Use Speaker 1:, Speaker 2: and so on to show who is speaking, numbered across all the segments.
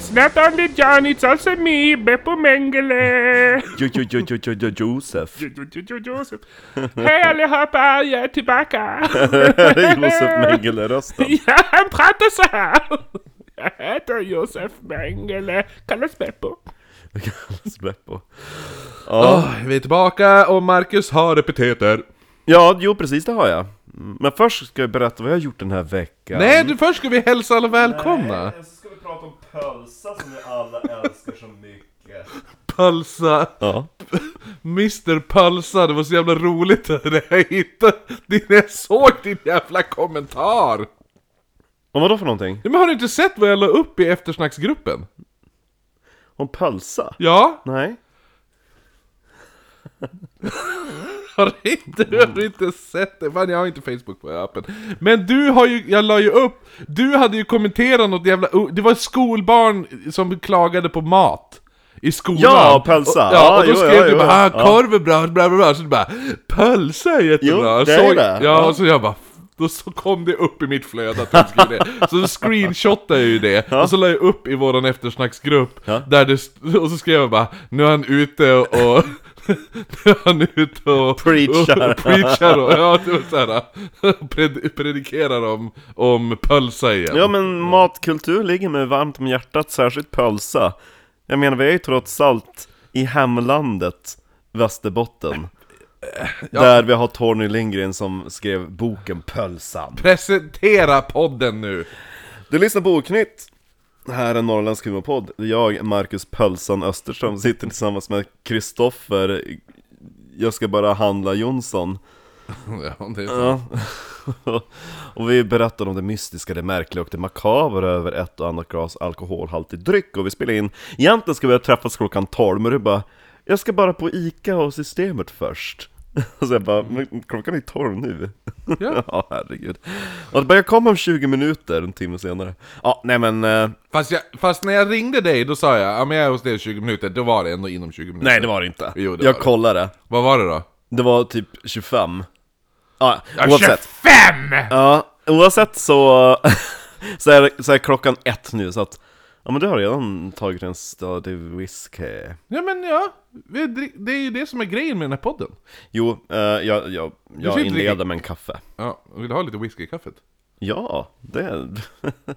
Speaker 1: Zlatan Lidjanic, Asemi, Beppo Mengele.
Speaker 2: Jo, jo, jo, jo, jo, jo, Josef.
Speaker 1: Jo, jo, jo, jo, Josef. Hej allihopa, jag är tillbaka.
Speaker 2: Josef Mengele-rösten.
Speaker 1: Ja, han pratar så här. Jag heter Josef Mengele, kallas Beppo.
Speaker 2: Vad kallas Beppo?
Speaker 3: Åh, vi är tillbaka och Marcus har epiteter.
Speaker 2: Ja, jo precis det har jag. Mm, Men först ska jag berätta vad jag har gjort den här veckan.
Speaker 3: Nej, du, först ska vi hälsa alla välkomna.
Speaker 4: så ska vi prata om pölsa som vi alla älskar så mycket.
Speaker 3: Pölsa,
Speaker 2: Ja.
Speaker 3: Mr Pölsa, det var så jävla roligt när jag hittade din, jag såg din jävla kommentar.
Speaker 2: Och vadå för någonting?
Speaker 3: Nej, men har du inte sett vad jag la upp i eftersnacksgruppen?
Speaker 2: Om pölsa?
Speaker 3: Ja,
Speaker 2: Nej.
Speaker 3: har du inte, har du inte sett det? Fan, jag har inte Facebook på appen. Men du har ju, jag la ju upp, du hade ju kommenterat något jävla, det var ett skolbarn som klagade på mat. I skolan.
Speaker 2: Ja, pölsa.
Speaker 3: Och, ja,
Speaker 2: Ja,
Speaker 3: och då
Speaker 2: jo,
Speaker 3: skrev
Speaker 2: ja,
Speaker 3: du
Speaker 2: jo,
Speaker 3: bara ah,
Speaker 2: ja.
Speaker 3: korv är bra, bla bla bla, så du bara pölsa är jättebra.
Speaker 2: Jo, det är
Speaker 3: så,
Speaker 2: det.
Speaker 3: Ja,
Speaker 2: Ja.
Speaker 3: så jag bara då så kom det upp i mitt flöde att de skrev det. Så då screenshotade jag ju det, och så la jag upp i våran eftersnacksgrupp,
Speaker 2: Ja.
Speaker 3: där det, st- och så skrev jag bara Nu är han ute och... nu är han ute och...
Speaker 2: Preachar.
Speaker 3: Och, preachar och, ja, det var så här, pred, predikerar om, om pölsa igen.
Speaker 2: Ja men matkultur ligger mig varmt om hjärtat, särskilt pölsa. Jag menar vi är ju trots allt i hemlandet Västerbotten. Där vi har Torgny Lindgren som skrev boken Pölsan.
Speaker 3: Presentera podden nu!
Speaker 2: Du lyssnar på Oknytt. Här är Norrländsk humorpodd. Jag, Marcus Pölsan Österström, sitter tillsammans med Kristoffer Jag ska bara handla Jonsson.
Speaker 3: Ja, det är så.
Speaker 2: Ja. och vi berättar om det mystiska, det märkliga och det makabra över ett och annat glas alkoholhaltig dryck. Och vi spelar in, egentligen ska vi ha träffats klockan 12, men du bara Jag ska bara på Ica och Systemet först. Och så jag bara, men klockan är 12 nu.
Speaker 3: Ja.
Speaker 2: ja, herregud. Och det börjar komma om 20 minuter, en timme senare. Ja, nej men... eh,
Speaker 3: Fast, jag, fast när jag ringde dig, då sa jag ja, men jag är hos dig i 20 minuter, då var det ändå inom 20 minuter.
Speaker 2: Nej det var det inte.
Speaker 3: Jo, det
Speaker 2: jag
Speaker 3: var det.
Speaker 2: kollade.
Speaker 3: Vad var det då?
Speaker 2: Det var typ 25. Ja,
Speaker 1: Jag kör
Speaker 2: oavsett.
Speaker 1: fem!
Speaker 2: Ja, oavsett så, så, är, så är klockan ett nu så att Ja men du har redan tagit en stadig whisky
Speaker 3: Ja men ja, vi drick- det är ju det som är grejen med den här podden.
Speaker 2: Jo, eh, jag, jag, jag
Speaker 3: får inte
Speaker 2: inleder
Speaker 3: dricka.
Speaker 2: med en kaffe
Speaker 3: Ja, vill du ha lite whisky i kaffet?
Speaker 2: Ja, det...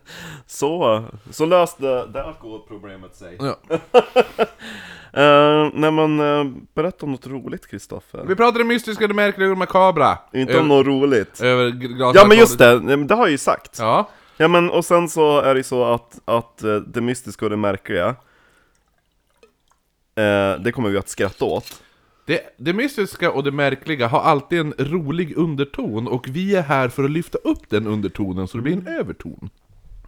Speaker 2: så, så löste det alkoholproblemet sig
Speaker 3: Ja.
Speaker 2: uh, Nej men, eh, berätta om något roligt Kristoffer
Speaker 3: Vi Eh, pratar det mystiska, det märkliga och det makabra.
Speaker 2: Inte om något roligt
Speaker 3: Över glas-
Speaker 2: Ja men just det, nej, men det har jag ju sagt
Speaker 3: Ja,
Speaker 2: Ja men och sen så är det ju så att, att eh, det mystiska och det märkliga eh, Det kommer vi att skratta åt
Speaker 3: det, det mystiska och det märkliga har alltid en rolig underton och vi är här för att lyfta upp den undertonen så det blir en
Speaker 2: Mm.
Speaker 3: överton.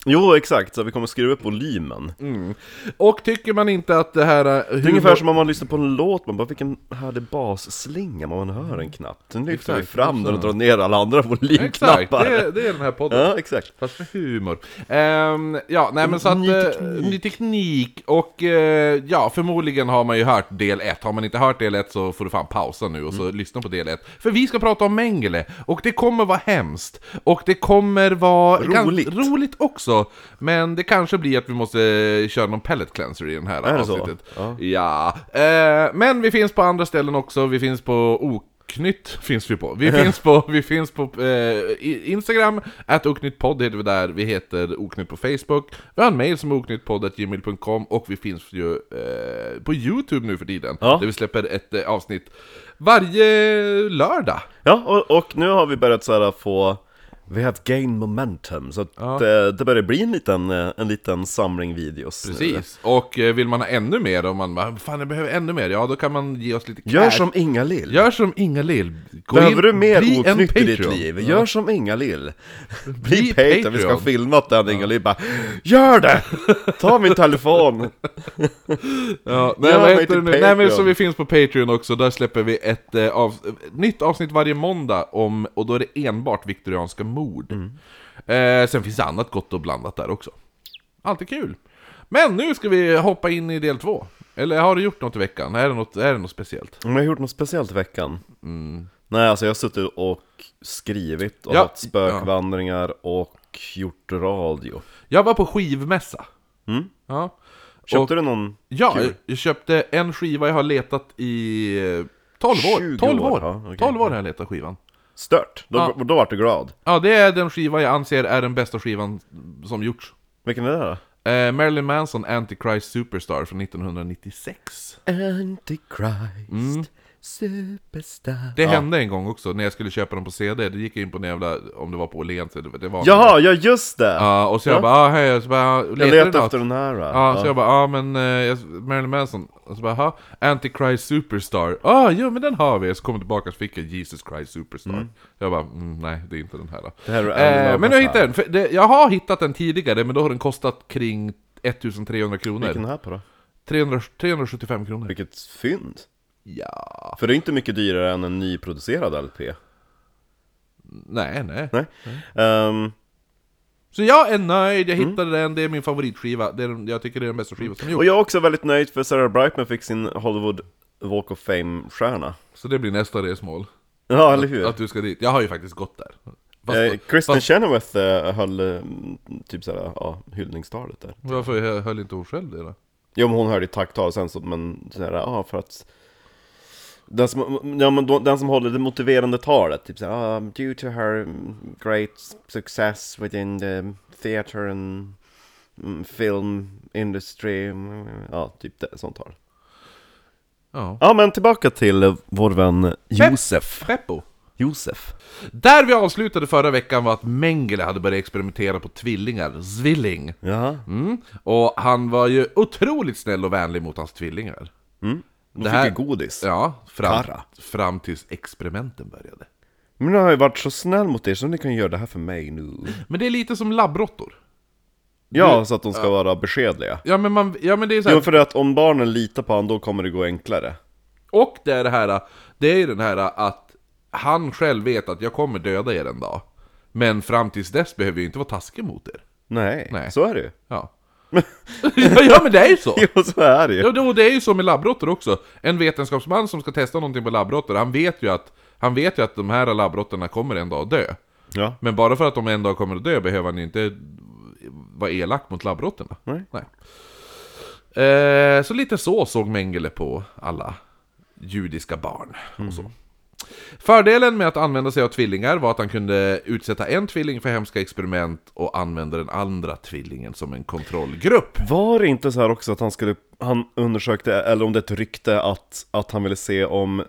Speaker 2: Jo exakt, så vi kommer skruva upp volymen
Speaker 3: Mm. Och tycker man inte att det här... eh, är
Speaker 2: Det är ungefär som om man lyssnar på en låt, man bara vilken härlig basslinga, men man hör den knappt Sen lyfter vi
Speaker 3: Exakt,
Speaker 2: fram den och
Speaker 3: så.
Speaker 2: drar ner alla andra
Speaker 3: Exakt,
Speaker 2: volymknappar
Speaker 3: det, är- det är den här podden.
Speaker 2: Ja exakt
Speaker 3: Fast med humor. Ehm, ja, nej men så att...
Speaker 2: Ny
Speaker 3: eh,
Speaker 2: teknik.
Speaker 3: ny teknik. Och eh, ja, förmodligen har man ju hört del 1. Har man inte hört del 1 så får du fan pausa nu och så
Speaker 2: Mm.
Speaker 3: lyssna på del 1. För vi ska prata om Mengele. Och det kommer vara hemskt. Och det kommer vara...
Speaker 2: Roligt.
Speaker 3: Kan, roligt också. Men det kanske blir att vi måste eh, köra någon pellet cleanser i den här
Speaker 2: Är det så?
Speaker 3: avsnittet. Ja. Eh, men vi finns på andra ställen också. Vi finns på Oknytt finns vi på. Vi finns på, vi finns på eh, i- Instagram, att oknyttpodd heter vi där, vi heter oknytt på Facebook, vi har en mail som är oknyttpodd.gmail.com och vi finns ju eh, på Youtube nu för tiden,
Speaker 2: Ja.
Speaker 3: där vi släpper ett eh, avsnitt varje lördag.
Speaker 2: Ja, och, och nu har vi börjat så här få vi have gained momentum, så att det, det börjar bli en liten, eh, en liten samling videos nu.
Speaker 3: Precis. Och eh, vill man ha ännu mer, om man bara, fan jag behöver ännu mer, ja då kan man ge oss lite
Speaker 2: Gör
Speaker 3: cash.
Speaker 2: som Inga Lill.
Speaker 3: Gör som Inga-Lill. Gå
Speaker 2: Behöver
Speaker 3: in-
Speaker 2: du mer
Speaker 3: bli en
Speaker 2: oknytt i ditt
Speaker 3: Patreon.
Speaker 2: liv?
Speaker 3: Ja.
Speaker 2: Gör som Inga-Lill Bli
Speaker 3: Bli
Speaker 2: Patreon, vi ska ha
Speaker 3: Patreon.
Speaker 2: filmat den Inga-Lill bara Gör det! Ta min telefon!
Speaker 3: Ja, nej,
Speaker 2: Gör
Speaker 3: vad
Speaker 2: mig
Speaker 3: heter det
Speaker 2: till
Speaker 3: nu? nej men
Speaker 2: Patreon.
Speaker 3: så vi finns på Patreon också, där släpper vi ett eh, av, nytt avsnitt varje måndag om, och då är det enbart viktorianska mord.
Speaker 2: Mm.
Speaker 3: Eh, sen finns det annat gott och blandat där också. Alltid kul! Men nu ska vi hoppa in i del två. Eller har du gjort något i veckan? Är det något, är det något speciellt?
Speaker 2: Om jag har gjort något speciellt i veckan? Nej, alltså jag har suttit och skrivit och
Speaker 3: Mm. Ja.
Speaker 2: haft spökvandringar och gjort radio
Speaker 3: Jag var på skivmässa. Ja. Och,
Speaker 2: Köpte du någon?
Speaker 3: ja,
Speaker 2: Mm. kul?
Speaker 3: jag köpte en skiva jag har letat i eh, 12 år.
Speaker 2: 20
Speaker 3: 12 år,
Speaker 2: år, ja, okej.
Speaker 3: 12 år har jag letat skivan.
Speaker 2: Stört! Då,
Speaker 3: Ja.
Speaker 2: då vart du glad.
Speaker 3: Ja, det är den skiva jag anser är den bästa skivan som gjorts.
Speaker 2: Vilken är det då?
Speaker 3: Eh, Marilyn Manson, Antichrist Superstar från 1996.
Speaker 2: Antichrist Superstar
Speaker 3: Det hände en gång också, när jag skulle köpa den på CD. Det gick jag in på när jag var, om det var på Åhléns eller det var...
Speaker 2: Jaha, ja just det!
Speaker 3: Ja, och så jag
Speaker 2: Ja.
Speaker 3: bara, ah, hej, och så bara, ah,
Speaker 2: jag
Speaker 3: letar du
Speaker 2: letar
Speaker 3: något?
Speaker 2: efter den här. då.
Speaker 3: Ja, så jag bara, ja ah, men eh, jag- Marilyn Manson, och så bara, ha Antichrist Superstar, ah jo men den har vi, så kom jag tillbaka så fick jag Jesus Christ Superstar. Jag bara, mm, nej det är inte den här då.
Speaker 2: Det här är
Speaker 3: eh, men nu hittade jag den, för det, jag har hittat den tidigare men då har den kostat kring 1300
Speaker 2: Vilken
Speaker 3: kronor.
Speaker 2: här på då?
Speaker 3: 300, 375 kronor.
Speaker 2: Vilket fynd!
Speaker 3: Ja,
Speaker 2: För det är inte mycket dyrare än en nyproducerad LP.
Speaker 3: nej nej.
Speaker 2: Nej. Ehm,
Speaker 3: Så jag är nöjd,
Speaker 2: Mm.
Speaker 3: jag hittade den, det är min favoritskiva, det är, den- jag tycker det är den bästa skivan som
Speaker 2: och
Speaker 3: gjorts.
Speaker 2: jag är också väldigt nöjd för Sarah Brightman fick sin Hollywood Walk of Fame-stjärna.
Speaker 3: Så det blir nästa resmål.
Speaker 2: Ja, eller hur?
Speaker 3: Att du ska dit. Jag har ju faktiskt gått där. Fast-
Speaker 2: Eh, Kristen
Speaker 3: fast-
Speaker 2: Chenoweth eh, höll eh, typ såhär, ja, hyllningstalet där.
Speaker 3: Varför höll inte hon själv det då?
Speaker 2: Jo men hon hörde ju tacktal sen så, men sådär, ja för att den som, ja, men då, den som håller det motiverande talet, typ såhär, um, due to her mm, great success within the theater and mm, film industry, mm, ja typ det, sånt tal.
Speaker 3: Ja.
Speaker 2: Ja men tillbaka till eh, vår vän Josef.
Speaker 3: Preppo.
Speaker 2: Josef.
Speaker 3: Där vi avslutade förra veckan var att Mengele hade börjat experimentera på tvillingar, Zwilling.
Speaker 2: Ja.
Speaker 3: Mm. Och han var ju otroligt snäll och vänlig mot hans tvillingar.
Speaker 2: De
Speaker 3: Det
Speaker 2: fick
Speaker 3: här-
Speaker 2: ju godis.
Speaker 3: Ja, fram,
Speaker 2: Karra.
Speaker 3: fram tills experimenten började.
Speaker 2: Men nu har jag varit så snäll mot er så ni kan göra det här för mig nu.
Speaker 3: Men det är lite som labbråttor.
Speaker 2: Ja, så att de ska vara beskedliga.
Speaker 3: Ja men, man, ja, men det är så här,
Speaker 2: Jo, för att om barnen litar på honom, då kommer det gå enklare.
Speaker 3: Och det är det här, det är ju den här att han själv vet att jag kommer döda er en dag. Men fram tills dess behöver jag ju inte vara taskig mot er.
Speaker 2: Nej,
Speaker 3: Nej.
Speaker 2: så är det ju.
Speaker 3: Ja. ja men det är ju så!
Speaker 2: Jo, så är det ju.
Speaker 3: Ja, det- och det är ju så med labbråttor också. En vetenskapsman som ska testa någonting på labbråttor, han vet ju att han vet ju att de här labbråttorna kommer en dag att dö.
Speaker 2: Ja.
Speaker 3: Men bara för att de en dag kommer att dö behöver han ju inte vara elak mot labbråttorna.
Speaker 2: Nej.
Speaker 3: Eh, så lite så såg Mengele på alla judiska barn
Speaker 2: Mm.
Speaker 3: och så. Fördelen med att använda sig av tvillingar var att han kunde utsätta en tvilling för hemska experiment och använda den andra tvillingen som en kontrollgrupp.
Speaker 2: Var det inte så här också att han skulle, han undersökte, eller om det är ett rykte, att, att han ville se om,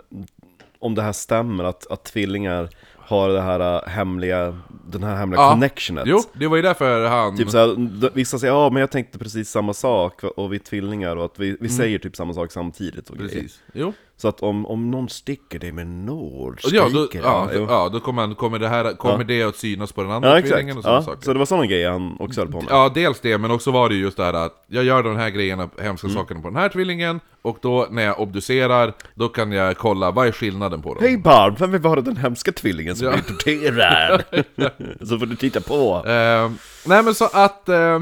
Speaker 2: om det här stämmer, att, att tvillingar har det här äh, hemliga, den här hemliga
Speaker 3: Ja.
Speaker 2: connectionet?
Speaker 3: Jo, det var ju därför han...
Speaker 2: Typ så här, d- vissa säger ja men jag tänkte precis samma sak och vi är tvillingar och att vi, vi säger typ samma sak samtidigt och grejer.
Speaker 3: Mm. Precis. Jo.
Speaker 2: Så att om, om någon sticker dig med en nål,
Speaker 3: Och
Speaker 2: skriker
Speaker 3: Ja, då, ja,
Speaker 2: han.
Speaker 3: då,
Speaker 2: Jo.
Speaker 3: ja, då kommer, han- kommer, det, här, kommer det att synas på den andra
Speaker 2: Ja exakt,
Speaker 3: tvillingen och sådana
Speaker 2: ja,
Speaker 3: saker.
Speaker 2: så det var sådana grejer han också höll på med.
Speaker 3: Ja, dels det, men också var det ju just det här att jag gör de här grejerna, hemska
Speaker 2: Mm.
Speaker 3: sakerna på den här tvillingen, och då när jag obducerar, då kan jag kolla vad är skillnaden på dem.
Speaker 2: Hej barn, vem vill vara den hemska tvillingen som
Speaker 3: Ja.
Speaker 2: blir torterad? så får du titta på.
Speaker 3: Eh, nej men så att... Eh,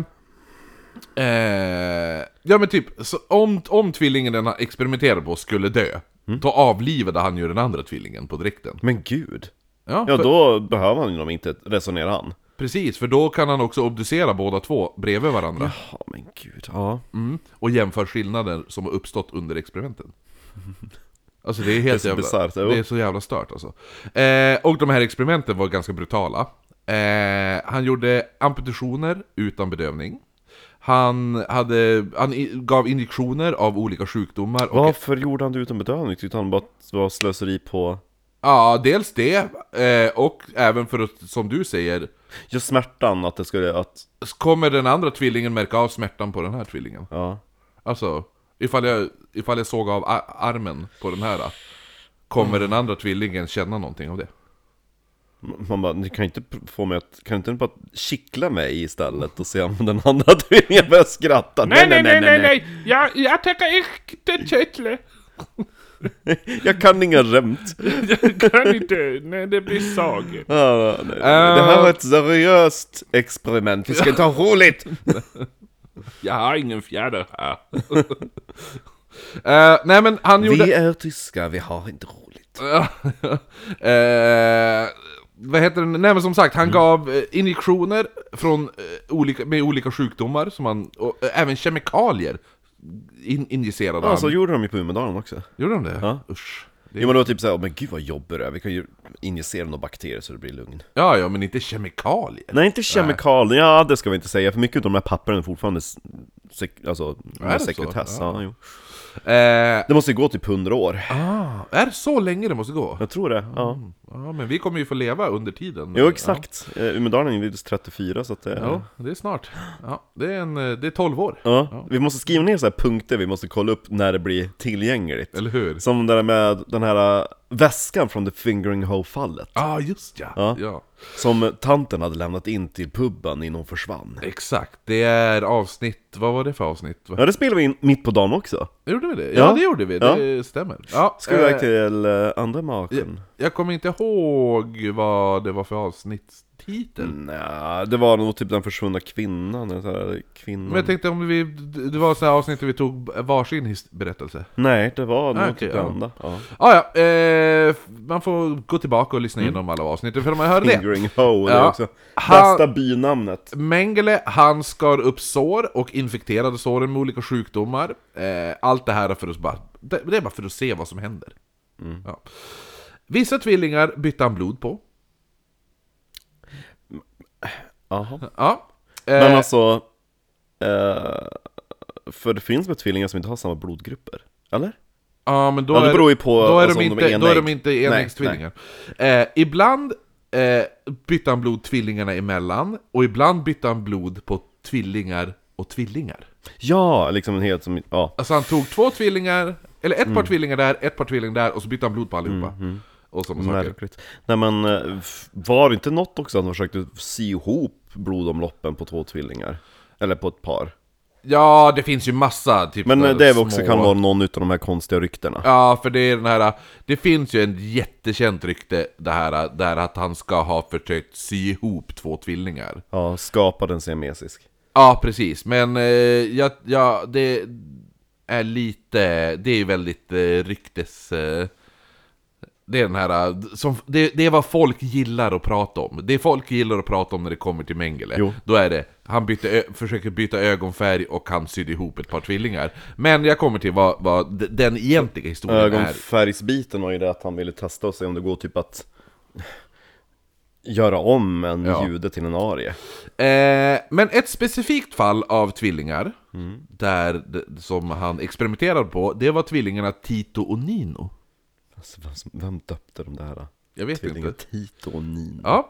Speaker 3: eh, ja men typ, så om, om tvillingen den experimenterade på skulle dö,
Speaker 2: Mm.
Speaker 3: då avlivade han ju den andra tvillingen på direkten.
Speaker 2: Men gud.
Speaker 3: Ja,
Speaker 2: Ja,
Speaker 3: för,
Speaker 2: då behöver han ju dem inte, resonerar han.
Speaker 3: precis, för då kan han också obducera båda två bredvid varandra.
Speaker 2: Ja, men gud. Ja.
Speaker 3: Mm. Och jämför skillnader som har uppstått under experimenten. Alltså det är helt
Speaker 2: Det är så
Speaker 3: jävla...
Speaker 2: bisarrt, jo.
Speaker 3: det är så jävla stört alltså. Eh, och de här experimenten var ganska brutala. Eh, han gjorde amputationer utan bedövning. Han, hade, han i, gav injektioner av olika sjukdomar. Och,
Speaker 2: Varför gjorde han det utan bedövning? Tyckte han bara att det var slöseri på...
Speaker 3: ja, dels det. Eh, och även för att, som du säger,
Speaker 2: Just smärtan, att det skulle... Att,
Speaker 3: kommer den andra tvillingen märka av smärtan på den här tvillingen?
Speaker 2: ja.
Speaker 3: Alltså, ifall jag, ifall jag såg av a- armen på den här Kommer
Speaker 1: Mm.
Speaker 3: den andra tvillingen känna någonting av det?
Speaker 2: Man bara, ni kan ju inte pr- få mig att... Kan inte ni bara kittla mig istället och se om den andra tvillingen börjar skratta?
Speaker 1: Nej, nej, nej, nej, nej. Jag, jag tänker inte kittla.
Speaker 2: Jag kan inga skämt.
Speaker 1: Jag kan inte. Nej, det blir saga.
Speaker 2: Ja, nej, nej. Det här var ett seriöst experiment. Vi ska inte ha roligt!
Speaker 1: Jag har ingen fjäder här.
Speaker 3: Eh, nej men han gjorde...
Speaker 2: är tyskar, vi har inte roligt.
Speaker 3: Eh, vad heter den? Nej men som sagt,
Speaker 1: Mm.
Speaker 3: han gav eh, injektioner från, eh, olika, med olika sjukdomar som han, och eh, även kemikalier in, injicerade
Speaker 2: Ja, så
Speaker 1: Alltså-
Speaker 3: han.
Speaker 2: gjorde de ju på Umedalen också.
Speaker 3: Gjorde de det?
Speaker 2: Ja.
Speaker 3: Usch. Det-
Speaker 2: Um, Jo men det var typ såhär, "Åh, men gud vad jobbigt det är, vi kan ju injicera några bakterier så det blir lugn. Äh.
Speaker 3: Ja, ja, men inte kemikalier.
Speaker 2: Nej inte kemikalier, ja det ska vi inte säga, för mycket av de här pappren är fortfarande s- sek- alltså,
Speaker 3: Är det
Speaker 2: under
Speaker 3: så?
Speaker 2: sekretess.
Speaker 3: Ja.
Speaker 2: Ja. jo.
Speaker 3: Eh,
Speaker 2: Det måste ju gå typ 100 år. Mm.
Speaker 3: ah, är det så länge det måste gå?
Speaker 2: Jag tror det, ja.
Speaker 3: Ja, men vi kommer ju få leva under tiden.
Speaker 2: Jo exakt, Eh, Umedalen invigdes 34 så att det...
Speaker 3: Ja,
Speaker 2: Ja.
Speaker 3: ja det är snart. Ja, det, är en, eh, det är 12 år.
Speaker 2: Vi måste skriva ner så här punkter vi måste kolla upp när det blir tillgängligt.
Speaker 3: Eller hur?
Speaker 2: Som det där med den här äh, väskan från The Fingering Hoe-fallet.
Speaker 3: Ja, ah, just ja. ja.
Speaker 2: Ja. Som tanten hade lämnat in till puben innan hon försvann.
Speaker 3: Exakt. Det är avsnitt... Vad var det för avsnitt? Va?
Speaker 2: Ja, det spelade vi in mitt på dagen också.
Speaker 3: Gjorde vi det? Ja,
Speaker 2: Ja.
Speaker 3: det gjorde vi.
Speaker 2: Ja.
Speaker 3: Det stämmer. Ja,
Speaker 2: Ska vi
Speaker 3: eh,
Speaker 2: iväg till äh, andra maken?
Speaker 3: Jag kommer inte ihåg vad det var för avsnittstitel.
Speaker 2: Mm. Nej, det var nog typ den försvunna kvinnan, eller så här, kvinnan.
Speaker 3: Men jag tänkte om vi... Det var sådana avsnitt där vi tog varsin his- berättelse.
Speaker 2: Nej, det var nog
Speaker 3: Ah, okej,
Speaker 2: typ
Speaker 3: ja.
Speaker 2: det enda. Ja.
Speaker 3: Ah, ja, eh, man får gå tillbaka och lyssna
Speaker 2: Mm.
Speaker 3: igenom alla avsnitt, för när man hör det.
Speaker 2: Fingering Hoe, det
Speaker 3: Ja.
Speaker 2: är också.
Speaker 3: Ha-
Speaker 2: Bästa bynamnet.
Speaker 3: Mengele, han skar upp sår och infekterade såren med olika sjukdomar. Eh, allt det här är för att bara, det det är bara för att se vad som händer.
Speaker 2: Mm.
Speaker 3: Ja. Vissa tvillingar bytte han blod på.
Speaker 2: Jaha.
Speaker 3: Ja. Eh,
Speaker 2: Men alltså, eh, för det finns väl tvillingar som inte har samma blodgrupper? Eller?
Speaker 3: ja, men då
Speaker 2: ja, det
Speaker 3: är-
Speaker 2: beror ju på
Speaker 3: då är,
Speaker 2: alltså,
Speaker 3: de
Speaker 2: om
Speaker 3: inte, då är de
Speaker 2: enägg.
Speaker 3: inte
Speaker 2: Nej,
Speaker 3: enäggstvillingar. Eh, ibland eh, bytte han blod tvillingarna emellan, och ibland bytte han blod på tvillingar och tvillingar.
Speaker 2: nej. Ja, liksom en helt som, ja.
Speaker 3: Alltså han tog två tvillingar, eller ett
Speaker 2: Mm.
Speaker 3: par tvillingar där, ett par tvillingar där, och så bytte han blod på allihopa. Och sådana saker.
Speaker 2: Mm-hmm. Märkligt. Nej men, eh, f- var det inte något också att de försökte sy ihop blodomloppen på två tvillingar? Eller på ett par?
Speaker 3: Ja, det finns ju massa typ
Speaker 2: Men
Speaker 3: där
Speaker 2: eh, det är väl
Speaker 3: små-
Speaker 2: också kan vara någon av de här konstiga ryktena.
Speaker 3: Ja, för det är den här... Det finns ju en jättekänt rykte det här, där att han ska ha försökt sy ihop två tvillingar.
Speaker 2: Ja, skapade en siamesisk.
Speaker 3: Ja, precis. Men eh, ja, ja, det är lite... Det är ju väldigt eh, ryktes... Eh, det är den här... eh, Som, det, det är vad folk gillar att prata om. Det folk gillar att prata om när det kommer till Mengele.
Speaker 2: Jo.
Speaker 3: Då är det, han bytte, ö, försöker byta ögonfärg och han sydde ihop ett par tvillingar. Men jag kommer till vad, vad d- den egentliga historien är.
Speaker 2: Ögonfärgsbiten var ju det att han ville testa och se om det går typ att göra om en
Speaker 3: Ja.
Speaker 2: jude till en arie.
Speaker 3: Eh, men ett specifikt fall av tvillingar, där, d- som han experimenterade på, det var tvillingarna Tito och Nino.
Speaker 2: Alltså, vem, som- vem döpte de där? eh,
Speaker 3: Jag vet
Speaker 2: Tvillingen
Speaker 3: inte.
Speaker 2: Tito och Nino.
Speaker 3: Ja.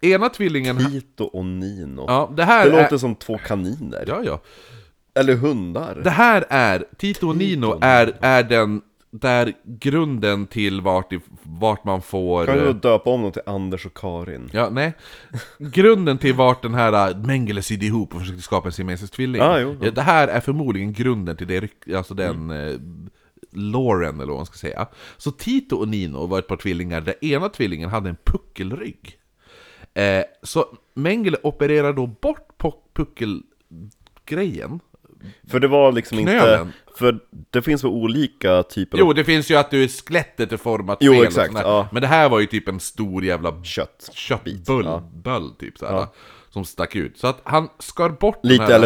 Speaker 3: Ena tvillingen...
Speaker 2: Tito och Nino.
Speaker 3: Ja, det här
Speaker 2: Det
Speaker 3: är...
Speaker 2: låter som två kaniner.
Speaker 3: Ja, ja.
Speaker 2: Eller hundar.
Speaker 3: Det här är... Tito och Nino är, är den... Där grunden till vart, i- vart man får...
Speaker 2: Kan du
Speaker 3: eh,
Speaker 2: döpa om dem till Anders och Karin?
Speaker 3: Ja, nej. Grunden till vart den här eh, Mengele sydde ihop och försökte skapa en siamesisk tvilling.
Speaker 2: Ja, Ah, jo, Mm. jo.
Speaker 3: Ja, Det här är förmodligen grunden till det, ryk- alltså den... Eh, Lauren, eller vad man ska säga. Så Tito och Nino var ett par tvillingar där ena tvillingen hade en puckelrygg. Eh, så Mengele opererar då bort po- puckelgrejen.
Speaker 2: För det var liksom
Speaker 3: Knölen.
Speaker 2: inte... För det finns väl olika typer
Speaker 3: Jo,
Speaker 2: av
Speaker 3: det finns ju att du skelettet är format
Speaker 2: Jo,
Speaker 3: fel och
Speaker 2: exakt,
Speaker 3: sånt där.
Speaker 2: ja.
Speaker 3: Men det här var ju typ en stor jävla
Speaker 2: kött.
Speaker 3: köttbull,
Speaker 2: ja.
Speaker 3: böll typ såhär, som stack ut. Så att han skar bort den
Speaker 2: Lite
Speaker 3: här,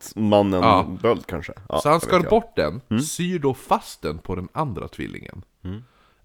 Speaker 3: Ja.
Speaker 2: elefantmannen-böld kanske. Ja,
Speaker 3: Så han
Speaker 2: jag Mm.
Speaker 3: skar
Speaker 2: vet
Speaker 3: bort den, syr då fast den på den andra tvillingen.
Speaker 2: Mm.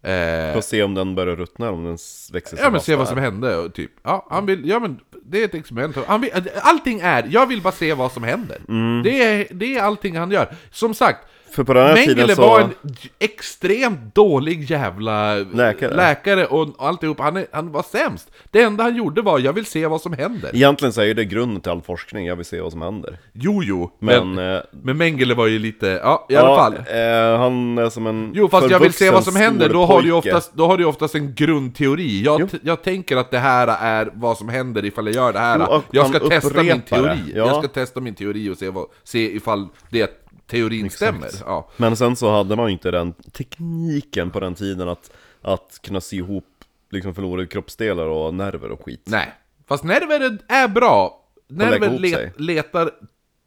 Speaker 2: jag.
Speaker 3: Eh,
Speaker 2: Får se om den börjar ruttna, om den s- växer sig
Speaker 3: ja men
Speaker 2: fast
Speaker 3: se vad
Speaker 2: där.
Speaker 3: som hände, och typ. Ja, han vill, ja men det är ett experiment. Han vill, allting är, jag vill bara se vad som händer. Det, är, det är allting han gör. Som sagt,
Speaker 2: Mm. För på den här
Speaker 3: Mengele
Speaker 2: tiden så...
Speaker 3: var en j- extremt dålig jävla
Speaker 2: Läkare.
Speaker 3: läkare och alltihop. Han, är- han var sämst. Det enda han gjorde var 'Jag vill se vad som händer'
Speaker 2: Egentligen så är ju det grunden till all forskning, jag vill se vad som händer.
Speaker 3: Jo, jo, men,
Speaker 2: Men...
Speaker 3: men,
Speaker 2: eh,
Speaker 3: Mengele var ju lite... Ja, i alla
Speaker 2: ja,
Speaker 3: fall.
Speaker 2: Eh, han är som en
Speaker 3: Jo, fast jag vill se vad som
Speaker 2: förvuxen
Speaker 3: händer,
Speaker 2: stor
Speaker 3: då har, du ju
Speaker 2: pojke.
Speaker 3: oftast, då har du ju oftast en grundteori. Jag,
Speaker 2: Jo.
Speaker 3: t- jag tänker att det här är vad som händer ifall jag gör det här.
Speaker 2: Jo, och
Speaker 3: jag
Speaker 2: han
Speaker 3: ska testa min
Speaker 2: upprepar det.
Speaker 3: teori.
Speaker 2: Ja.
Speaker 3: Jag ska testa min teori och se, vad, se ifall det teorin stämmer. Ja.
Speaker 2: Men sen så hade man ju inte den tekniken på den tiden att, att kunna sy ihop liksom förlorade kroppsdelar och nerver och skit.
Speaker 3: Nej. Fast nerver är- är bra.
Speaker 2: lägger
Speaker 3: Nerver
Speaker 2: ihop
Speaker 3: let,
Speaker 2: sig.
Speaker 3: letar,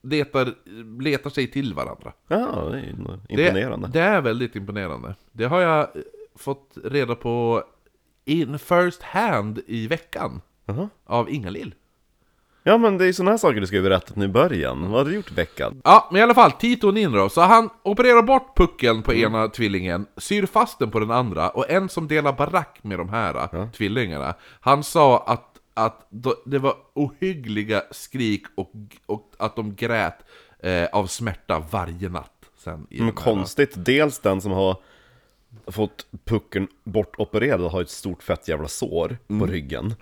Speaker 3: letar, letar sig till varandra.
Speaker 2: Ja, det är ju
Speaker 3: Det,
Speaker 2: imponerande.
Speaker 3: Det är väldigt imponerande. Det har jag eh, fått reda på in first hand i veckan
Speaker 2: Jaha.
Speaker 3: av Ingalill.
Speaker 2: Ja men det är sådana här saker du ska ju berätta nu i början. Vad har du gjort i veckan?
Speaker 3: Ja, men i alla fall, Tito och Ninro. Så han opererar bort puckeln på
Speaker 2: Mm.
Speaker 3: ena tvillingen, syr fast den på den andra, och en som delar barack med de här eh, tvillingarna, han sa att, att då- det var ohyggliga skrik och, och att de grät eh, av smärta varje natt. Sen i
Speaker 2: Men
Speaker 3: den här-
Speaker 2: Mm, konstigt, dels den som har fått pucken bortopererad och har ett stort fett jävla sår
Speaker 3: Mm.
Speaker 2: på ryggen.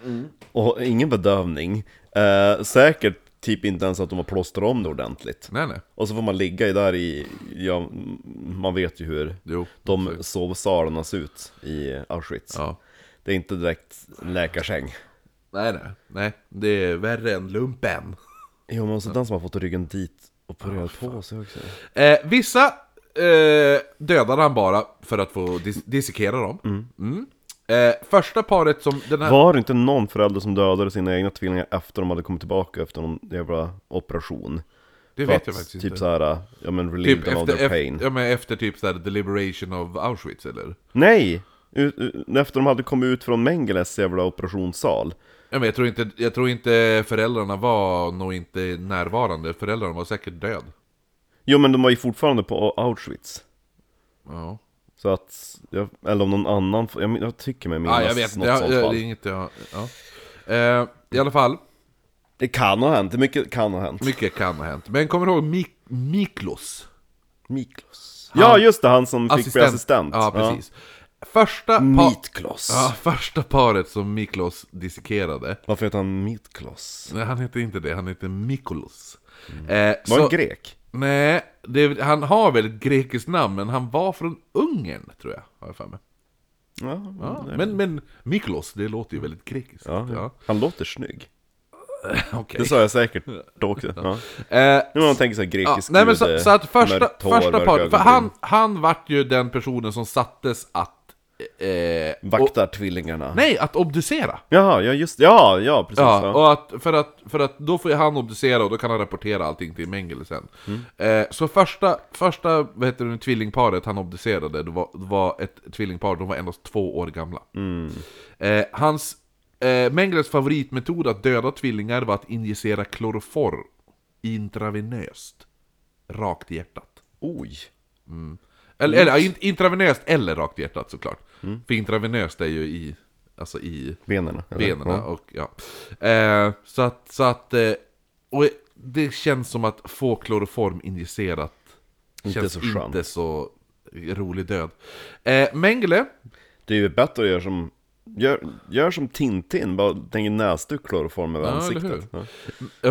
Speaker 2: Och ingen bedövning. Eh, säkert typ inte ens att de har plåstrat om det ordentligt.
Speaker 3: Nej, nej.
Speaker 2: Och så får man ligga i där i, ja, m- man vet ju hur
Speaker 3: Jo,
Speaker 2: de sovsalarna ser ut i Auschwitz.
Speaker 3: Ja.
Speaker 2: Det är inte direkt läkarsäng.
Speaker 3: Nej, nej. Nej, det är värre än lumpen.
Speaker 2: Jo men också den som har fått ryggen dit och opererat på sig också.
Speaker 3: Eh, vissa eh, dödade han bara för att få dis- dissekera dem. Mm. Eh, första paret som den här...
Speaker 2: Var det inte någon förälder som dödade sina egna tvillingar efter de hade kommit tillbaka efter någon jävla operation?
Speaker 3: Det
Speaker 2: För
Speaker 3: vet
Speaker 2: att
Speaker 3: jag faktiskt
Speaker 2: typ
Speaker 3: inte.
Speaker 2: såhär, ja men relieve
Speaker 3: Typ
Speaker 2: them of
Speaker 3: efter,
Speaker 2: their
Speaker 3: efter,
Speaker 2: pain.
Speaker 3: ja, men efter typ såhär the liberation of Auschwitz eller?
Speaker 2: Nej! U- u- Efter de hade kommit ut från Mengeles jävla operationssal.
Speaker 3: Ja, men jag, tror inte, jag tror inte föräldrarna var nog inte närvarande, föräldrarna var säkert död.
Speaker 2: Jo men de var ju fortfarande på Auschwitz.
Speaker 3: Ja,
Speaker 2: Så att, jag, eller om någon annan, jag, min- jag tycker mig minnas
Speaker 3: ah, jag
Speaker 2: något
Speaker 3: vet inte, jag,
Speaker 2: sånt
Speaker 3: jag,
Speaker 2: fall.
Speaker 3: det är inget jag... Ja. Eh, I alla fall,
Speaker 2: Det kan ha hänt, det mycket kan ha hänt.
Speaker 3: mycket kan ha hänt. Men kommer du ihåg Mik- Miklos?
Speaker 2: Miklos. Ja just det, han som fick bli assistent.
Speaker 3: Ja, precis. Första, pa-
Speaker 2: Meatkloss.
Speaker 3: ja, första paret som Miklos dissekerade,
Speaker 2: Varför heter han Meatkloss?
Speaker 3: nej han heter inte det, han heter Mikolos. Eh,
Speaker 2: Mm. Var han
Speaker 3: så-
Speaker 2: grek?
Speaker 3: Nej, det, är- han har väl ett grekiskt namn, men han var från Ungern, tror jag. Har jag för mig.
Speaker 2: Ja,
Speaker 3: Ja, men, men Miklos, det låter ju väldigt grekiskt.
Speaker 2: ja.
Speaker 3: Ja,
Speaker 2: Han låter snygg.
Speaker 3: okej.
Speaker 2: Det sa jag säkert då också. Ja.
Speaker 3: Eh,
Speaker 2: Nu har man tänkt sig
Speaker 3: ja,
Speaker 2: grekisk
Speaker 3: nej, men
Speaker 2: gud,
Speaker 3: så,
Speaker 2: eh,
Speaker 3: så att första,
Speaker 2: mörkt hår,
Speaker 3: första
Speaker 2: mörka
Speaker 3: par, för
Speaker 2: ögonbryn.
Speaker 3: han, han vart ju den personen som sattes att... Eh, och,
Speaker 2: Vaktar tvillingarna.
Speaker 3: nej, att obducera.
Speaker 2: Jaha, ja just Ja, ja precis.
Speaker 3: Ja,
Speaker 2: Ja, liksom.
Speaker 3: och att, för, att, för att då får ju han obducera och då kan han rapportera allting till Mengele sen. Eh, så första, första vad heter det, tvillingparet han obducerade, det var, det var ett tvillingpar, de var endast två år gamla. Eh, hans, eh, Mengeles favoritmetod att döda tvillingar var att injicera kloroform intravenöst, rakt i hjärtat.
Speaker 2: Oj.
Speaker 3: Eller, eller ja, in- intravenöst eller rakt i hjärtat såklart. För intravenöst är ju i, alltså i
Speaker 2: Benen. eller?
Speaker 3: benen
Speaker 2: Ja.
Speaker 3: och ja. Eh, så att, så att eh, och det känns som att få kloroform injicerat
Speaker 2: Inte
Speaker 3: känns
Speaker 2: så skönt.
Speaker 3: inte så rolig död. Eh, Mengele,
Speaker 2: Det är ju bättre att göra som... Gör, gör som Tintin, bara tänker näsduk kloroform över
Speaker 3: Ja, eller
Speaker 2: ansiktet.
Speaker 3: hur?
Speaker 2: Ja.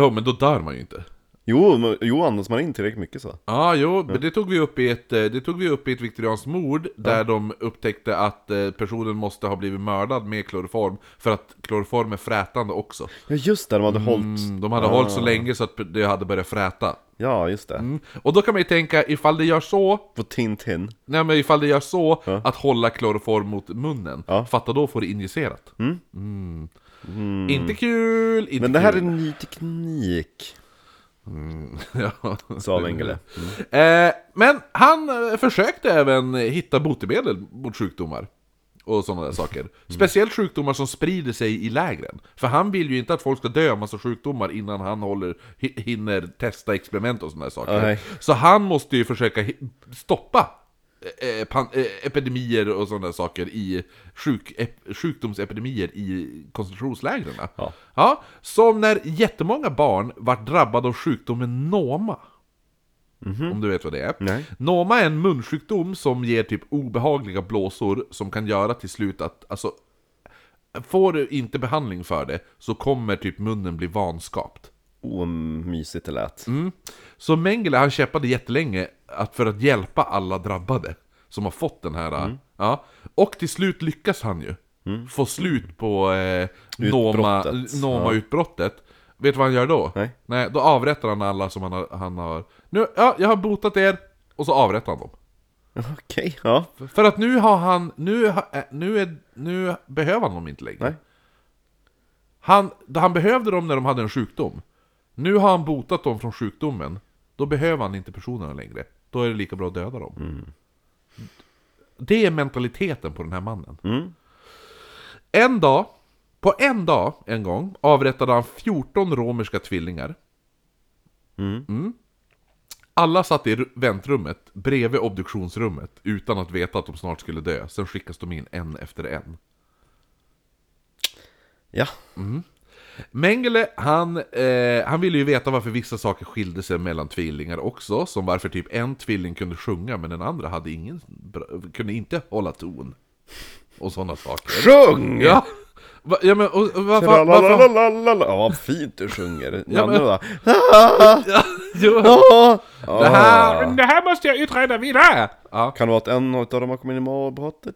Speaker 3: ja men då dör man ju inte.
Speaker 2: Jo, men, jo, andas man in tillräckligt mycket så.
Speaker 3: Ja, jo, men det tog vi upp i ett, eh, det tog vi upp i ett viktorianskt mord där de upptäckte att eh, personen måste ha blivit mördad med kloroform för att kloroform är frätande också.
Speaker 2: Ja just det, de hade hållit...
Speaker 3: Mm, de hade hållit så länge så att det hade börjat fräta.
Speaker 2: Ja, just det.
Speaker 3: Mm. Och då kan man ju tänka, ifall det gör så,
Speaker 2: På Tintin.
Speaker 3: Nej men ifall det gör så, att hålla kloroform mot munnen,
Speaker 2: Ja.
Speaker 3: fatta då får det injicerat. Mm. Inte kul, inte
Speaker 2: Men det här är
Speaker 3: kul.
Speaker 2: ny teknik,
Speaker 3: ja.
Speaker 2: sa Mengele.
Speaker 3: eh, men han eh, försökte även hitta botemedel mot sjukdomar. Och sådana där saker.
Speaker 2: Mm.
Speaker 3: Speciellt sjukdomar som sprider sig i lägren. För han vill ju inte att folk ska dö av massa sjukdomar innan han håller, hi- hinner testa experiment och sådana där saker.
Speaker 2: Nej.
Speaker 3: Så han måste ju försöka hi- stoppa eh, pan- eh, epidemier och sådana saker i sjuk, ep- sjukdomsepidemier i koncentrationslägren.
Speaker 2: Ja.
Speaker 3: Ja, som när jättemånga barn vart drabbade av sjukdomen Noma. Om du vet vad det är.
Speaker 2: Mm. Nej.
Speaker 3: Noma är en munsjukdom som ger typ obehagliga blåsor som kan göra till slut att, alltså, får du inte behandling för det så kommer typ munnen bli vanskapt.
Speaker 2: Oh, mysigt det lät.
Speaker 3: Mm. Så Mengele han kämpade jättelänge att för att hjälpa alla drabbade som har fått den här...
Speaker 2: Mm.
Speaker 3: Ja, och till slut lyckas han ju få slut på eh,
Speaker 2: Utbrottet.
Speaker 3: Noma- Noma-utbrottet. Vet du vad han gör då?
Speaker 2: Nej.
Speaker 3: Nej, då avrättar han alla som han har... Han har nu, ja, jag har botat er! Och så avrättar han dem.
Speaker 2: Okej, ja.
Speaker 3: För att nu har han, nu, ha- eh, nu, är, nu behöver han dem inte längre.
Speaker 2: Nej.
Speaker 3: Han, han behövde dem när de hade en sjukdom. Nu har han botat dem från sjukdomen. Då behöver han inte personerna längre. Då är det lika bra att döda dem. Det är mentaliteten på den här mannen. En dag, på en dag en gång, avrättade han 14 romerska tvillingar. Mm. Alla satt i ru- väntrummet bredvid obduktionsrummet utan att veta att de snart skulle dö. Sen skickas de in en efter en.
Speaker 2: Ja.
Speaker 3: Mengele, han, eh, han ville ju veta varför vissa saker skilde sig mellan tvillingar också. Som varför typ en tvilling kunde sjunga men den andra hade ingen, bra- kunde inte hålla ton. Och sådana saker.
Speaker 2: Sjung!
Speaker 3: Ja! Va, ja men och, och, va, va, varför...
Speaker 2: Tralalalalala. Ja, vad fint du sjunger. Den
Speaker 3: Ja, men-
Speaker 2: andra då.
Speaker 3: Jo,
Speaker 2: Ja.
Speaker 3: det här...
Speaker 1: Men det här måste jag utreda vidare!
Speaker 3: Ja.
Speaker 2: Kan det vara att en av dem har kommit in i magbrottet?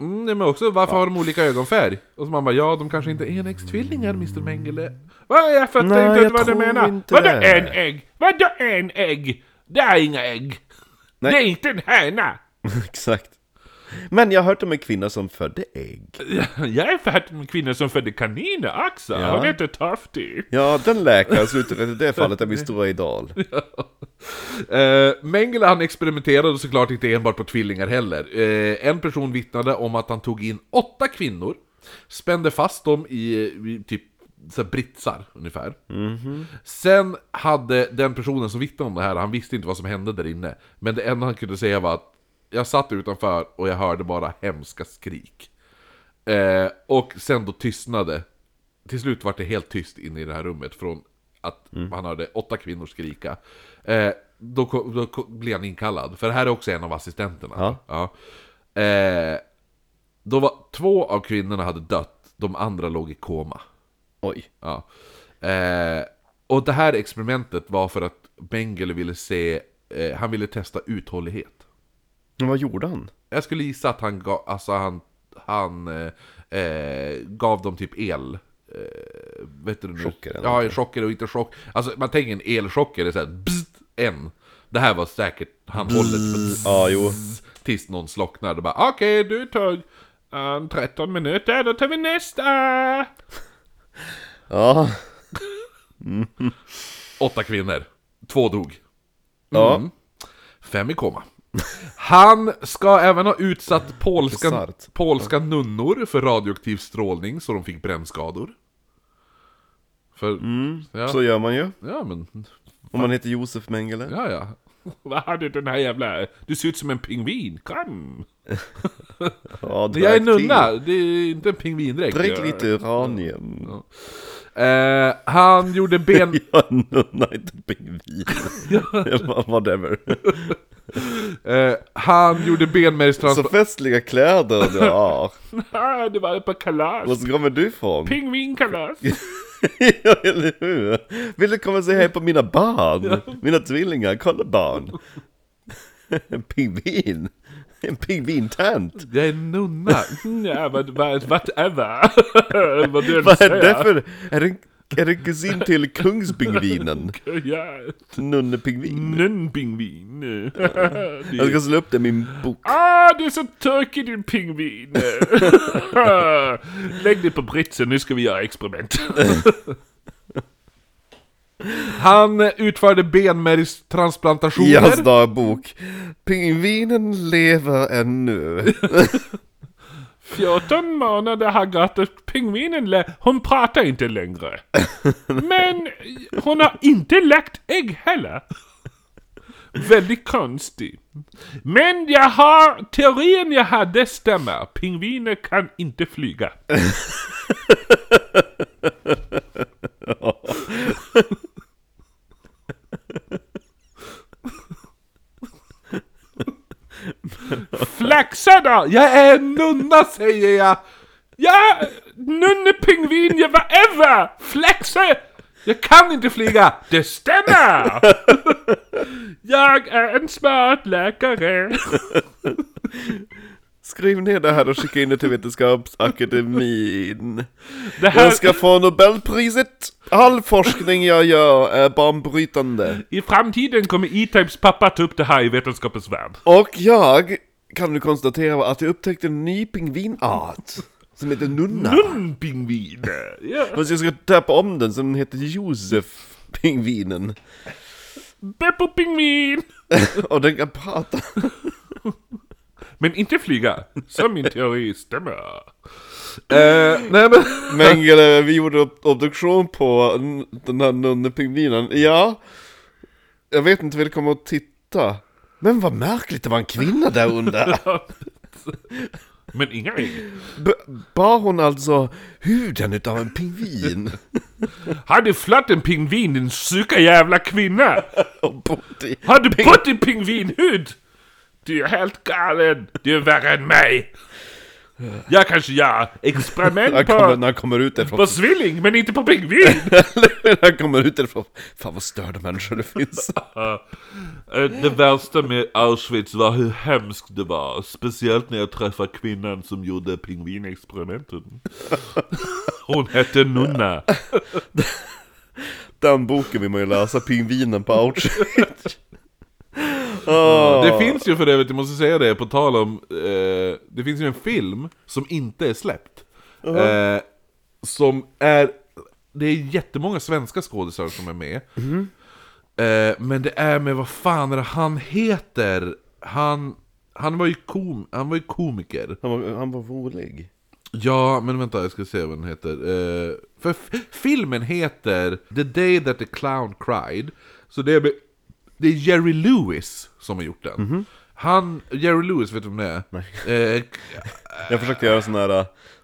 Speaker 3: Mm, nej, men också varför har de olika ögonfärg? Och så man bara, ja de kanske inte är enäggstvillingar Mr Mengele.
Speaker 1: Vad jag fattar
Speaker 2: Nej,
Speaker 1: inte
Speaker 2: jag
Speaker 1: vad du
Speaker 2: tror
Speaker 1: menar.
Speaker 2: inte
Speaker 1: Vadå
Speaker 2: det.
Speaker 1: en ägg? Vadå en ägg? Det är inga ägg.
Speaker 2: Nej.
Speaker 1: Det är inte en höna.
Speaker 2: Exakt. Men jag har hört om en kvinna som födde ägg.
Speaker 1: Jag är färdig med kvinnor som födde kaniner också.
Speaker 2: Ja.
Speaker 1: Hon heter Tofty.
Speaker 2: Ja, den läkaren slutade i det fallet är min stora idol.
Speaker 3: Eh, Mengele han experimenterade såklart inte enbart på tvillingar heller. Eh, en person vittnade om att han tog in åtta kvinnor, spände fast dem i, i typ så här britsar ungefär. Sen hade den personen som vittnade om det här, han visste inte vad som hände där inne. Men det enda han kunde säga var att jag satt utanför och jag hörde bara hemska skrik. Eh, och sen då tystnade. Till slut var det helt tyst inne i det här rummet från att han hörde åtta kvinnor skrika. Eh, då, kom- då kom- blev han inkallad, för det här är också en av assistenterna.
Speaker 2: Ja.
Speaker 3: Eh, då var två av kvinnorna hade dött, de andra låg i koma.
Speaker 2: Oj.
Speaker 3: Ja. Eh, och det här experimentet var för att Bengele ville se, eh, han ville testa uthållighet.
Speaker 2: Men vad gjorde han?
Speaker 3: Jag skulle gissa att han gav, alltså han, han eh, eh, gav dem typ el. Eh, vet du nu?
Speaker 2: Chocker eller
Speaker 3: Ja, chocker och inte chock. Alltså man tänker en elchocker, det är såhär bzzzt, en. Det här var säkert, han håller på bzzzt,
Speaker 2: Ja, jo.
Speaker 3: tills någon slocknar. Och bara okej, eh,
Speaker 1: Du tog um, 13 minuter, då tar vi nästa!
Speaker 2: Ja.
Speaker 3: åtta kvinnor. Två dog.
Speaker 2: Ja.
Speaker 3: Fem i komma. Han ska även ha utsatt polska,
Speaker 2: Bisarrt.
Speaker 3: polska nunnor för radioaktiv strålning så de fick brännskador. För,
Speaker 1: Mm.
Speaker 3: ja,
Speaker 2: Så gör man ju.
Speaker 3: ja men,
Speaker 2: Om man heter Josef Mengele.
Speaker 3: ja ja.
Speaker 1: Vad har du den här jävla... Du ser ut som en pingvin, kom!
Speaker 2: Ja, drack
Speaker 3: Jag är
Speaker 2: till.
Speaker 3: nunna, det är inte en pingvindräkt.
Speaker 2: Drick lite uranium.
Speaker 3: Eh, han gjorde ben...
Speaker 2: Jag är nunna, inte pingvin. Whatever.
Speaker 3: eh, han gjorde
Speaker 2: Så
Speaker 3: benmärgstransplantation.
Speaker 2: festliga kläder du har.
Speaker 1: Ah, det var på kalas!
Speaker 2: Var kommer du ifrån?
Speaker 1: Pingvinkalas!
Speaker 2: Ja, eller hur? Vill du komma och säga hej på mina barn? Mina tvillingar, kolla barn! En pingvin! En pingvintant!
Speaker 3: Jag är nunna.
Speaker 1: Mm, Ja, vad, vad, whatever! vad du än
Speaker 2: Vad är
Speaker 1: säger.
Speaker 2: det för... Är det, är det kusin till kungspingvinen?
Speaker 1: Ja, Mm,
Speaker 2: Nunnepingvin?
Speaker 1: nunnpingvin.
Speaker 2: Jag ska slå upp det i min bok.
Speaker 1: Ah, du är så tokig din pingvin! Lägg dig på britsen, nu ska vi göra experiment.
Speaker 3: Han utförde benmärgstransplantationer.
Speaker 2: I hans dagbok. Pingvinen lever ännu.
Speaker 1: 14 månader har gått och pingvinen lä- hon pratar inte längre. Men hon har inte lagt ägg heller. Väldigt konstigt. Men jag har, teorin jag hade stämmer. Pingviner kan inte flyga. Flaxa då!
Speaker 3: Jag är en nunna säger jag!
Speaker 1: Ja, nunnepingvin, jag whatever! Flaxa!
Speaker 3: Jag kan inte flyga!
Speaker 1: Det stämmer! Jag är en smart läkare.
Speaker 2: Skriv ner det här och skicka in det till Vetenskapsakademin.
Speaker 1: Det här,
Speaker 2: Jag ska få Nobelpriset! All forskning jag gör är banbrytande.
Speaker 1: I framtiden kommer E-Types pappa ta upp det här i Vetenskapens Värld.
Speaker 2: Och jag kan nu konstatera att jag upptäckte en ny pingvinart. Som heter Nunna.
Speaker 1: Pingvin! Ja.
Speaker 2: Fast jag ska döpa om den så den heter Josef Pingvinen.
Speaker 1: Beppo Pingvin!
Speaker 2: Och den kan prata.
Speaker 1: Men inte flyga, som min teori stämmer.
Speaker 3: Eh, nej men...
Speaker 2: Mengele, vi gjorde ob- obduktion på n- den här nunnepingvinen. Ja, jag vet inte, vill komma och titta. Men vad märkligt, det var en kvinna där under.
Speaker 1: Men inga ägg.
Speaker 2: B- bar hon alltså huden utav en pingvin?
Speaker 1: Hade flött en pingvin din sjuka jävla kvinna?
Speaker 2: Och bodde i-
Speaker 1: Har du fått en pingvinhud? Du är helt galen. Du är värre än mig. Jag kanske gör
Speaker 2: Han
Speaker 1: experiment
Speaker 2: kommer,
Speaker 1: på,
Speaker 2: när han kommer ut
Speaker 1: på
Speaker 2: därifrån,
Speaker 1: svilling, men inte på pingvin.
Speaker 2: när han kommer ut därifrån, fan vad störda människor det finns.
Speaker 5: Eh, Det värsta med Auschwitz var hur hemskt det var. Speciellt när jag träffade kvinnan som gjorde pingvinexperimenten. Hon hette Nunna.
Speaker 2: Den boken vill man ju läsa, Pingvinen på Auschwitz. Åh.
Speaker 3: Det finns ju för övrigt, jag måste säga det, på tal om... Eh, det finns ju en film som inte är släppt. Eh, som är... Det är jättemånga svenska skådisar som är med. Eh, men det är med, vad fan är det han heter? Han, han, var ju kom, han var ju komiker.
Speaker 2: Han var, han var rolig.
Speaker 3: Ja, men vänta, jag ska se vad den heter. Eh, för f- filmen heter The Day That The Clown Cried. Så det är, be- det är Jerry Lewis som har gjort den. Han, Jerry Lewis, vet du vem det är? Eh,
Speaker 2: Jag försökte göra sån här,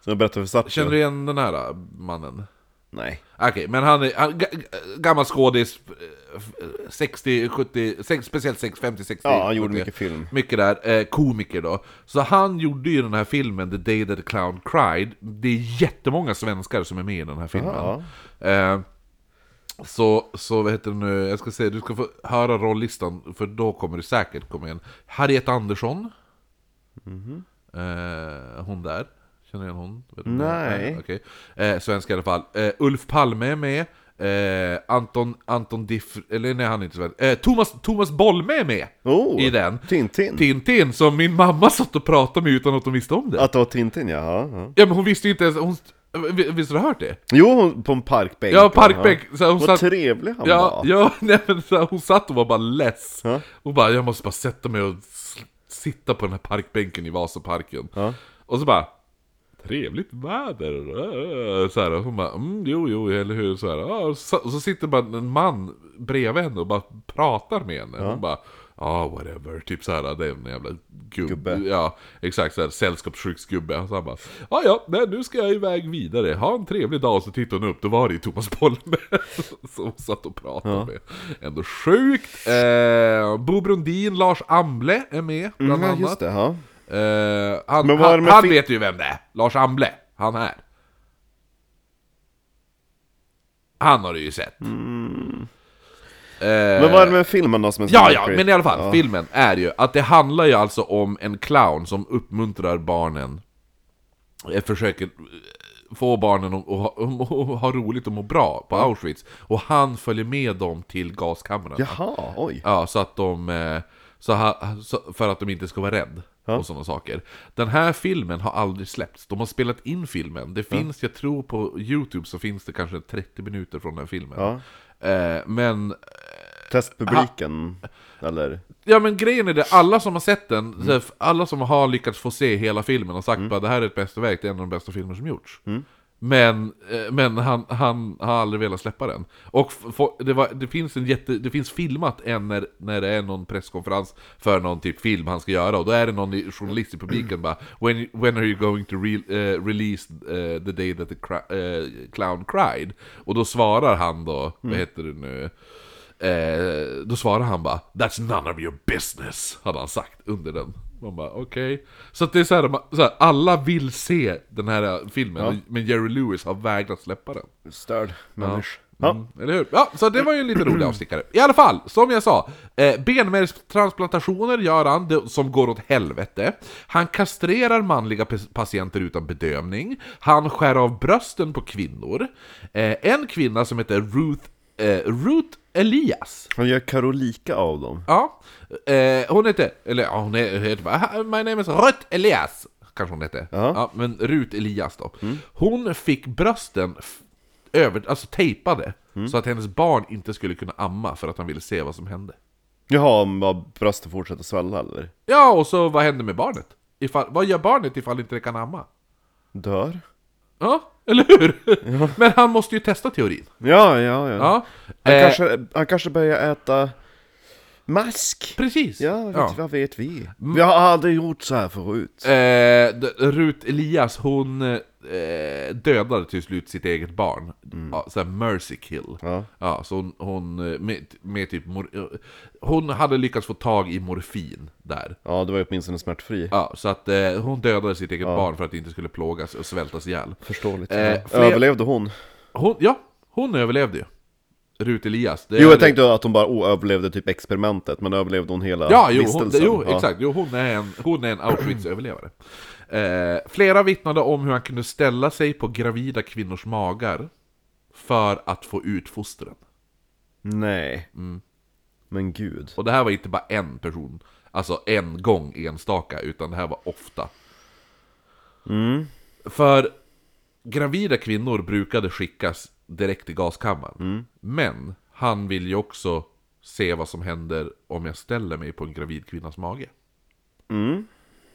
Speaker 2: som jag berättade för Satya.
Speaker 3: känner du igen den här eh, mannen?
Speaker 2: Nej.
Speaker 3: Okej, men han är han, ga- ga- gammal skådis, eh, f- eh, 60, 70, sex, speciellt 60, 50, 60.
Speaker 2: Ja, han gjorde
Speaker 3: 70.
Speaker 2: mycket film.
Speaker 3: Mycket där, eh, komiker då. Så han gjorde ju den här filmen The Day That The Clown Cried. Det är jättemånga svenskar som är med i den här filmen. Eh, så, så vad heter det nu, jag ska säga, du ska få höra rollistan, för då kommer du säkert komma igen. Harriet Andersson. Eh, hon där. Känner du igen hon? Vet du vem det är?
Speaker 2: Nej.
Speaker 3: Okej. Eh, svensk i alla fall. Eh, Ulf Palme är med. Eh, Anton, Anton Diff... Eller nej, han är inte svensk. Eh, Thomas, Thomas Bolme är med!
Speaker 2: Oh,
Speaker 3: I den.
Speaker 2: Tintin.
Speaker 3: Tintin, som min mamma satt och pratade med utan att hon visste om det.
Speaker 2: Att det var Tintin, ja. ja, ja.
Speaker 3: Ja, men hon visste ju inte ens... Hon, vi- visst har du hört det?
Speaker 2: Jo, hon- på en parkbänk.
Speaker 3: Ja, parkbänk. Så hon
Speaker 2: Vad
Speaker 3: satt,
Speaker 2: trevlig han
Speaker 3: ja,
Speaker 2: var.
Speaker 3: ja, nej, men så här, hon satt och var bara less.
Speaker 2: Ja.
Speaker 3: Hon bara, jag måste bara sätta mig och s- sitta på den här parkbänken i Vasaparken.
Speaker 2: Ja.
Speaker 3: Och så bara, trevligt väder. äh, Så här, och hon bara, mm, jo, jo, eller hur. Så här, ja, och, så, och så sitter bara en man bredvid henne och bara pratar med henne. Hon bara, ja, whatever. Typ så här, det är en jävla gubbe.
Speaker 2: Gubbe.
Speaker 3: Ja, exakt. Så här, sällskapssjuksgubbe. Och så han bara, ja, ja, nej, nu ska jag iväg vidare. Ha en trevlig dag. Så tittade hon upp, då var det ju Thomas Bolme som satt och pratade med. Ändå sjukt. Eh, Bo Brundin, Lars Amble är med, bland
Speaker 2: Mm, ja,
Speaker 3: annat.
Speaker 2: just det. Ja.
Speaker 3: Eh, han
Speaker 2: Men vad är det
Speaker 3: han,
Speaker 2: med
Speaker 3: han
Speaker 2: fi-
Speaker 3: vet ju vem det är. Lars Amble. Han här. Han har du ju sett.
Speaker 2: Mm,
Speaker 3: Eh,
Speaker 2: Men vad är det med filmen då som är så
Speaker 3: Ja, ja,
Speaker 2: märklig?
Speaker 3: men i alla fall.
Speaker 2: Ja.
Speaker 3: Filmen är ju att det handlar ju alltså om en clown som uppmuntrar barnen. eh, Försöker eh, få barnen att att ha, att ha roligt och må bra på Auschwitz. Och han följer med dem till gaskamrarna.
Speaker 2: Jaha, oj.
Speaker 3: Ja, så att de... eh, Så ha, så, för att de inte ska vara rädd och sådana saker. Den här filmen har aldrig släppts. De har spelat in filmen. Det finns, jag tror på YouTube så finns det kanske 30 minuter från den här filmen.
Speaker 2: Ja.
Speaker 3: Eh, men,
Speaker 2: Testpubliken, eller?
Speaker 3: ja men grejen är det, alla som har sett den, så här, alla som har lyckats få se hela filmen och sagt bara det här är ett mästerverk, det är en av de bästa filmer som gjorts. Men, eh, men han, han har aldrig velat släppa den. Och f- få- det, var, det, finns en jätte, det finns filmat en när, när det är någon presskonferens för någon typ film han ska göra och då är det någon i- journalist i publiken bara When, when are you going to re, eh, release eh, the day that the cra- eh, clown cried? Och då svarar han då, vad heter det nu? Eh, då svarar han bara That's none of your business, hade han sagt under den. Man bara okej. Så att det är så här, man- så här, alla vill se den här eh, filmen, men Jerry Lewis har vägrat släppa den.
Speaker 2: Störd människa.
Speaker 3: Mm, eller hur? Ja, så det var ju en lite rolig avstickare. I alla fall, som jag sa. Eh, benmärgstransplantationer gör han, det, som går åt helvete. Han kastrerar manliga pes- patienter utan bedövning. Han skär av brösten på kvinnor. Eh, en kvinna som heter Ruth, eh, Ruth Elias.
Speaker 2: Han gör Karolika av dem.
Speaker 3: Ja. Eh, hon heter, eller ja, hon he- heter bara, "Hi, My name is Ruth Elias. Kanske hon hette.
Speaker 2: Ja. Mm.
Speaker 3: Ja, men Ruth Elias då. Hon fick brösten f- över, alltså tejpade.
Speaker 2: Mm.
Speaker 3: Så att hennes barn inte skulle kunna amma för att han ville se vad som hände.
Speaker 2: Jaha, om bara brösten fortsätter svälla eller?
Speaker 3: Ja, och så vad händer med barnet? Ifall, vad gör barnet ifall inte det kan amma?
Speaker 2: Dör?
Speaker 3: Ja, eller hur? Men han måste ju testa teorin.
Speaker 2: Ja, ja, ja.
Speaker 3: Ja,
Speaker 2: Han,
Speaker 3: eh,
Speaker 2: kanske, han kanske börjar äta mask.
Speaker 3: precis.
Speaker 2: Ja, vet,
Speaker 3: Ja. Mm.
Speaker 2: vad vet vi? Vi har aldrig gjort så här förut.
Speaker 3: Eh, d- Rut Elias, hon eh, dödade till slut sitt eget barn. Ja, så här mercy kill.
Speaker 2: Mm. Ja.
Speaker 3: Ja, så hon, hon eh, med, med typ mor- eh, Hon hade lyckats få tag i morfin där.
Speaker 2: Ja, du var ju åtminstone smärtfri.
Speaker 3: Ja, så att eh, hon dödade sitt eget barn för att det inte skulle plågas och svältas ihjäl.
Speaker 2: Förståeligt.
Speaker 3: Eh,
Speaker 2: ja.
Speaker 3: fler-
Speaker 2: Överlevde hon?
Speaker 3: Hon, ja, hon överlevde ju. Rut Elias. Det
Speaker 2: Jo,
Speaker 3: är-
Speaker 2: jag tänkte att hon bara oh, överlevde typ experimentet, men överlevde hon hela
Speaker 3: Ja, jo, hon,
Speaker 2: vistelsen?
Speaker 3: jo
Speaker 2: Ja.
Speaker 3: exakt. Jo, hon är en, hon är en Auschwitz-överlevare. Eh, flera vittnade om hur han kunde ställa sig på gravida kvinnors magar för att få ut fostren.
Speaker 2: Nej.
Speaker 3: Mm.
Speaker 2: Men gud.
Speaker 3: Och det här var inte bara en person, alltså en gång enstaka, utan det här var ofta. För gravida kvinnor brukade skickas direkt till gaskammaren. Men han vill ju också se vad som händer om jag ställer mig på en gravid kvinnas mage.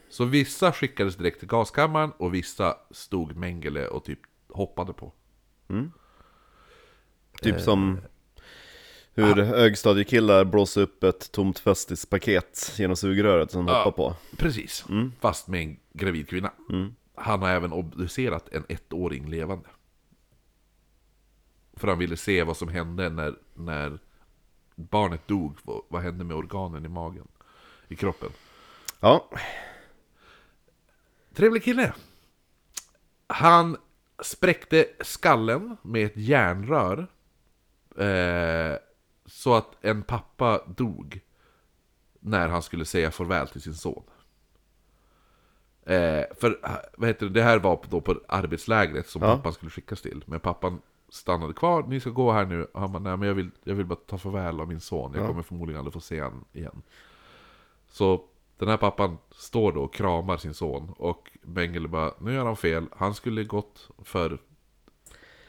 Speaker 3: Så vissa skickades direkt till gaskammaren och vissa stod Mengele och typ hoppade på.
Speaker 2: Typ
Speaker 3: Eh.
Speaker 2: som hur
Speaker 3: Ah.
Speaker 2: högstadiekillar blåser upp ett tomt festispaket genom sugröret som de hoppar på.
Speaker 3: Precis, fast med en gravid kvinna. Han har även obducerat en ettåring levande. För han ville se vad som hände när, när barnet dog. Vad, vad hände med organen i magen? I kroppen.
Speaker 2: Ja,
Speaker 3: Trevlig kille! Han spräckte skallen med ett järnrör. Eh, så att en pappa dog när han skulle säga farväl till sin son. Eh, för vad heter det, det här var då på arbetslägret som pappan skulle skickas till. Men pappan stannade kvar, ni ska gå här nu. Och han bara, nej men jag vill, jag vill bara ta farväl av min son. Jag kommer förmodligen aldrig få se honom igen. Så den här pappan står då och kramar sin son. Och Mengele bara, nu gör han fel. Han skulle gått för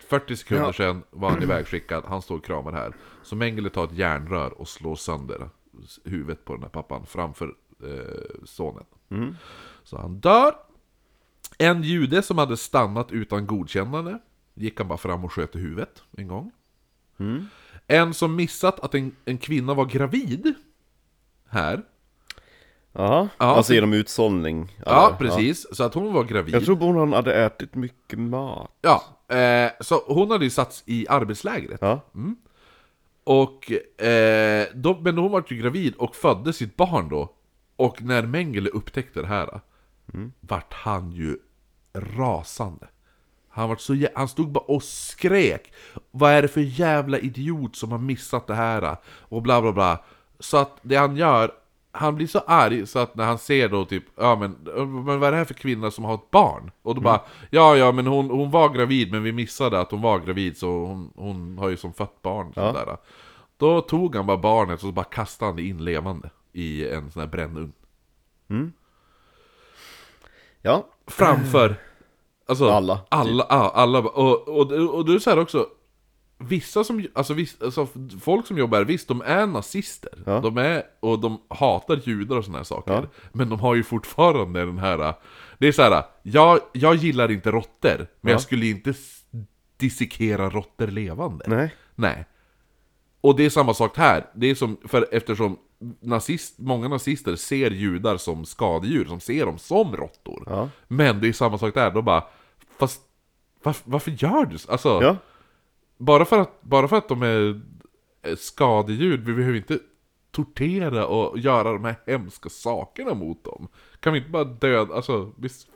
Speaker 3: 40 sekunder
Speaker 2: Ja.
Speaker 3: sedan var han ivägskickad. Han står och kramar här. Så Mengele tar ett järnrör och slår sönder huvudet på den här pappan framför eh, sonen. Så han dör. En jude som hade stannat utan godkännande gick han bara fram och sköt i huvudet en gång. En som missat att en, en kvinna var gravid här.
Speaker 2: Aha.
Speaker 3: Ja,
Speaker 2: alltså
Speaker 3: det-
Speaker 2: genom utsållning.
Speaker 3: Ja,
Speaker 2: eller?
Speaker 3: precis. Så att hon var gravid.
Speaker 2: Jag tror bara hon hade ätit mycket mat.
Speaker 3: Ja, eh, så hon hade ju satts i arbetslägret.
Speaker 2: Ja.
Speaker 3: Och, eh, då, men hon var ju gravid och födde sitt barn då. Och när Mengele upptäckte det här, vart han ju rasande. Han, vart så, jä- han stod bara och skrek. Vad är det för jävla idiot som har missat det här? Och bla bla bla. Så att det han gör, han blir så arg så att när han ser då typ, ja men, men vad är det här för kvinna som har ett barn? Och då bara, ja ja men hon, hon var gravid men vi missade att hon var gravid så hon, hon har ju som fött barn. Sådär. Då tog han bara barnet och så bara kastade han det in levande i en sån här brännugn.
Speaker 2: Ja,
Speaker 3: framför alltså,
Speaker 2: Alla, typ.
Speaker 3: Alla, ja, alla och, och, och du säger också Vissa som, alltså, viss, alltså folk som jobbar här, visst de är nazister
Speaker 2: Ja.
Speaker 3: De är, och de hatar judar och såna här saker Men de har ju fortfarande den här Det är så här, jag, jag gillar inte råttor Men jag skulle inte s- dissekera råttor levande
Speaker 2: nej.
Speaker 3: Nej. Och det är samma sak här. Det är som, för eftersom nazist, många nazister ser judar som skadedjur, som ser dem som råttor.
Speaker 2: Ja.
Speaker 3: Men det är samma sak där, de bara Fast varf, varför gör du så? Alltså,
Speaker 2: Ja.
Speaker 3: bara, för att, bara för att de är eh, skadedjur, vi behöver inte tortera och göra de här hemska sakerna mot dem. Kan vi inte bara döda, alltså visst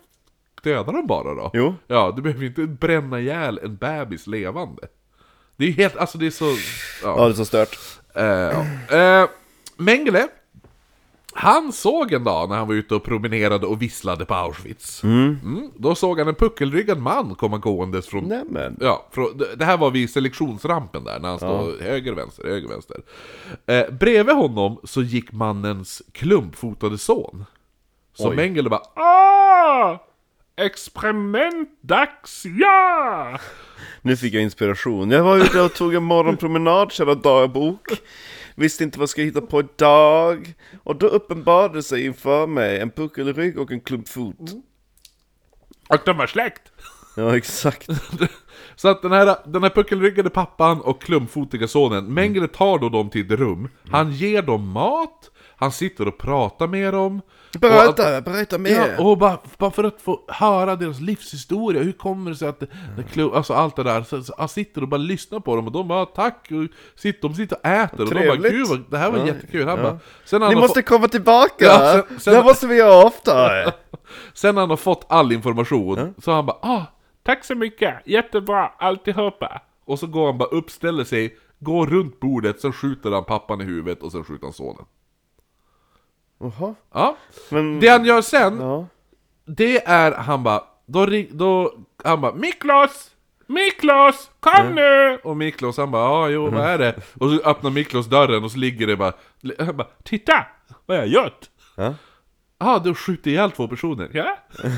Speaker 3: döda dem bara då?
Speaker 2: Jo.
Speaker 3: Ja, du behöver inte bränna ihjäl en bebis levande. Det är helt, alltså det är så...
Speaker 2: Ja,
Speaker 3: Ja.
Speaker 2: det är så stört.
Speaker 3: Eh, ja. Eh, Mengele, han såg en dag när han var ute och promenerade och visslade på Auschwitz. Mm, då såg han en puckelryggad man komma gåendes från...
Speaker 2: Nämen.
Speaker 3: Ja, från, det- det här var vid selektionsrampen där, när han stod höger, vänster, höger, vänster. Eh, bredvid honom så gick mannens klumpfotade son. Så Mengele bara
Speaker 1: Ah! Experimentdags, ja!
Speaker 2: Nu fick jag inspiration. Jag var ute och tog en morgonpromenad, kära dagbok. Visste inte vad jag skulle hitta på idag. Och då uppenbarade sig inför mig en puckelrygg och en klumpfot.
Speaker 1: Och de var släkt.
Speaker 2: Ja, exakt.
Speaker 3: Så att den här, den här puckelryggade pappan och klumpfotiga sonen, Mengele tar då dem till ett rum. Han ger dem mat, han sitter och pratar med dem. Och att-
Speaker 2: berätta
Speaker 3: Ja, och bara, bara för att få höra deras livshistoria, hur kommer det sig att det,
Speaker 2: Mm.
Speaker 3: det klu- alltså allt det där, så, så han sitter och bara lyssnar på dem och de bara 'tack' och sitter, de sitter och äter och de bara
Speaker 2: Trevligt.
Speaker 3: 'gud vad, det här var
Speaker 2: Ja,
Speaker 3: jättekul' Han
Speaker 2: ja.
Speaker 3: bara, sen
Speaker 2: Ni
Speaker 3: han,
Speaker 2: måste
Speaker 3: har
Speaker 2: komma tillbaka!
Speaker 3: Ja, sen- sen-
Speaker 2: Det här måste vi göra oftare!
Speaker 3: få- sen han har fått all information, så han bara 'ah'
Speaker 1: Tack så mycket, jättebra alltihopa.
Speaker 3: Och så går han bara upp, ställer sig, går runt bordet, sen skjuter han pappan i huvudet och sen skjuter han sonen.
Speaker 2: Jaha,
Speaker 3: Ja.
Speaker 2: men...
Speaker 3: Det han gör sen,
Speaker 2: Ja.
Speaker 3: det är han bara, då, ring- då han bara Miklos!
Speaker 1: Miklos, kom nu!
Speaker 3: Och Miklos han bara ja jo vad är det? Och så öppnar Miklos dörren och så ligger det bara, han bara
Speaker 1: Titta, vad jag gjort.
Speaker 3: ah du skjuter ihjäl två personer. Ja.
Speaker 1: Ja?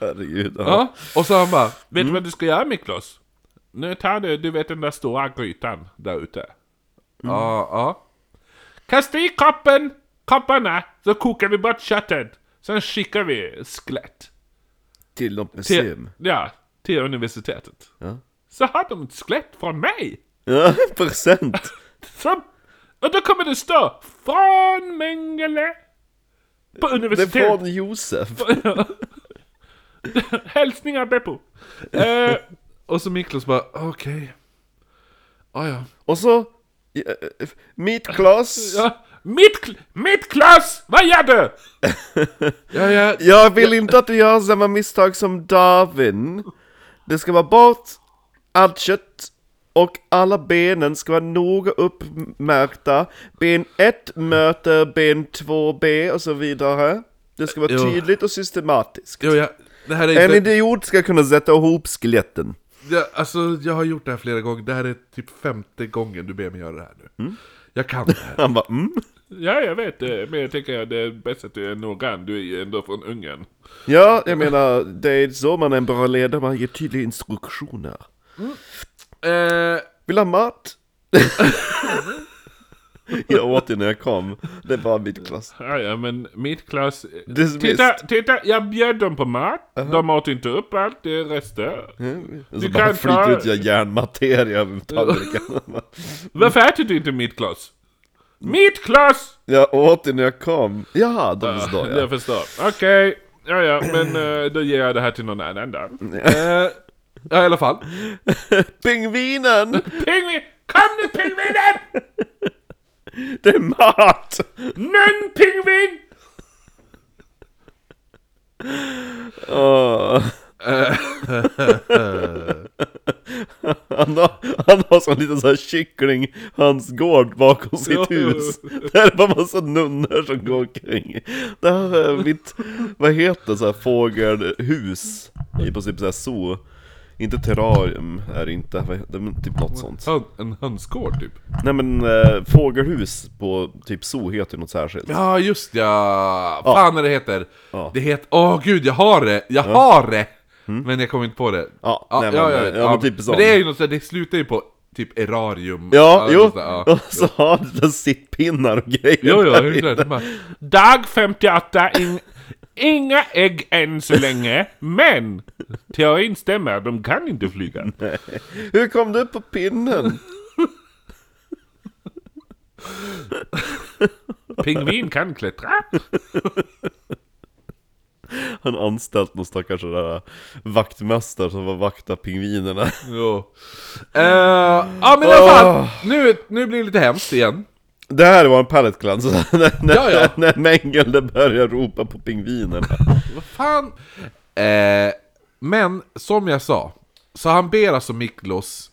Speaker 2: Herregud. Ja.
Speaker 3: ja. Och så han bara,
Speaker 1: Vet du vad du ska göra Miklos? Nu tar du, du vet den där stora grytan där ute.
Speaker 3: ja ja.
Speaker 1: Kasta i koppen, kopparna, så kokar vi bort köttet. Sen skickar vi skelett.
Speaker 2: Till något museum.
Speaker 1: Till, ja, till universitetet.
Speaker 2: Ja.
Speaker 1: Så har de ett skelett från mig.
Speaker 2: Ja, present!
Speaker 1: Som, och då kommer det stå från Mengele. På
Speaker 2: Det är
Speaker 1: universitetet.
Speaker 2: från Josef.
Speaker 1: Hälsningar Beppo. Eh,
Speaker 3: Och så Miklos bara okej. Ah, ja.
Speaker 2: Och så... eh, eh, Meet Claes.
Speaker 1: ja, mitt, kl- mitt klass, vad gör du?
Speaker 3: ja, ja,
Speaker 2: Jag vill inte att du gör samma misstag som Darwin. Det ska vara bort allt kött och alla benen ska vara noga uppmärkta. Ben 1 möter ben 2b och så vidare. Det ska vara
Speaker 3: Jo.
Speaker 2: tydligt och systematiskt.
Speaker 3: Jo, ja. Det här är
Speaker 2: En
Speaker 3: inte,
Speaker 2: idiot ska kunna sätta ihop skeletten.
Speaker 3: jag, alltså jag har gjort det här flera gånger, det här är typ femte gången du ber mig göra det här nu. Jag kan det här.
Speaker 2: Han bara mm.
Speaker 1: Ja, jag vet det, men jag tänker att det är bäst att du är noggrann. Du är ju ändå från Ungern.
Speaker 2: Ja, jag menar, det är så man är en bra ledare, man ger tydliga instruktioner. Mm.
Speaker 3: Eh,
Speaker 2: Vill du ha mat? jag åt det när jag kom. Det var mitt klass.
Speaker 1: Ja, ja, men mitt eh, klass...
Speaker 2: Dismissed.
Speaker 1: Titta, titta, jag bjöd dem på mat. De åt inte upp allt, det är rester.
Speaker 2: Och så
Speaker 1: Du
Speaker 2: bara
Speaker 1: kan
Speaker 2: flyter
Speaker 1: ta-
Speaker 2: ut jag järnmateria över tallriken.
Speaker 1: Varför äter du inte mitt klass? Mitt klass!
Speaker 2: jag åt det när jag kom. Jaha, då förstår
Speaker 1: Ah, Jag
Speaker 2: jag.
Speaker 1: förstår. Okej, ja, ja, men eh, då ger jag det här till någon annan då.
Speaker 3: eh, ja i alla fall.
Speaker 2: Pingvinen!
Speaker 1: Pingvin! Kom nu pingvinen!
Speaker 2: Det är mat!
Speaker 1: Nån pingvin!
Speaker 2: Åh. han, har, han har sån liten sån här kyckling, hans gård bakom sitt
Speaker 1: Ja, ja, ja.
Speaker 2: hus. Där är det bara massa nunnor som går omkring. Det här är mitt, vad heter så här fågelhus? I princip så här zoo. Inte terrarium är det inte, vad heter- men typ något sånt.
Speaker 3: Hön, en hönsgård typ.
Speaker 2: Nej men äh, fågelhus på typ zoo heter ju något särskilt.
Speaker 3: Ja just ja, fan vad det heter.
Speaker 2: Ja. Mm.
Speaker 3: Det heter, åh gud jag har det, jag har det! Men jag kommer inte på det.
Speaker 2: Ja, nej, men- ja, men typ sån.
Speaker 3: men det är ju något sådär, det slutar ju på typ erarium.
Speaker 2: Ja,
Speaker 3: Alltså,
Speaker 2: jo!
Speaker 3: sådär, ja.
Speaker 2: och så har den sittpinnar och grejer
Speaker 3: Jo, jo,
Speaker 2: där
Speaker 3: hur
Speaker 2: inne.
Speaker 3: är det? Bara,
Speaker 1: Dag 58, in, inga ägg än så länge, men teorin stämmer, de kan inte flyga.
Speaker 2: Hur kom du på pinnen?
Speaker 1: Pingvin kan klättra.
Speaker 2: Han anställt någon stackars sån där vaktmästare som var vakta pingvinerna.
Speaker 3: jo. Eh, ja men i alla fall, nu, nu blir det lite hemskt igen.
Speaker 2: Det här var en pallet cleanse, när, när,
Speaker 3: Ja, ja.
Speaker 2: när Mengele börjar ropa på pingvinerna.
Speaker 3: Vad fan? Eh, men som jag sa, så han ber alltså Miklos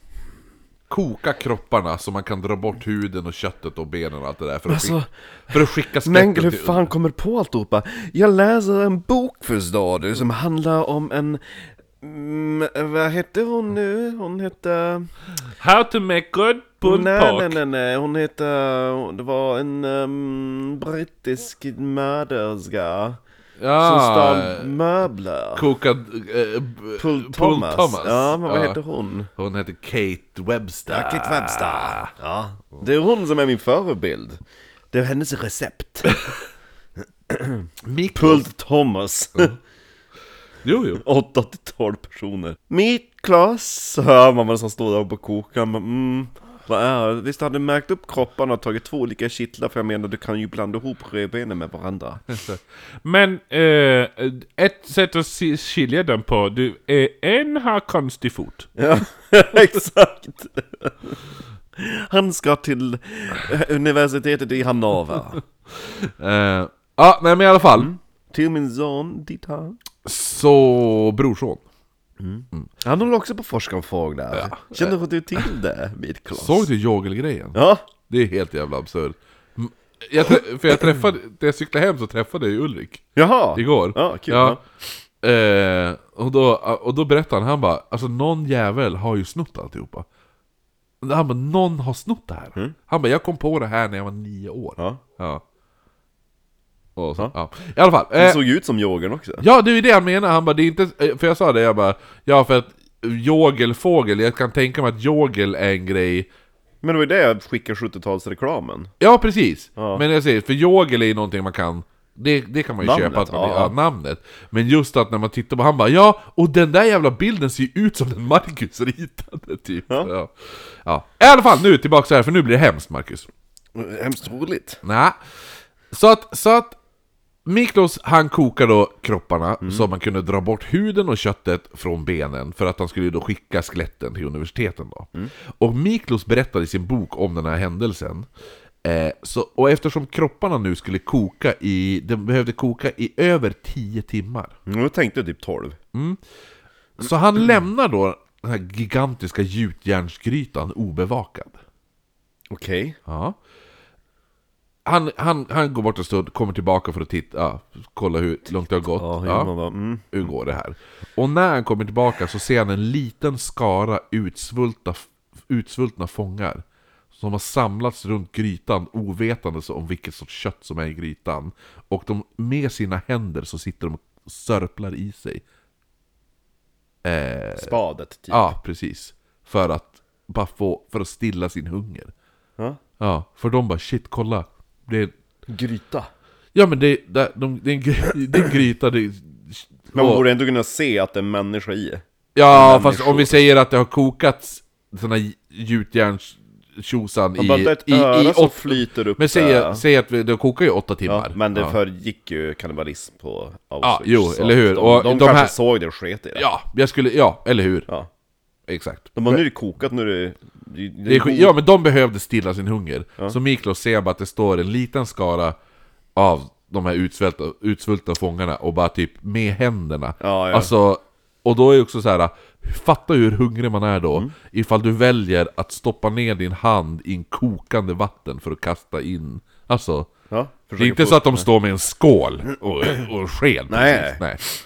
Speaker 3: koka kropparna så man kan dra bort huden och köttet och benen och allt det där för att,
Speaker 2: Alltså,
Speaker 3: skicka, för att skicka skeletten
Speaker 2: Mengele, hur
Speaker 3: till-
Speaker 2: fan kommer du på alltihopa? Jag läser en bok förstår du, som handlar om en... Mm, vad hette hon nu? Hon hette...
Speaker 1: How to make good pulled
Speaker 2: Nej,
Speaker 1: pork.
Speaker 2: nej, nej, nej, hon hette... Det var en ehm, brittisk mörderska som
Speaker 3: Ja,
Speaker 2: stal möbler.
Speaker 3: kokad... Eh,
Speaker 2: Pull Thomas. Ja, men vad heter hon?
Speaker 3: Hon heter Kate Webster.
Speaker 2: Kit Webster. Ja. Ah. Det är hon som är min förebild. Det är hennes recept.
Speaker 3: Miklos,
Speaker 2: Pult Thomas.
Speaker 3: Jo, jo.
Speaker 2: 8 till 12 personer. Mitt glas, så hör man vad som står där på kokan. men, Mm, vad är det? Visst hade du märkt upp kropparna och tagit två olika kittlar? För jag menar, du kan ju blanda ihop rödbenen med varandra.
Speaker 1: Men eh, ett sätt att si- skilja dem på, du, eh, en har konstig fot.
Speaker 2: Ja, exakt. Han ska till eh, universitetet i Hannover.
Speaker 3: Eh, ja, nej men i alla fall.
Speaker 2: Mm. Till min son, dit han.
Speaker 3: Så brorson.
Speaker 2: Han håller också på forskarfrågor där. Känner du till det, mitt glas?
Speaker 3: Såg du jogelgrejen?
Speaker 2: Ja.
Speaker 3: Det är helt jävla absurt. Mm, Jag, trä- för jag träffade, när jag cyklade hem så träffade jag ju Ulrik.
Speaker 2: Jaha.
Speaker 3: Igår.
Speaker 2: Ja, kul.
Speaker 3: Ja. Eh, och, då, och då berättade han, han bara alltså någon jävel har ju snott alltihopa. Han bara, någon har snott det här. Han bara, jag kom på det här när jag var nio år.
Speaker 2: Mm. Ja.
Speaker 3: Ja. Och så,
Speaker 2: Ja.
Speaker 3: ja. I alla fall.
Speaker 2: Han
Speaker 3: eh,
Speaker 2: såg ju ut som Jörgen också.
Speaker 3: Ja, det är ju det han menar. Han bara, det är inte... eh, För jag sa det, jag bara... Ja, för att jogelfågel, jag kan tänka mig att jogel är en grej...
Speaker 2: Men det var ju det jag skickade 70-talsreklamen.
Speaker 3: Ja, precis!
Speaker 2: Ja.
Speaker 3: Men jag säger, för jogel är ju någonting man kan... Det, det kan man ju
Speaker 2: Namnet,
Speaker 3: köpa, att man,
Speaker 2: ja.
Speaker 3: ja. namnet. Men just att när man tittar på han bara ja, och den där jävla bilden ser ju ut som den Marcus ritade typ.
Speaker 2: Ja.
Speaker 3: Ja. Ja. I alla fall nu tillbaka så här, för nu blir det hemskt Marcus.
Speaker 2: Hemskt roligt.
Speaker 3: Nej. Så att, så att Miklos han kokar då kropparna så man kunde dra bort huden och köttet från benen för att han skulle ju då skicka skeletten till universiteten då. Och Miklos berättar i sin bok om den här händelsen. Eh, så, och eftersom kropparna nu skulle koka i, de behövde koka i över 10 timmar.
Speaker 2: Mm, Jag tänkte typ 12.
Speaker 3: Så han lämnar då den här gigantiska gjutjärnsgrytan obevakad.
Speaker 2: Okej.
Speaker 3: Ja. Han, han, han går bort en stund, kommer tillbaka för att titta, ja, kolla hur långt det har gått.
Speaker 2: Ja, hur
Speaker 3: Ja,
Speaker 2: man bara, mm.
Speaker 3: hur går det här? Och när han kommer tillbaka så ser han en liten skara utsvulta, utsvultna fångar. Som har samlats runt grytan ovetandes om vilket sorts kött som är i grytan. Och de, med sina händer så sitter de och sörplar i sig. Eh,
Speaker 2: Spadet typ.
Speaker 3: Ja, precis. För att bara få, för att stilla sin hunger.
Speaker 2: Ja.
Speaker 3: Ja, för de bara shit, kolla. Det är,
Speaker 2: Gryta.
Speaker 3: ja men det, det, de, det, är en, gry- det är en gryta, det är,
Speaker 2: Men man
Speaker 3: och,
Speaker 2: borde ändå kunna se att det är en människa i.
Speaker 3: Ja, fast om vi säger att det har kokats såna här gjutjärnstjosan i,
Speaker 2: Man bara, det är ett
Speaker 3: i, i
Speaker 2: öra som
Speaker 3: åt-
Speaker 2: flyter upp
Speaker 3: Men
Speaker 2: där.
Speaker 3: säg, säg att vi, det kokar ju åtta
Speaker 2: Ja,
Speaker 3: timmar.
Speaker 2: men det
Speaker 3: ja.
Speaker 2: förgick ju kannibalism på
Speaker 3: Ja, jo,
Speaker 2: så
Speaker 3: eller hur.
Speaker 2: De,
Speaker 3: Och
Speaker 2: de,
Speaker 3: de
Speaker 2: kanske
Speaker 3: här-
Speaker 2: såg det och sket i det.
Speaker 3: ja, jag skulle, ja, eller hur?
Speaker 2: Ja.
Speaker 3: Exakt.
Speaker 2: De har nu är det kokat, nu är det... det,
Speaker 3: Det är, skit- ja men de behövde stilla sin hunger. Så Miklos ser bara att det står en liten skara av de här utsvälta, utsvultna fångarna och bara typ med händerna.
Speaker 2: Ja, ja.
Speaker 3: Alltså, och då är det också så här. fatta hur hungrig man är
Speaker 2: Mm.
Speaker 3: då ifall du väljer att stoppa ner din hand i en kokande vatten för att kasta in. Alltså,
Speaker 2: Ja,
Speaker 3: det är
Speaker 2: försöker
Speaker 3: inte
Speaker 2: få-
Speaker 3: så att de står med en skål och, och en sked
Speaker 2: Nej.
Speaker 3: precis.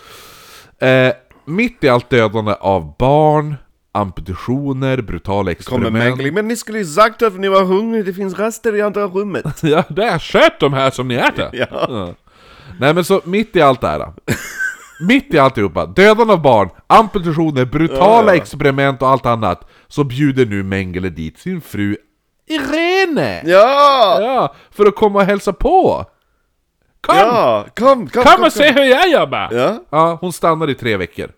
Speaker 3: Nej. Eh, mitt i allt dödande av barn, amputationer, brutala
Speaker 2: Kommer
Speaker 3: experiment.
Speaker 2: Mengling, men ni skulle ju sagt att ni var hungriga, det finns rester i andra rummet.
Speaker 3: Ja, där sköt de här som ni äter!
Speaker 2: Ja.
Speaker 3: Nej men så mitt i allt det här. mitt i alltihopa, dödande av barn, amputationer, brutala
Speaker 2: Ja, ja.
Speaker 3: experiment och allt annat. Så bjuder nu Mengele dit sin fru Irene!
Speaker 2: Ja!
Speaker 3: Ja, för att komma och hälsa på!
Speaker 1: Kom!
Speaker 2: Ja! Kom, kom,
Speaker 1: Kom och se hur jag jobbar!
Speaker 2: Ja,
Speaker 3: Ja, hon stannar i tre veckor.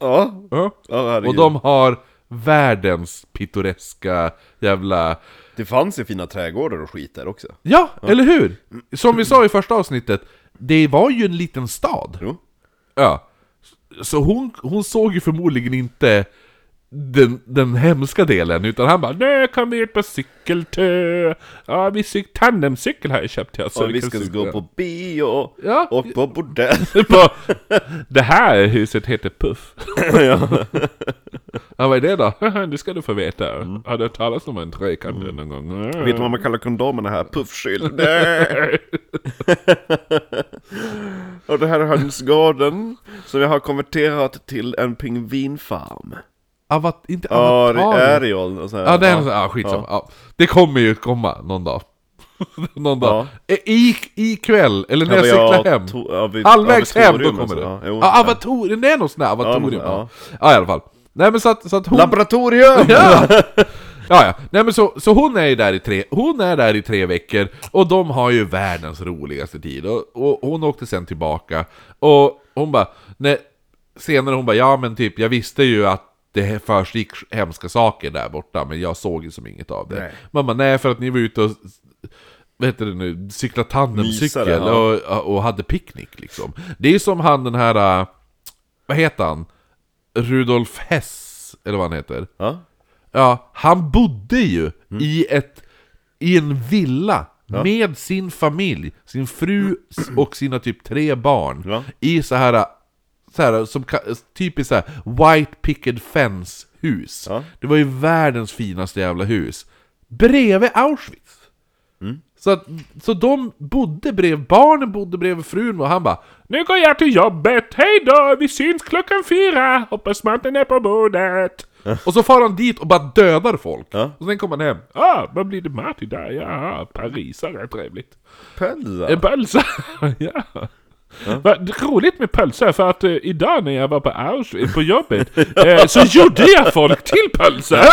Speaker 2: ja,
Speaker 3: Ja.
Speaker 2: ja herregud.
Speaker 3: Och de har världens pittoreska jävla...
Speaker 2: Det fanns ju fina trädgårdar och skit där också.
Speaker 3: Ja, eller hur? Som vi sa i första avsnittet, det var ju en liten stad.
Speaker 2: Jo.
Speaker 3: Ja. Så hon, hon såg ju förmodligen inte den, den hemska delen, utan han bara "Nej."
Speaker 1: Nu kom vi ut på cykeltö! Ja, vi cyk- tandemcykel har jag köpt till oss. så
Speaker 2: och vi
Speaker 1: kan
Speaker 2: ska
Speaker 1: cykla.
Speaker 2: gå på bio
Speaker 3: Ja.
Speaker 2: och på bordell.
Speaker 1: Det här huset heter Puff.
Speaker 3: Ja, vad är det då?
Speaker 1: det ska du få veta.
Speaker 2: Mm.
Speaker 1: Har du hört talas om en trekant någon gång?
Speaker 2: Vet du vad man kallar kondomerna här? Puffskylt. och det här är hönsgården som jag har konverterat till en pingvinfarm.
Speaker 3: Avat, inte
Speaker 2: Ja, det alltså.
Speaker 3: Avatar?
Speaker 2: är Ariol och så här.
Speaker 3: Ja, den, ja skitsamma. Ja. Det kommer ju komma någon dag. någon dag. I, ikväll, eller när
Speaker 2: Ja,
Speaker 3: jag
Speaker 2: men
Speaker 3: cyklar hem.
Speaker 2: to- ja, vid-
Speaker 3: Halvvägs
Speaker 2: ja, vid
Speaker 3: hem, då
Speaker 2: Torium
Speaker 3: kommer Ah, det.
Speaker 2: alltså. Ja, jo,
Speaker 3: Ja, avatorium, det är något sånt där
Speaker 2: Ja,
Speaker 3: avatorium.
Speaker 2: men-
Speaker 3: Ja, ja. i alla fall. Nej men så att, så att hon...
Speaker 2: Laboratorium!
Speaker 3: Ja! ja, ja. Nej, men så, så hon är ju där i tre, hon är där i tre veckor och de har ju världens roligaste tid. Och, och hon åkte sen tillbaka och hon bara, nej, senare hon bara, ja men typ jag visste ju att det försiggick hemska saker där borta, men jag såg ju som inget av det.
Speaker 2: Nej.
Speaker 3: Man bara, nej för att ni var ute och vad heter det nu, cyklade tandemcykel
Speaker 2: Mysare, ja.
Speaker 3: och, och hade picknick liksom. Det är ju som han den här, äh, vad heter han? Rudolf Hess, eller vad han heter.
Speaker 2: Ja?
Speaker 3: Ja, han bodde ju i, ett, i en villa med sin familj, sin fru s- och sina typ tre barn.
Speaker 2: Ja.
Speaker 3: I så här, så här som, ka- typiskt så här, white picket fence hus.
Speaker 2: Ja.
Speaker 3: Det var ju världens finaste jävla hus. Bredvid Auschwitz.
Speaker 2: Mm.
Speaker 3: Så, att, så de bodde bredvid, barnen bodde bredvid frun och han bara
Speaker 1: Nu går jag till jobbet. Hej då! Vi syns klockan fyra. Hoppas maten är på bordet.
Speaker 3: Och så far han dit och bara dödar folk.
Speaker 2: Ja.
Speaker 3: Och sen kommer han hem.
Speaker 1: Ah, vad blir det mat idag? Ja, parisare. Trevligt.
Speaker 2: Pölsa?
Speaker 3: Eh,
Speaker 1: En pölsa! ja. Vad roligt med pölsa för att eh, idag när jag var på Auschwitz på jobbet eh, så gjorde jag folk till pölsa!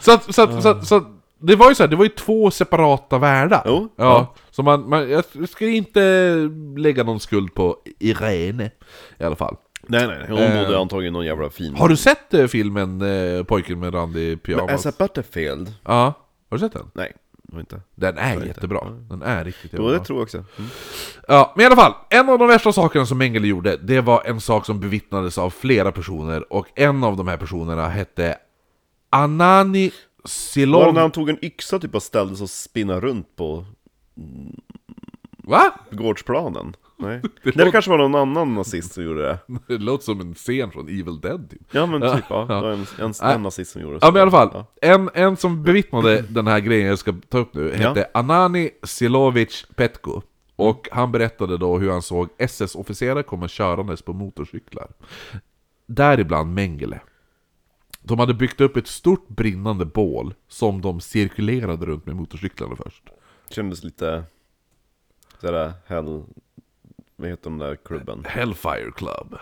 Speaker 3: Så att, så att, så att, så att det var ju så här, det var ju två separata världar.
Speaker 2: Jo,
Speaker 3: ja. Så man, man, jag ska inte lägga någon skuld på Irene i alla fall.
Speaker 2: Nej nej, hon bodde antagligen i någon jävla fin...
Speaker 3: eh, Har du sett eh, filmen eh, Pojken med randig
Speaker 2: As
Speaker 3: pyjamas?
Speaker 2: a Butterfield?
Speaker 3: Ja. Har du sett den?
Speaker 2: Nej, det var inte.
Speaker 3: Den är jättebra. Den är riktigt
Speaker 2: Jo,
Speaker 3: jävla
Speaker 2: det
Speaker 3: bra.
Speaker 2: tror jag också.
Speaker 3: Ja, men i alla fall. En av de värsta sakerna som Mengele gjorde, det var en sak som bevittnades av flera personer. Och en av de här personerna hette
Speaker 2: Var
Speaker 3: Anani
Speaker 2: det när
Speaker 3: Silon...
Speaker 2: han tog en yxa typ och ställde sig och spinnade runt på
Speaker 3: Va?
Speaker 2: gårdsplanen? Nej. Det, det kanske var någon annan nazist som gjorde det.
Speaker 3: Det låter som en scen från Evil Dead typ.
Speaker 2: Ja men typ, ja.
Speaker 3: ja.
Speaker 2: Det var en, en,
Speaker 3: Ja.
Speaker 2: en nazist som gjorde det.
Speaker 3: Ja men i alla fall,
Speaker 2: Ja.
Speaker 3: en, en som bevittnade den här grejen jag ska ta upp nu hette Anani Silovic Petko. Och han berättade då hur han såg SS-officerare komma körandes på motorcyklar. Däribland Mengele. De hade byggt upp ett stort brinnande bål som de cirkulerade runt med motorcyklarna först.
Speaker 2: Kändes lite... Sådär, hell... Vad heter den där klubben?
Speaker 3: Hellfire Club.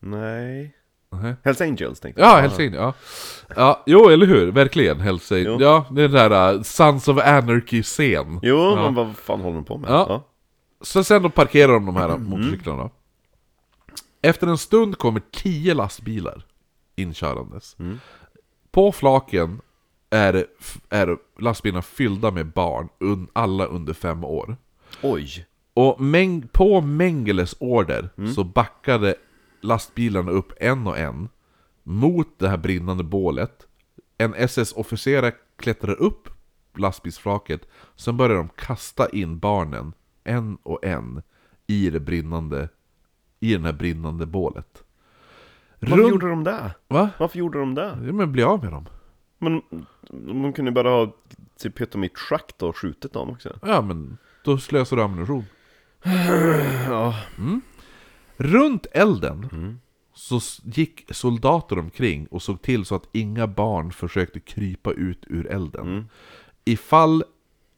Speaker 2: Nej...
Speaker 3: Nej.
Speaker 2: Hells Angels tänkte jag.
Speaker 3: Ja, Hells Angels, ja. ja. Jo, eller hur? Verkligen, Hells Angels.
Speaker 2: Jo.
Speaker 3: Ja, det är den där uh, Sons of Anarchy-scen.
Speaker 2: Jo, men vad fan håller de på med?
Speaker 3: Ja. Så sen då parkerar de de här motorcyklarna. Efter en stund kommer tio lastbilar inkörandes. På flaken är, det f- är det lastbilarna fyllda med barn, un, alla under fem år.
Speaker 2: Oj!
Speaker 3: Och mäng, på Mengeles order så backade lastbilarna upp en och en mot det här brinnande bålet. En SS-officerare klättrade upp lastbilsflaket, sen började de kasta in barnen, en och en, i det brinnande, i den här brinnande bålet.
Speaker 2: Varför
Speaker 3: Runt...
Speaker 2: gjorde de det?
Speaker 3: Va?
Speaker 2: Varför gjorde de det?
Speaker 3: Ja, men bli av med dem.
Speaker 2: Men de kunde ju bara ha typ hittat dem i ett schakt och skjutit dem också.
Speaker 3: Ja, men då slösar du ammunition. Mm. Runt elden så s- gick soldater omkring och såg till så att inga barn försökte krypa ut ur elden. Ifall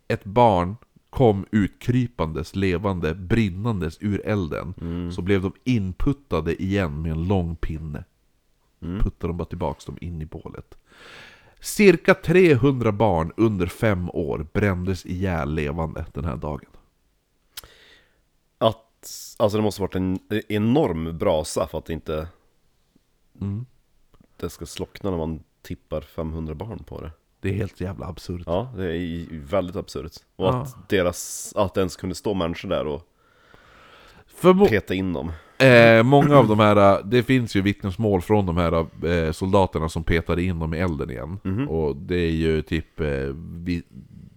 Speaker 3: ett barn kom utkrypandes, levande, brinnandes ur elden så blev de inputtade igen med en lång pinne. Puttade de bara tillbaks dem in i bålet. Cirka 300 barn under fem år brändes ihjäl levande den här dagen.
Speaker 2: Att, alltså det måste varit en enorm brasa för att det inte
Speaker 3: Mm.
Speaker 2: det ska slockna när man tippar 500 barn på det.
Speaker 3: Det är helt jävla absurt.
Speaker 2: Ja, det är ju väldigt absurt. Och
Speaker 3: Ja.
Speaker 2: att deras, att det ens kunde stå människor där och
Speaker 3: Förmo-
Speaker 2: peta in dem.
Speaker 3: eh, många av de här, eh, det finns ju vittnesmål från de här eh, soldaterna som petade in dem i elden igen. Och det är ju typ, eh, vi,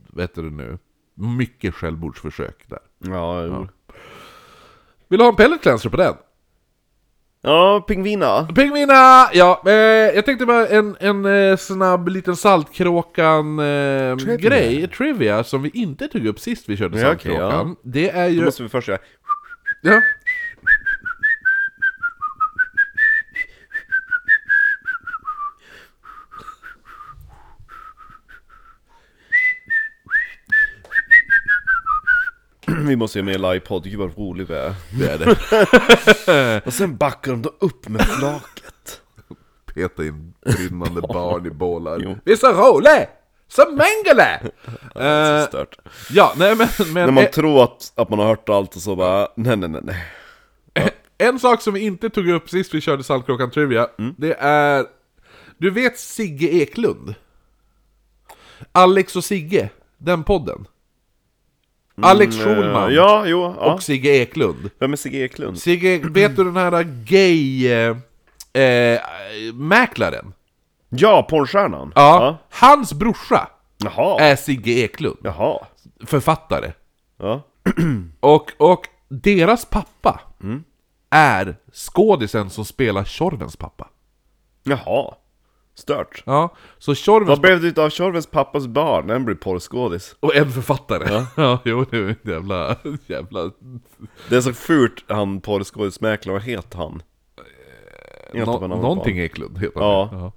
Speaker 3: vet du nu, mycket självmordsförsök där.
Speaker 2: Ja, jo.
Speaker 3: Vill du ha en pellet cleanser på den?
Speaker 2: Ja, pingvina.
Speaker 3: Pingvina! Ja, eh, jag tänkte bara en, en eh, snabb liten Saltkråkan-grej,
Speaker 2: Trivia.
Speaker 3: trivia. som vi inte tog upp sist vi körde
Speaker 2: Ja, okej,
Speaker 3: Saltkråkan. Det är
Speaker 2: Då
Speaker 3: ju...
Speaker 2: måste vi först göra
Speaker 3: Ja.
Speaker 2: Vi måste ju med i livepodd, gud vad rolig vi är.
Speaker 3: Det är det.
Speaker 2: Och sen backar de då upp med flaket.
Speaker 3: Peta in brinnande barn i bålar. Vi är så roliga! Som Mengele! Eh,
Speaker 2: Stört.
Speaker 3: ja, nej men... men
Speaker 2: När man
Speaker 3: eh,
Speaker 2: tror att, att man har hört allt och så bara, nej nej nej nej.
Speaker 3: En sak som vi inte tog upp sist vi körde Saltkråkan Trivia,
Speaker 2: Mm.
Speaker 3: det är... Du vet Sigge Eklund? Alex och Sigge, den podden. Alex Schulman
Speaker 2: Mm, eh, Ja, jo, ja.
Speaker 3: och Sigge Eklund.
Speaker 2: Vem är Sigge Eklund?
Speaker 3: Sigge, vet du den här eh, gay-mäklaren?
Speaker 2: Ja, porrstjärnan?
Speaker 3: ja. Eh. Hans brorsa
Speaker 2: Jaha,
Speaker 3: är Sigge Eklund,
Speaker 2: jaha,
Speaker 3: författare.
Speaker 2: ja.
Speaker 3: Och, och deras pappa
Speaker 2: Mm.
Speaker 3: är skådisen som spelar Tjorvens pappa.
Speaker 2: Jaha, stört.
Speaker 3: Ja, så Tjorvens
Speaker 2: Vad blev det utav Tjorvens pappas barn? Den blir porrskådis.
Speaker 3: Och en författare. Ja, jo, det är en jävla, jävla...
Speaker 2: Det är så fult han porrskådismäklaren, vad heter han? Heter
Speaker 3: Eh, Nå-
Speaker 2: han något
Speaker 3: någonting
Speaker 2: barn?
Speaker 3: Eklund heter
Speaker 2: Ja.
Speaker 3: han. Ja.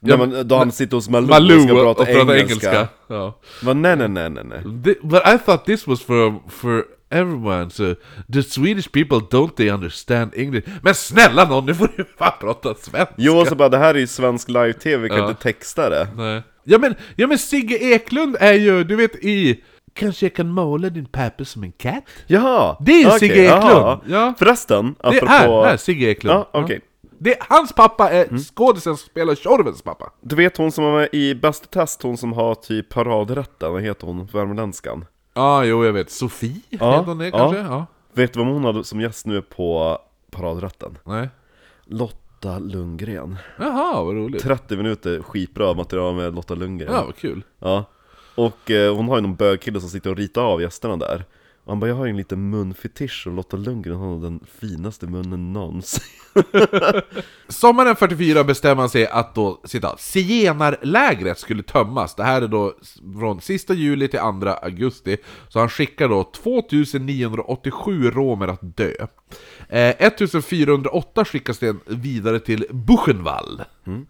Speaker 2: Nej men då han sitter hos Malou,
Speaker 3: Malou
Speaker 2: och ska prata
Speaker 3: och prata engelska. Ja.
Speaker 2: Vad, nej nej nej nej nej.
Speaker 3: The- but I thought this was for, for everyone, so the Swedish people don't they understand English? Men snälla någon, nu får du fan prata svenska!
Speaker 2: Jo och så bara, det här är ju svensk live-tv, vi kan
Speaker 3: Ja.
Speaker 2: inte texta det.
Speaker 3: Nej. Ja, men, ja men Sigge Eklund är ju, du vet i... Kanske jag kan måla din pappa som en katt?
Speaker 2: Jaha!
Speaker 3: Det är ju
Speaker 2: okej,
Speaker 3: Sigge Eklund.
Speaker 2: jaha.
Speaker 3: Ja.
Speaker 2: Förresten,
Speaker 3: Det
Speaker 2: apropå...
Speaker 3: är, här, Sigge Eklund.
Speaker 2: Ja, okej. Mm.
Speaker 3: Det, hans pappa är skådisen som spelar Tjorvens pappa.
Speaker 2: Du vet hon som var med i Bäst i test, hon som har typ paradrätten, vad heter hon, värmländskan?
Speaker 3: Ja, jo jag vet. Sofie
Speaker 2: Ja,
Speaker 3: heter hon det
Speaker 2: ja.
Speaker 3: kanske? Ja.
Speaker 2: Vet du vem hon hade som gäst nu på paradrätten?
Speaker 3: Nej.
Speaker 2: Lotta Lundgren.
Speaker 3: Jaha, vad roligt.
Speaker 2: 30 minuter skitbra material med Lotta Lundgren.
Speaker 3: Ja, vad kul.
Speaker 2: Ja. Och eh, hon har ju någon bögkille som sitter och ritar av gästerna där. Och han bara, jag har ju en liten munfetisch och Lotta Lundgren har den finaste munnen någonsin.
Speaker 3: Sommaren 44 bestämmer man sig att då, citat, zigenarlägret skulle tömmas. Det här är då s- från sista juli till 2 augusti. Så han skickar då 2987 romer att dö. Eh, 1408 skickas den vidare till Buchenwald.
Speaker 2: Mm.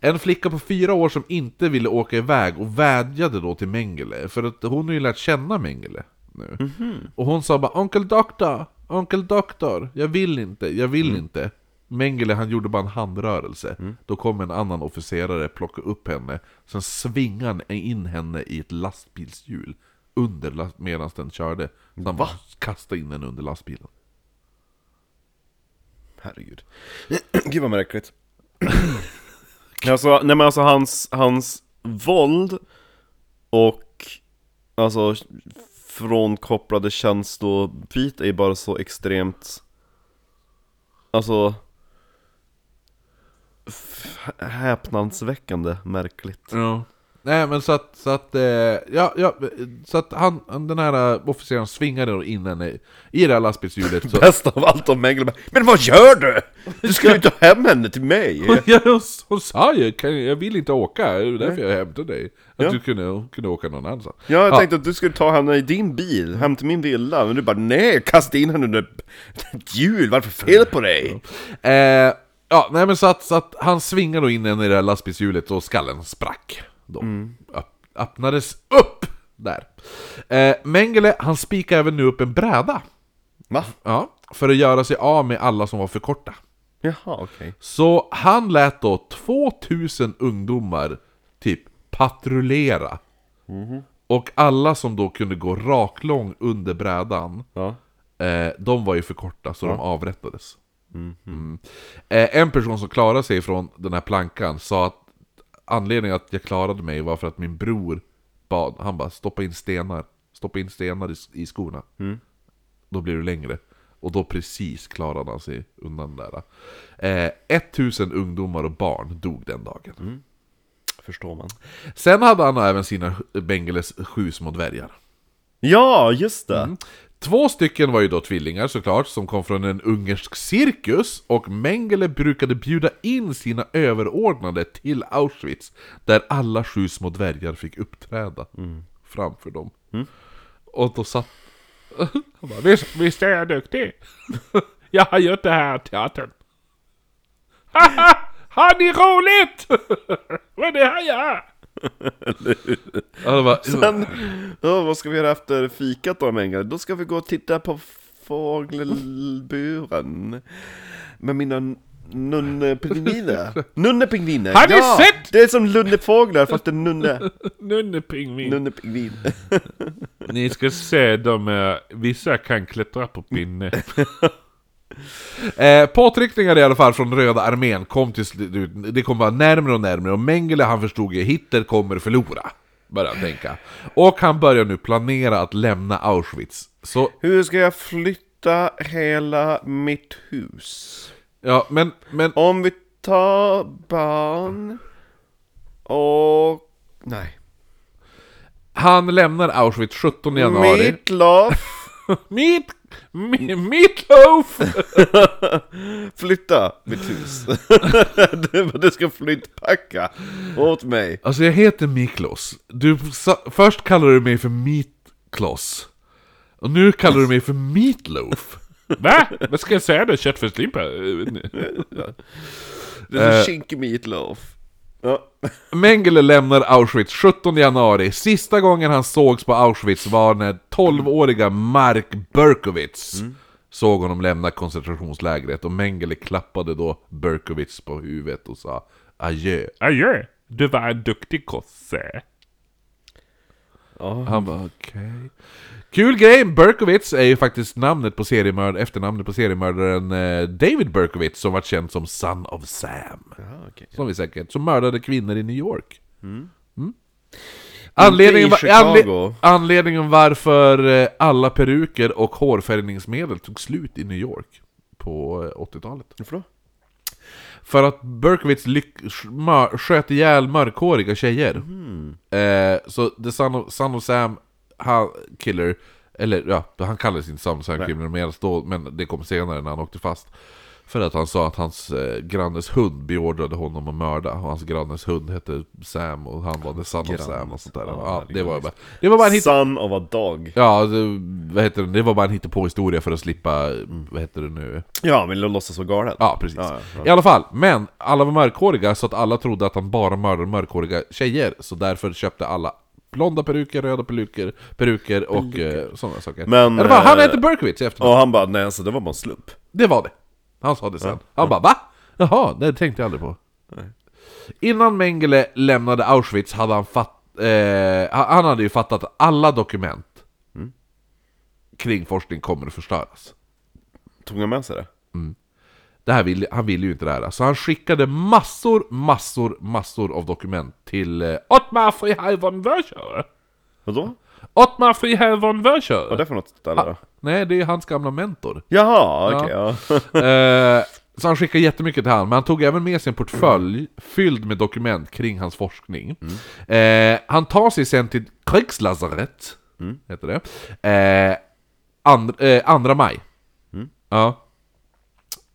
Speaker 3: En flicka på fyra år som inte ville åka iväg och vädjade då till Mengele, för att hon har ju lärt känna Mengele nu. Och hon sa bara 'Onkel doktor, onkel doktor, jag vill inte, jag vill inte' Mengele han gjorde bara en handrörelse, då kom en annan officerare plocka upp henne, sen svingade han in henne i ett lastbilshjul under last- medan den körde. Så han bara kastade in henne under lastbilen.
Speaker 2: Herregud. Gud vad märkligt. alltså, nej men alltså hans, hans våld och alltså frånkopplade känslobit är ju bara så extremt, alltså f- häpnadsväckande märkligt.
Speaker 3: Ja. Nej men så att, så att, eh, ja, ja, så att han, han- den här eh, officeren svingade då in henne i- i det här lastbilshjulet så...
Speaker 2: Bäst av allt om Mengele bara, Men vad gör du? Du ska ju inte ta hem henne till mig!
Speaker 3: Ja, hon, hon sa ju kan, jag vill inte åka, det är därför jag hämtade dig. Att
Speaker 2: Ja.
Speaker 3: du kunde, kunde åka någon annanstans.
Speaker 2: Ja, jag tänkte att du skulle ta henne i din bil, hem till min villa, men du bara nej, kasta in henne under ett hjul, varför fel på dig?
Speaker 3: Eh, ja, nej men så att, så att han svingade då in henne i det här lastbilshjulet och skallen sprack. Då Öpp- öppnades upp där. Eh, Mengele, han spikar även nu upp en bräda.
Speaker 2: Va?
Speaker 3: Ja, för att göra sig av med alla som var för korta.
Speaker 2: Jaha, okej.
Speaker 3: Så han lät då 2000 ungdomar typ patrullera. Och alla som då kunde gå raklång under brädan,
Speaker 2: Ja.
Speaker 3: eh, de var ju för korta så de avrättades. Mm. Eh, en person som klarade sig från den här plankan sa att anledningen att jag klarade mig var för att min bror bad, han bara stoppa in stenar, stoppa in stenar i, i skorna. Då blir du längre. Och då precis klarade han sig undan där. Eh, 1000 ungdomar och barn dog den dagen.
Speaker 2: Förstår man.
Speaker 3: Sen hade han även sina Bengeles sju små dvärgar.
Speaker 2: Ja, just det!
Speaker 1: Mm.
Speaker 3: Två stycken var ju då tvillingar såklart, som kom från en ungersk cirkus och Mengele brukade bjuda in sina överordnade till Auschwitz där alla sju små dvärgar fick uppträda framför dem. Och då satt... Han bara, "Visst,
Speaker 1: Visst är jag duktig? Jag har gjort det här teatern. Haha! Har ni roligt? Vad det har jag!
Speaker 3: Ja, det var,
Speaker 2: Men, ja, vad ska vi göra efter fikat då Mengele? Då ska vi gå och titta på fågelburen med mina nunnepingviner. Nunnepingviner!
Speaker 1: Har ni
Speaker 2: ja!
Speaker 1: sett?
Speaker 2: Det är som lunnefåglar fast det är nunne,
Speaker 1: Nunnepingvin.
Speaker 2: nunnepingvin.
Speaker 1: Ni ska se, de är, vissa kan klättra på pinne.
Speaker 3: Eh, påtryckningar i alla fall från Röda armén kom till slut, det kom bara närmre och närmre och Mengele han förstod ju Hitler kommer förlora. Började han tänka. Och han börjar nu planera att lämna Auschwitz. Så,
Speaker 2: Hur ska jag flytta hela mitt hus?
Speaker 3: ja men, men
Speaker 2: Om vi tar barn och... Nej.
Speaker 3: han lämnar Auschwitz 17 januari.
Speaker 2: Mitloff.
Speaker 1: Meat, me, meatloaf!
Speaker 2: Flytta mitt hus. du, du ska flyttpacka åt mig.
Speaker 3: Alltså jag heter Miklos. Du, sa, först kallade du mig för Meatkloss. Och nu kallar du mig för Meatloaf.
Speaker 1: Va? Vad ska jag säga då? Köttfärslimpa?
Speaker 2: Du är så kinkig meatloaf. Ja.
Speaker 3: Mengele lämnar Auschwitz 17 januari. Sista gången han sågs på Auschwitz var när 12-åriga Mark Berkowitz såg honom lämna koncentrationslägret. Och Mengele klappade då Berkowitz på huvudet och sa adjö.
Speaker 1: Adjö! Du var en duktig kosse.
Speaker 3: Han bara okej. Kul grej, Berkowitz är ju faktiskt namnet på seriemörd, efternamnet på seriemördaren eh, David Berkowitz som var känd som Son of Sam. Som vi säkert, som mördade kvinnor i New York. Mm. Anledningen,
Speaker 2: Inte i
Speaker 3: var, anle,
Speaker 2: Chicago.
Speaker 3: anledningen varför eh, alla peruker och hårfärgningsmedel tog slut i New York på eh, 80-talet.
Speaker 2: Varför då?
Speaker 3: För att Berkowitz lyck- sk- mör- sköt ihjäl mörkhåriga tjejer. Eh, så The Son of, Son of Sam han, Killer, eller ja, han kallades inte Son of Sam Killer mer då, men det kom senare när han åkte fast. För att han sa att hans eh, grannes hund beordrade honom att mörda, och hans grannes hund hette Sam och han var The Son of Sam och sånt där. Ja, det, var bara, det var bara en hit-
Speaker 2: Son of a dog.
Speaker 3: Ja, det, vad heter det? Det var bara en hittepåhistoria för att slippa, mm, vad heter det nu?
Speaker 2: Ja, men låt låtsas vara galen.
Speaker 3: Ja, precis.
Speaker 2: Ja,
Speaker 3: I alla fall, men alla var mörkhåriga så att alla trodde att han bara mördade mörkhåriga tjejer, så därför köpte alla blonda peruker, röda peruker, peruker och eh, sådana saker.
Speaker 2: Men,
Speaker 3: I alla fall, han
Speaker 2: eh,
Speaker 3: hette Berkowitz i efternamn.
Speaker 2: Och han bara, nej alltså det var bara en slump.
Speaker 3: Det var det. Han sa det sen. Han bara va? Jaha, det tänkte jag aldrig på. Innan Mengele lämnade Auschwitz hade han fatt, eh, han hade ju fattat att alla dokument
Speaker 2: Mm.
Speaker 3: kring forskning kommer att förstöras.
Speaker 2: Tog han med sig det?
Speaker 3: Det här vill, han ville ju inte det här, så han skickade massor, massor, massor av dokument till eh,
Speaker 1: Ottmar Frihavon Wörscher!
Speaker 2: Vadå?
Speaker 1: Ottmar Frihavon
Speaker 2: Vad är
Speaker 1: Wörscher!
Speaker 2: det för något
Speaker 3: Ah.
Speaker 2: ställe då?
Speaker 3: Nej, det är hans gamla mentor.
Speaker 2: Jaha, okej ja.
Speaker 3: Eh, så han skickade jättemycket till han, men han tog även med sig en portfölj fylld med dokument kring hans forskning. Eh, han tar sig sen till Kriegslazarett, heter det, eh, and, eh, 2 maj. Ja.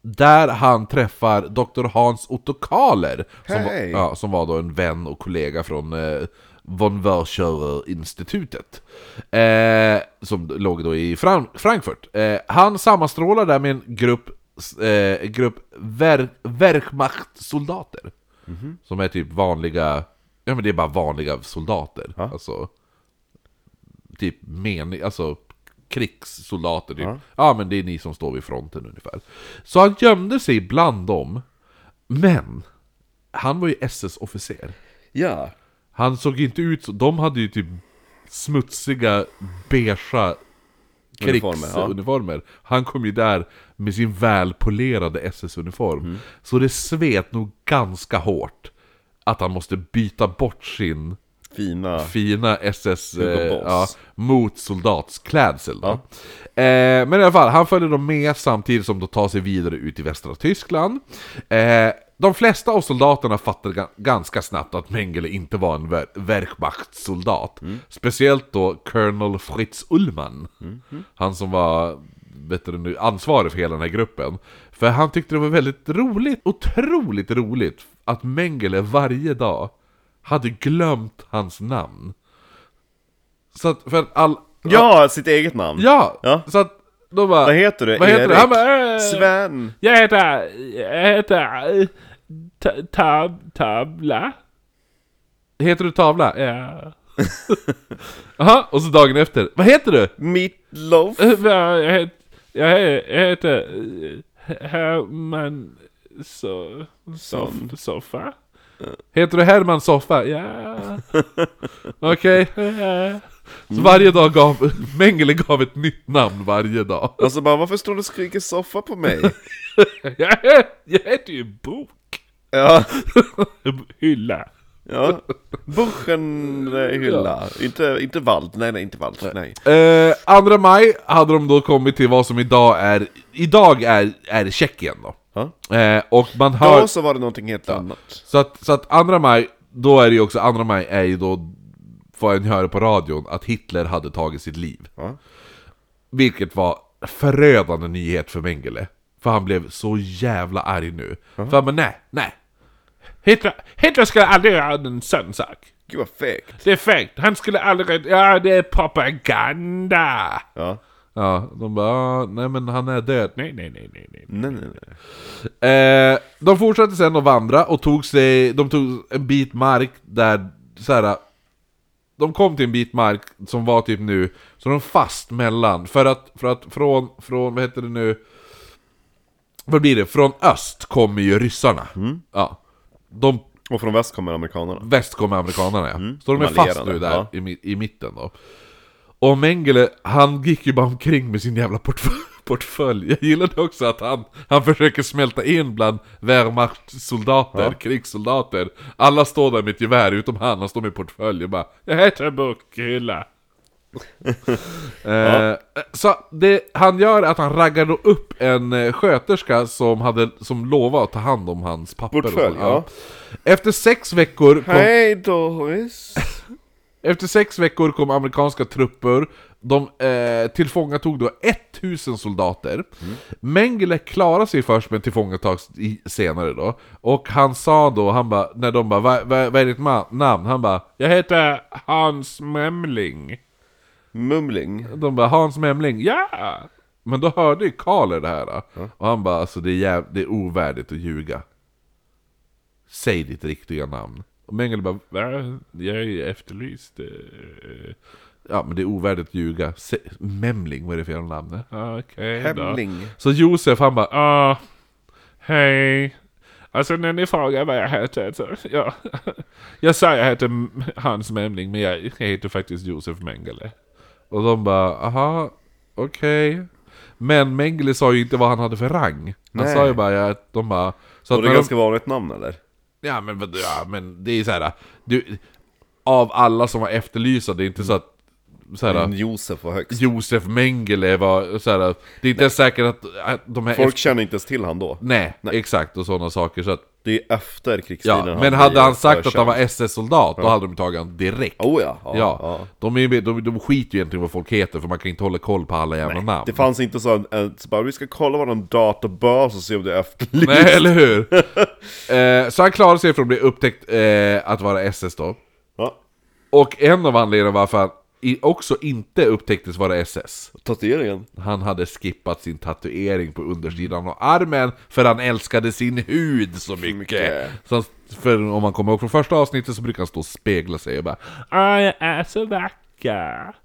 Speaker 3: Där han träffar Dr. Hans Otto Kahler, som, var,
Speaker 2: Hej.
Speaker 3: ja, som var då en vän och kollega från eh, von Wörscher-institutet. Eh, som låg då i Fran- Frankfurt. Eh, han sammanstrålar där med en grupp, eh, grupp ver- Wehrmacht-soldater. Som är typ vanliga, ja men det är bara vanliga soldater. Alltså, typ mening, alltså krigssoldater typ. Ja. men det är ni som står vid fronten ungefär. Så han gömde sig bland dem, men han var ju SS-officer.
Speaker 2: Ja.
Speaker 3: Han såg inte ut så, de hade ju typ smutsiga, beigea
Speaker 2: Uniformer, ja.
Speaker 3: krigsuniformer. Han kom ju där med sin välpolerade SS-uniform.
Speaker 2: Mm.
Speaker 3: Så det svet nog ganska hårt att han måste byta bort sin
Speaker 2: Fina.
Speaker 3: fina SS
Speaker 2: Hugo
Speaker 3: eh,
Speaker 2: Boss.
Speaker 3: ja, mot soldatsklädsel. Då. Eh, men i alla fall, han följer dem med samtidigt som de tar sig vidare ut i västra Tyskland. Eh, de flesta av soldaterna fattar ga- ganska snabbt att Mengele inte var en Wer- Wehrmachtssoldat.
Speaker 2: Mm.
Speaker 3: Speciellt då Colonel Fritz Ullman.
Speaker 2: Mm,
Speaker 3: Han som var vet du, nu, ansvarig för hela den här gruppen. För han tyckte det var väldigt roligt, otroligt roligt, att Mengele varje dag hade glömt hans namn. Så att, för att all...
Speaker 2: Ja, sitt eget namn.
Speaker 3: Ja!
Speaker 2: Ja.
Speaker 3: Så att, då bara...
Speaker 2: Vad heter du?
Speaker 3: Vad heter du?
Speaker 2: Erik?
Speaker 3: Han bara, äh,
Speaker 2: Sven.
Speaker 1: Jag heter... Jag heter... eh, Ta, tab, tabla?
Speaker 3: eh, Heter du Tavla?
Speaker 1: Ja.
Speaker 3: Jaha, och så dagen efter. Vad heter du?
Speaker 2: Meatloaf.
Speaker 1: Eh, vad Jag heter... Jag he- jag heter... eh, Herman... So,
Speaker 2: Som.
Speaker 1: sof, soffa?
Speaker 3: Heter du Herman Soffa? Ja.
Speaker 1: Ja.
Speaker 3: Okej.
Speaker 1: ja.
Speaker 3: Så
Speaker 2: Mm.
Speaker 3: varje dag gav, Mengele gav ett nytt namn varje dag.
Speaker 2: Alltså bara, varför står du och skriker soffa på mig?
Speaker 1: Jag, hä- jag heter ju Bok.
Speaker 2: ja,
Speaker 1: Hylla.
Speaker 2: ja. Buchenhylla. Inte, inte vald, nej nej, inte vald. Nej.
Speaker 3: Eh, 2 maj hade de då kommit till vad som idag är, idag är, är Tjeckien då.
Speaker 2: Ja.
Speaker 3: Eh, och man hör,
Speaker 2: Då så var det någonting helt annat.
Speaker 3: så att, så att 2 maj, då är det ju också, 2 maj är ju då, får en höra på radion, att Hitler hade tagit sitt liv.
Speaker 2: Ja.
Speaker 3: Vilket var förödande nyhet för Mengele. För han blev så jävla arg nu. För men nej, nej.
Speaker 1: Hitler, Hitler skulle aldrig göra en sån sak.
Speaker 2: Gud vad fegt.
Speaker 1: Det är fegt. Han skulle aldrig... Ja, det är propaganda.
Speaker 2: Ja.
Speaker 3: Ja, de bara, "Ah, nej men han är död.
Speaker 1: Nej, nej, nej, nej. nej.
Speaker 2: Nej nej nej.
Speaker 3: Eh, de fortsatte sen att vandra och tog sig, de tog en bit mark där så här. De kom till en bit mark som var typ nu, så de fast mellan, för att, för att från, från, vad heter det nu? Vad blir det? Från öst kommer ju ryssarna. Ja. De,
Speaker 2: Och från väst kommer amerikanerna.
Speaker 3: väst kommer amerikanerna ja. Så de är
Speaker 2: de allierade,
Speaker 3: fast nu där
Speaker 2: Mm. ja.
Speaker 3: i, mi- i mitten då. Och Mengele, han gick ju bara omkring med sin jävla portfölj. portfölj. Jag gillade också att han, han försöker smälta in bland Wehrmacht-soldater, krigssoldater. Alla står där med ett gevär utom han, han står med portfölj och bara Jag heter...
Speaker 1: Ta Bok, hylla.
Speaker 3: Eh, så det han gör är att han raggar då upp en eh, sköterska som, hade, som lovade att ta hand om hans papper. och
Speaker 2: Portfölj,
Speaker 3: så.
Speaker 2: ja.
Speaker 3: Efter sex veckor... kom-
Speaker 2: Hej Doris.
Speaker 3: Efter sex veckor kom amerikanska trupper. De eh, tillfångatog då 1000 soldater. Mengele klarade sig först med tillfångatag i- senare då. Och han sa då, han bara, när de bara "Va- va- vad är ditt ma- namn? Han bara,
Speaker 1: Jag heter Hans Memling.
Speaker 2: Mumling.
Speaker 3: de bara Hans Memling, ja!
Speaker 1: Ja.
Speaker 3: Men då hörde ju Karler det här. Då. Och han bara, alltså det är, jäv- det är ovärdigt att ljuga. Säg ditt riktiga namn. Och Mengele bara,
Speaker 1: Va? Jag är ju efterlyst. eh,
Speaker 3: ja men det är ovärdigt att ljuga. Sä- Memling, vad är det för jävla namn? eh?
Speaker 1: Okej då.
Speaker 2: Hemling.
Speaker 3: Så Josef han bara,
Speaker 1: Ja. Hej. Alltså när ni frågar vad jag heter, så, ja. Jag sa jag heter M- Hans Memling, men jag heter faktiskt Josef Mengele.
Speaker 3: Och de bara, aha, okej. Men Mengele sa ju inte vad han hade för rang. Han
Speaker 2: Nej.
Speaker 3: sa ju bara, ja, de bara... Så
Speaker 2: Och
Speaker 3: att
Speaker 2: det är
Speaker 3: när
Speaker 2: ganska
Speaker 3: de,
Speaker 2: vanligt namn eller?
Speaker 3: ja, men, vad- ja men det är ju så här, du, av alla som var efterlysta, det är inte så att... Så här,
Speaker 2: Men Josef var högst.
Speaker 3: Josef Mengele var så här, det är inte ens säkert att, att de här...
Speaker 2: Folk
Speaker 3: efter-
Speaker 2: känner inte ens till han då.
Speaker 3: nej, exakt och sådana saker. Så att,
Speaker 2: Det är efter krigstiden
Speaker 3: ja, men
Speaker 2: blir
Speaker 3: hade han sagt att
Speaker 2: ökänd.
Speaker 3: han var SS-soldat, då hade de tagit honom direkt.
Speaker 2: Oh ja, ja,
Speaker 3: Ja,
Speaker 2: ja.
Speaker 3: De, är, de, de skiter ju egentligen vad folk heter för man kan inte hålla koll på alla jävla namn.
Speaker 2: Det fanns inte så en, en, så bara, vi ska kolla vår databas och se om det är efterlyst.
Speaker 3: Nej, eller hur? eh, så han klarade sig från att bli upptäckt eh, att vara SS då.
Speaker 2: Ja,
Speaker 3: Och en av anledningarna varför han i, också inte upptäcktes vara SS.
Speaker 2: tatueringen.
Speaker 3: Han hade skippat sin tatuering på undersidan av armen för han älskade sin hud så mycket.
Speaker 2: mycket.
Speaker 3: Så han, för om man kommer ihåg från första avsnittet så brukar han stå och spegla sig och bara
Speaker 1: Ah, jag är så vacker.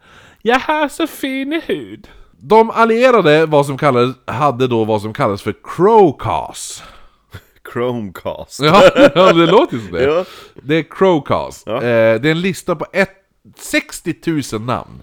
Speaker 1: Jag har så fin hud.
Speaker 3: De allierade vad som kallades, hade då vad som kallades för Crowcast.
Speaker 2: Chromecast.
Speaker 3: Ja, ja, det låter ju som det.
Speaker 2: Ja.
Speaker 3: Det är Crowcast.
Speaker 2: Ja.
Speaker 3: Eh, det är en lista på ett, 60 000 namn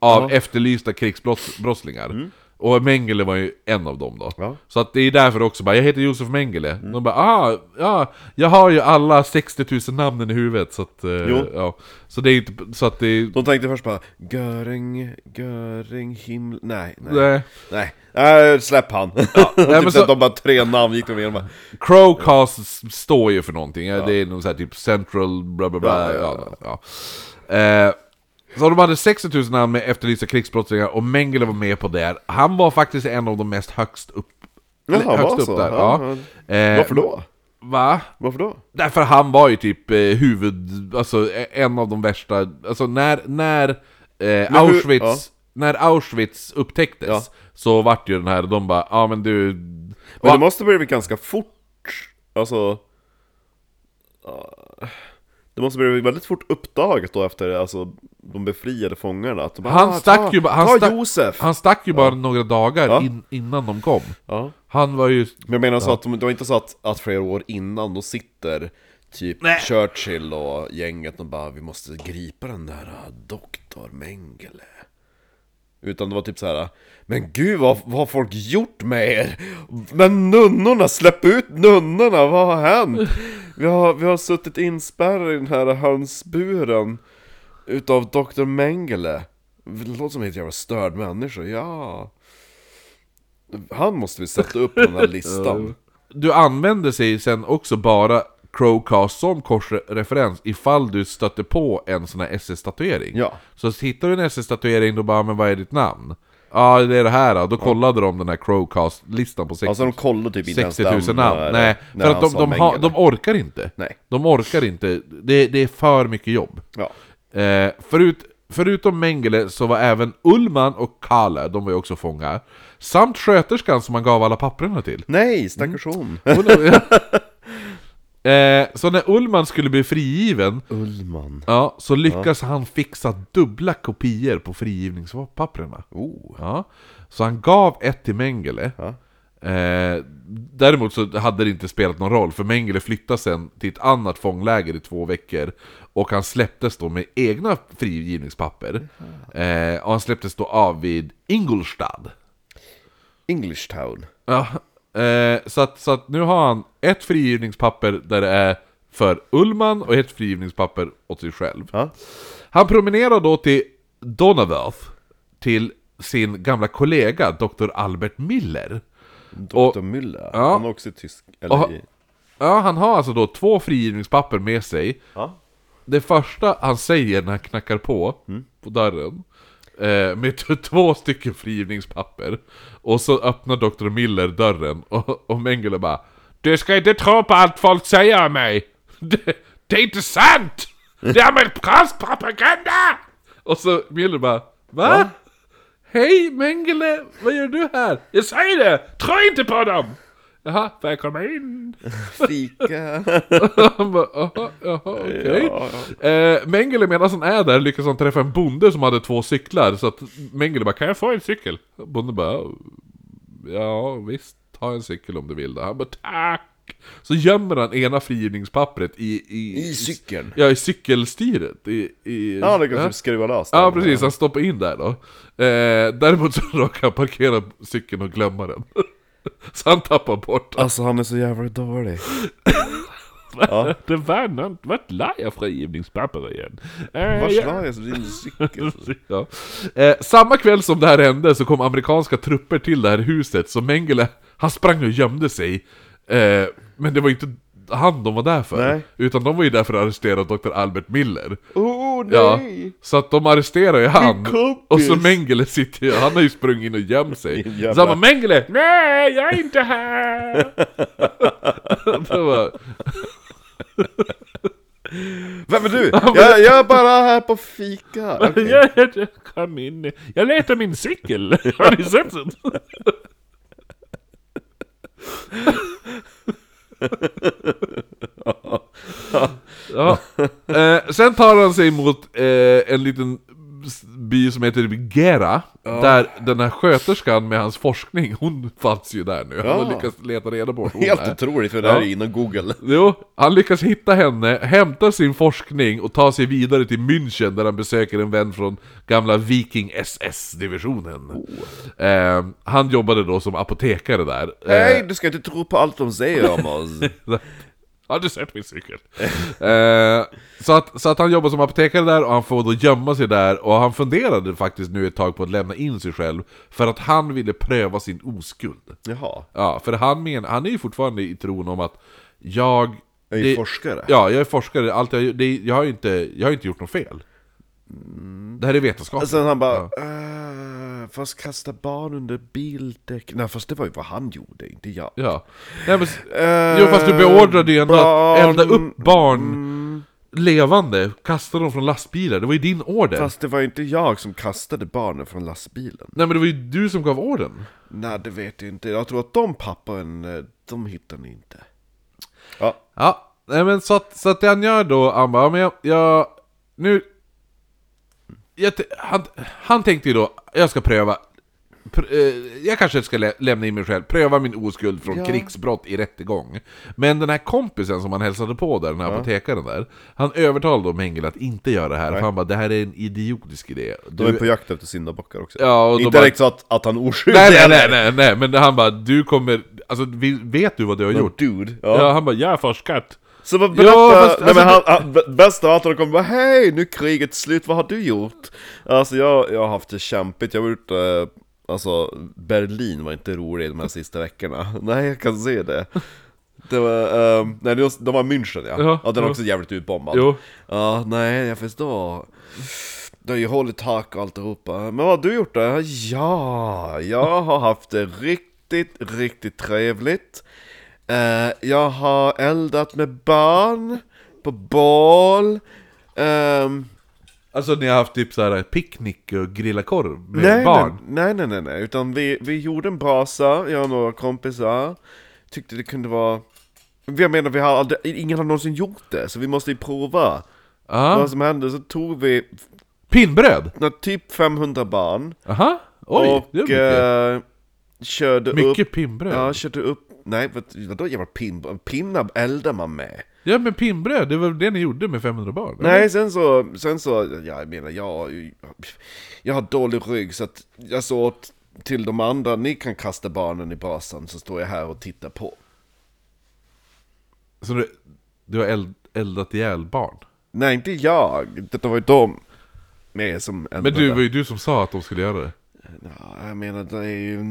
Speaker 3: av efterlysta krigsbrottslingar. Och Mengele var ju en av dem då.
Speaker 2: Mm. Ja. Mm.
Speaker 3: Så att det är därför också bara, jag heter Josef Mengele. De bara, ah, ja, jag har ju alla 60 000 namnen i huvudet. Så att, eh,
Speaker 2: Jo.
Speaker 3: ja. Så det är inte, så att det är...
Speaker 2: De tänkte först bara, Göring, Göring, himmel... Nej, nej. Nej,
Speaker 3: Nej.
Speaker 2: nej. nej släpp han. Ja. typ
Speaker 3: men
Speaker 2: så...
Speaker 3: så-
Speaker 2: att De bara tre namn gick de igenom. bara,
Speaker 3: Crowcast s- står ju för någonting, ja. det är någon så här typ central bla bla bla.
Speaker 2: Ja, ja,
Speaker 3: Ja, ja, Eh, så de hade 60 000 namn med efterlysta krigsbrottslingar och Mengele var med på det. Han var faktiskt en av de mest högst upp,
Speaker 2: Jaha,
Speaker 3: eller högst
Speaker 2: var
Speaker 3: upp
Speaker 2: så?
Speaker 3: där.
Speaker 2: Ja,
Speaker 3: Ja. Eh,
Speaker 2: Varför då?
Speaker 3: Va?
Speaker 2: Varför då?
Speaker 3: Därför han var ju typ eh, huvud, alltså eh, en av de värsta, alltså när, när eh, Auschwitz,
Speaker 2: ja.
Speaker 3: när Auschwitz upptäcktes
Speaker 2: Ja.
Speaker 3: så vart ju den här, de bara, ja ah, men du...
Speaker 2: Men det måste blivit ganska fort, alltså... ja, Det måste blivit väldigt fort uppdagat då efter alltså, de befriade fångarna att de bara,
Speaker 3: Han
Speaker 2: "Ah,
Speaker 3: stack
Speaker 2: ta,
Speaker 3: ju bara- han
Speaker 2: ta
Speaker 3: stack-
Speaker 2: Josef!
Speaker 3: Han stack ju bara några dagar
Speaker 2: Ja.
Speaker 3: in, innan de kom.
Speaker 2: Ja.
Speaker 3: Han var ju...
Speaker 2: Men jag menar så att de, det var inte så att, att flera år innan då sitter Typ Churchill och gänget, de bara 'Vi måste gripa den där äh, doktor Mengele' Utan det var typ så här. Men gud vad, vad har folk gjort med er? Men nunnorna, släpp ut nunnorna, vad har hänt? Vi har, vi har suttit inspärrade i den här hönsburen Utav Dr. Mengele Det låter som en helt jävla störd människa, ja Han måste vi sätta upp på den här listan
Speaker 3: Du använder sig sen också bara Crowcast som korsreferens ifall du stöter på en sån här SS-tatuering.
Speaker 2: Ja.
Speaker 3: Så hittar du en SS-tatuering, då bara 'Men vad är ditt namn?' Ja, det är det här då. Då kollade de den här Crowcast-listan på 60,
Speaker 2: Alltså de kollar typ inte
Speaker 3: 60
Speaker 2: ens
Speaker 3: 000
Speaker 2: den
Speaker 3: namn.
Speaker 2: när-
Speaker 3: Nej,
Speaker 2: när
Speaker 3: för att
Speaker 2: han
Speaker 3: de,
Speaker 2: sa
Speaker 3: de, har,
Speaker 2: Mengele.
Speaker 3: de orkar inte.
Speaker 2: Nej.
Speaker 3: De orkar inte. Det, det är för mycket jobb.
Speaker 2: Ja,
Speaker 3: Eh, förut, förutom Mengele så var även Ullman och Kalle, de var ju också fångar. Samt sköterskan som man gav alla papperna till.
Speaker 2: Nej, stackars
Speaker 3: Mm.
Speaker 2: hon!
Speaker 3: eh, så när Ullman skulle bli frigiven,
Speaker 2: Ullman.
Speaker 3: ja, så lyckas han fixa dubbla kopior på frigivningspapperna.
Speaker 2: Oh.
Speaker 3: Ja. Så han gav ett till Mengele. Eh, däremot så hade det inte spelat någon roll, för Mengele flyttade sen till ett annat fångläger i två veckor. Och han släpptes då med egna frigivningspapper. Eh, och han släpptes då av vid Ingolstad.
Speaker 2: English Town.
Speaker 3: Ja, eh, så, att, så att nu har han ett frigivningspapper där det är för Ullman och ett frigivningspapper åt sig själv.
Speaker 2: Ja.
Speaker 3: Han promenerar då till Donauwerth till sin gamla kollega Dr. Albert Miller. Och-
Speaker 2: Dr. Müller.
Speaker 3: Ja.
Speaker 2: Han är också i tysk... Eller
Speaker 3: Och-
Speaker 2: i...
Speaker 3: Ja, han har alltså då två frigivningspapper med sig.
Speaker 2: Ja.
Speaker 3: Det första han säger när han knackar på, på dörren, eh, med t- två stycken frigivningspapper. Och så öppnar Dr. Miller dörren och, och Mengele bara Du ska inte tro på allt folk säger om mig! Det, det är inte sant! Det är amerikansk propaganda! Och så Miller bara Va? Hej Mengele, vad gör du här? Jag säger det! Tro inte på dem! Jaha, får jag komma in?
Speaker 2: Fika.
Speaker 3: Han bara, aha, aha, okej. Eh, Mengele medan han är där lyckas han träffa en bonde som hade två cyklar. Så att Mengele bara, kan jag få en cykel? Bonden bara, ja visst, ta en cykel om du vill då. Han bara, tack! Så gömmer han ena frigivningspappret i... I,
Speaker 2: I cykeln.
Speaker 3: Ja, i cykelstyret. I, i,
Speaker 2: Ja, det kan typ skruva lös
Speaker 3: Ja
Speaker 2: den.
Speaker 3: precis, han stoppar in där då. Eh, däremot så råkar han parkera cykeln och glömma den. så han tappar bort den.
Speaker 2: Alltså han är så jävla dålig.
Speaker 1: Det var något, vart la jag frigivningspapper igen? Eh,
Speaker 2: Vars
Speaker 1: ja.
Speaker 2: la jag din cykel?
Speaker 3: Ja. Eh, samma kväll som det här hände så kom amerikanska trupper till det här huset, så Mengele, han sprang och gömde sig. Eh, men det var inte han de var där för,
Speaker 2: Nej.
Speaker 3: utan de var ju där för att arrestera Dr. Albert Miller.
Speaker 2: Oh
Speaker 3: Ja,
Speaker 2: nej!
Speaker 3: så att de arresterar ju han,
Speaker 2: kompis.
Speaker 3: och så Mengele sitter ju, han har ju sprungit in och gömt sig.
Speaker 2: Jävlar.
Speaker 3: Så han bara, Mengele!
Speaker 1: Nej, jag är inte här!
Speaker 3: Så bara,
Speaker 2: Vem är du? Jag, jag är bara här på fika. Okej.
Speaker 1: Jag, jag, kom in. Jag letar min cykel. Har ni sett den?
Speaker 3: Ja. Eh, sen tar han sig mot eh, en liten s- by som heter Gera. Där den här sköterskan med hans forskning, hon fanns ju där nu. Han har
Speaker 2: Ja.
Speaker 3: lyckats leta reda på vart hon
Speaker 2: Helt
Speaker 3: är.
Speaker 2: otroligt för det här
Speaker 3: Ja.
Speaker 2: är inom google.
Speaker 3: Jo, han lyckas hitta henne, hämta sin forskning och ta sig vidare till München där han besöker en vän från gamla Viking SS-divisionen.
Speaker 2: Oh.
Speaker 3: Eh, han jobbade då som apotekare där. Eh,
Speaker 2: Nej, du ska inte tro på allt de säger om oss.
Speaker 1: Har du sett min cykel?
Speaker 3: Eh, så, att, så att han jobbar som apotekare där och han får då gömma sig där och han funderade faktiskt nu ett tag på att lämna in sig själv för att han ville pröva sin oskuld.
Speaker 2: Jaha,
Speaker 3: Ja, för han menar, han är ju fortfarande i tron om att jag...
Speaker 2: jag är ju forskare.
Speaker 3: Ja, jag är forskare, allt jag, det, jag, har ju inte, jag har ju inte gjort något fel. Det här är vetenskap.
Speaker 2: Och sen han bara, "Äh, fast kasta barn under bildäck. Nej fast det var ju vad han gjorde, inte jag.
Speaker 3: Ja. Nej, men, jo, fast du beordrade ju ändå att
Speaker 2: Eh, barn- mm.
Speaker 3: elda upp barn levande, kasta dem från lastbilar. Det var ju din order.
Speaker 2: Fast det var ju inte jag som kastade barnen från lastbilen.
Speaker 3: Nej men det var ju du som gav orden.
Speaker 2: Nej, det vet jag inte. Jag tror att de papperen, eh, de hittar ni inte. Ja,
Speaker 3: Ja, nej men så att, så att det han gör då, han bara, ja, men jag, jag nu... Jag, t- han, han tänkte ju då, jag ska pröva pr- eh, jag kanske ska lä- lämna in mig själv, pröva min oskuld från krigsbrott i rättegång. Men den här kompisen som han hälsade på där, den här apotekaren där, han övertalade Mengele att inte göra det här, för han bara det här är en idiotisk idé.
Speaker 2: De
Speaker 3: Du,
Speaker 2: är på jakt efter syndabockar också.
Speaker 3: Ja, och de
Speaker 2: Inte
Speaker 3: bara-
Speaker 2: direkt så att, att han är oskyldig
Speaker 3: nej, nej, nej,
Speaker 2: heller.
Speaker 3: nej, nej, men han bara du kommer, alltså vi- vet du vad du har gjort?
Speaker 2: Dude. Ja.
Speaker 1: Ja, han bara, jag har forskat.
Speaker 2: Så vad berätta,
Speaker 3: Ja, fast,
Speaker 2: nej, men han,
Speaker 3: alltså,
Speaker 2: han, b- bäst av allt de kommer bara Hej, nu är kriget slut, vad har du gjort? Alltså jag, jag har haft det kämpigt, jag har gjort eh, Alltså Berlin var inte rolig de här sista veckorna Nej, jag kan se det Det var, ehm, nej det var, de var München ja,
Speaker 1: Ja,
Speaker 2: ja, den är
Speaker 1: ja.
Speaker 2: också jävligt utbombad
Speaker 1: Jo.
Speaker 2: Ja, nej jag förstår det har ju hållit tak och alltihopa. Men vad har du gjort då? Ja, jag har haft det riktigt, riktigt trevligt. Eh, jag har eldat med barn, på bål. Ehm,
Speaker 3: Alltså ni har haft typ så här picknick och grilla korv med
Speaker 2: nej,
Speaker 3: barn?
Speaker 2: Nej, nej, nej, nej. Utan vi, vi gjorde en brasa, jag och några kompisar. Tyckte det kunde vara... Jag menar, vi har aldrig, ingen har någonsin gjort det, så vi måste ju prova.
Speaker 3: Ja.
Speaker 2: Vad som hände, så tog vi
Speaker 3: Pinnbröd?
Speaker 2: nå, typ 500 barn.
Speaker 3: Aha, oj!
Speaker 2: och
Speaker 3: det är mycket.
Speaker 2: eh, körde upp...
Speaker 3: Mycket pinnbröd.
Speaker 2: Ja, körde upp... Nej, vad, vadå jävla pin, pinnar eldar man med?
Speaker 3: Ja men pinnbröd, det var det ni gjorde med 500 barn? eller?
Speaker 2: Nej, sen så... Sen så ja, jag menar, jag, jag har dålig rygg så att jag sa åt till de andra, ni kan kasta barnen i brasan så står jag här och tittar på.
Speaker 3: Så du, du har eld, eldat ihjäl barn?
Speaker 2: Nej, inte jag. Det var ju de med som
Speaker 3: Men
Speaker 2: eldade.
Speaker 3: du, det var ju du som sa att de skulle göra det.
Speaker 2: Ja, jag menar, det är ju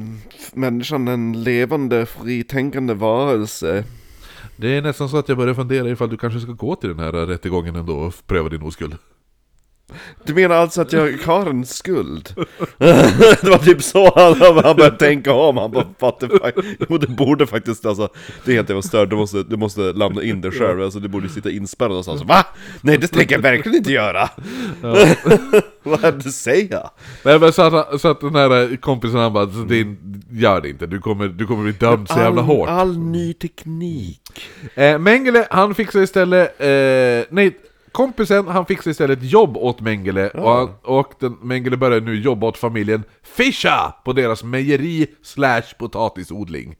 Speaker 2: människan en levande, fritänkande varelse.
Speaker 3: Det är nästan så att jag börjar fundera ifall du kanske ska gå till den här rättegången ändå och pröva din oskuld.
Speaker 2: Du menar alltså att jag har en skuld? det var typ så han, han började tänka om, han bara fattade fa- Jo det borde faktiskt alltså, det är helt jävla stört, du måste, du måste lämna in det själv, alltså du borde sitta inspärrad någonstans Va? Nej det tänker jag verkligen inte göra! Vad är det du säger?
Speaker 3: Nej men så att, så att den här kompisen han bara, så din, gör det inte, du kommer, du kommer bli dömd så jävla hårt.
Speaker 2: All, all ny teknik
Speaker 3: Eh, Mengele, han fixar istället... Eh, nej, kompisen, han fixar istället ett jobb åt Mengele. Och, han, och den, Mengele börjar nu jobba åt familjen Fischa på deras mejeri slash potatisodling.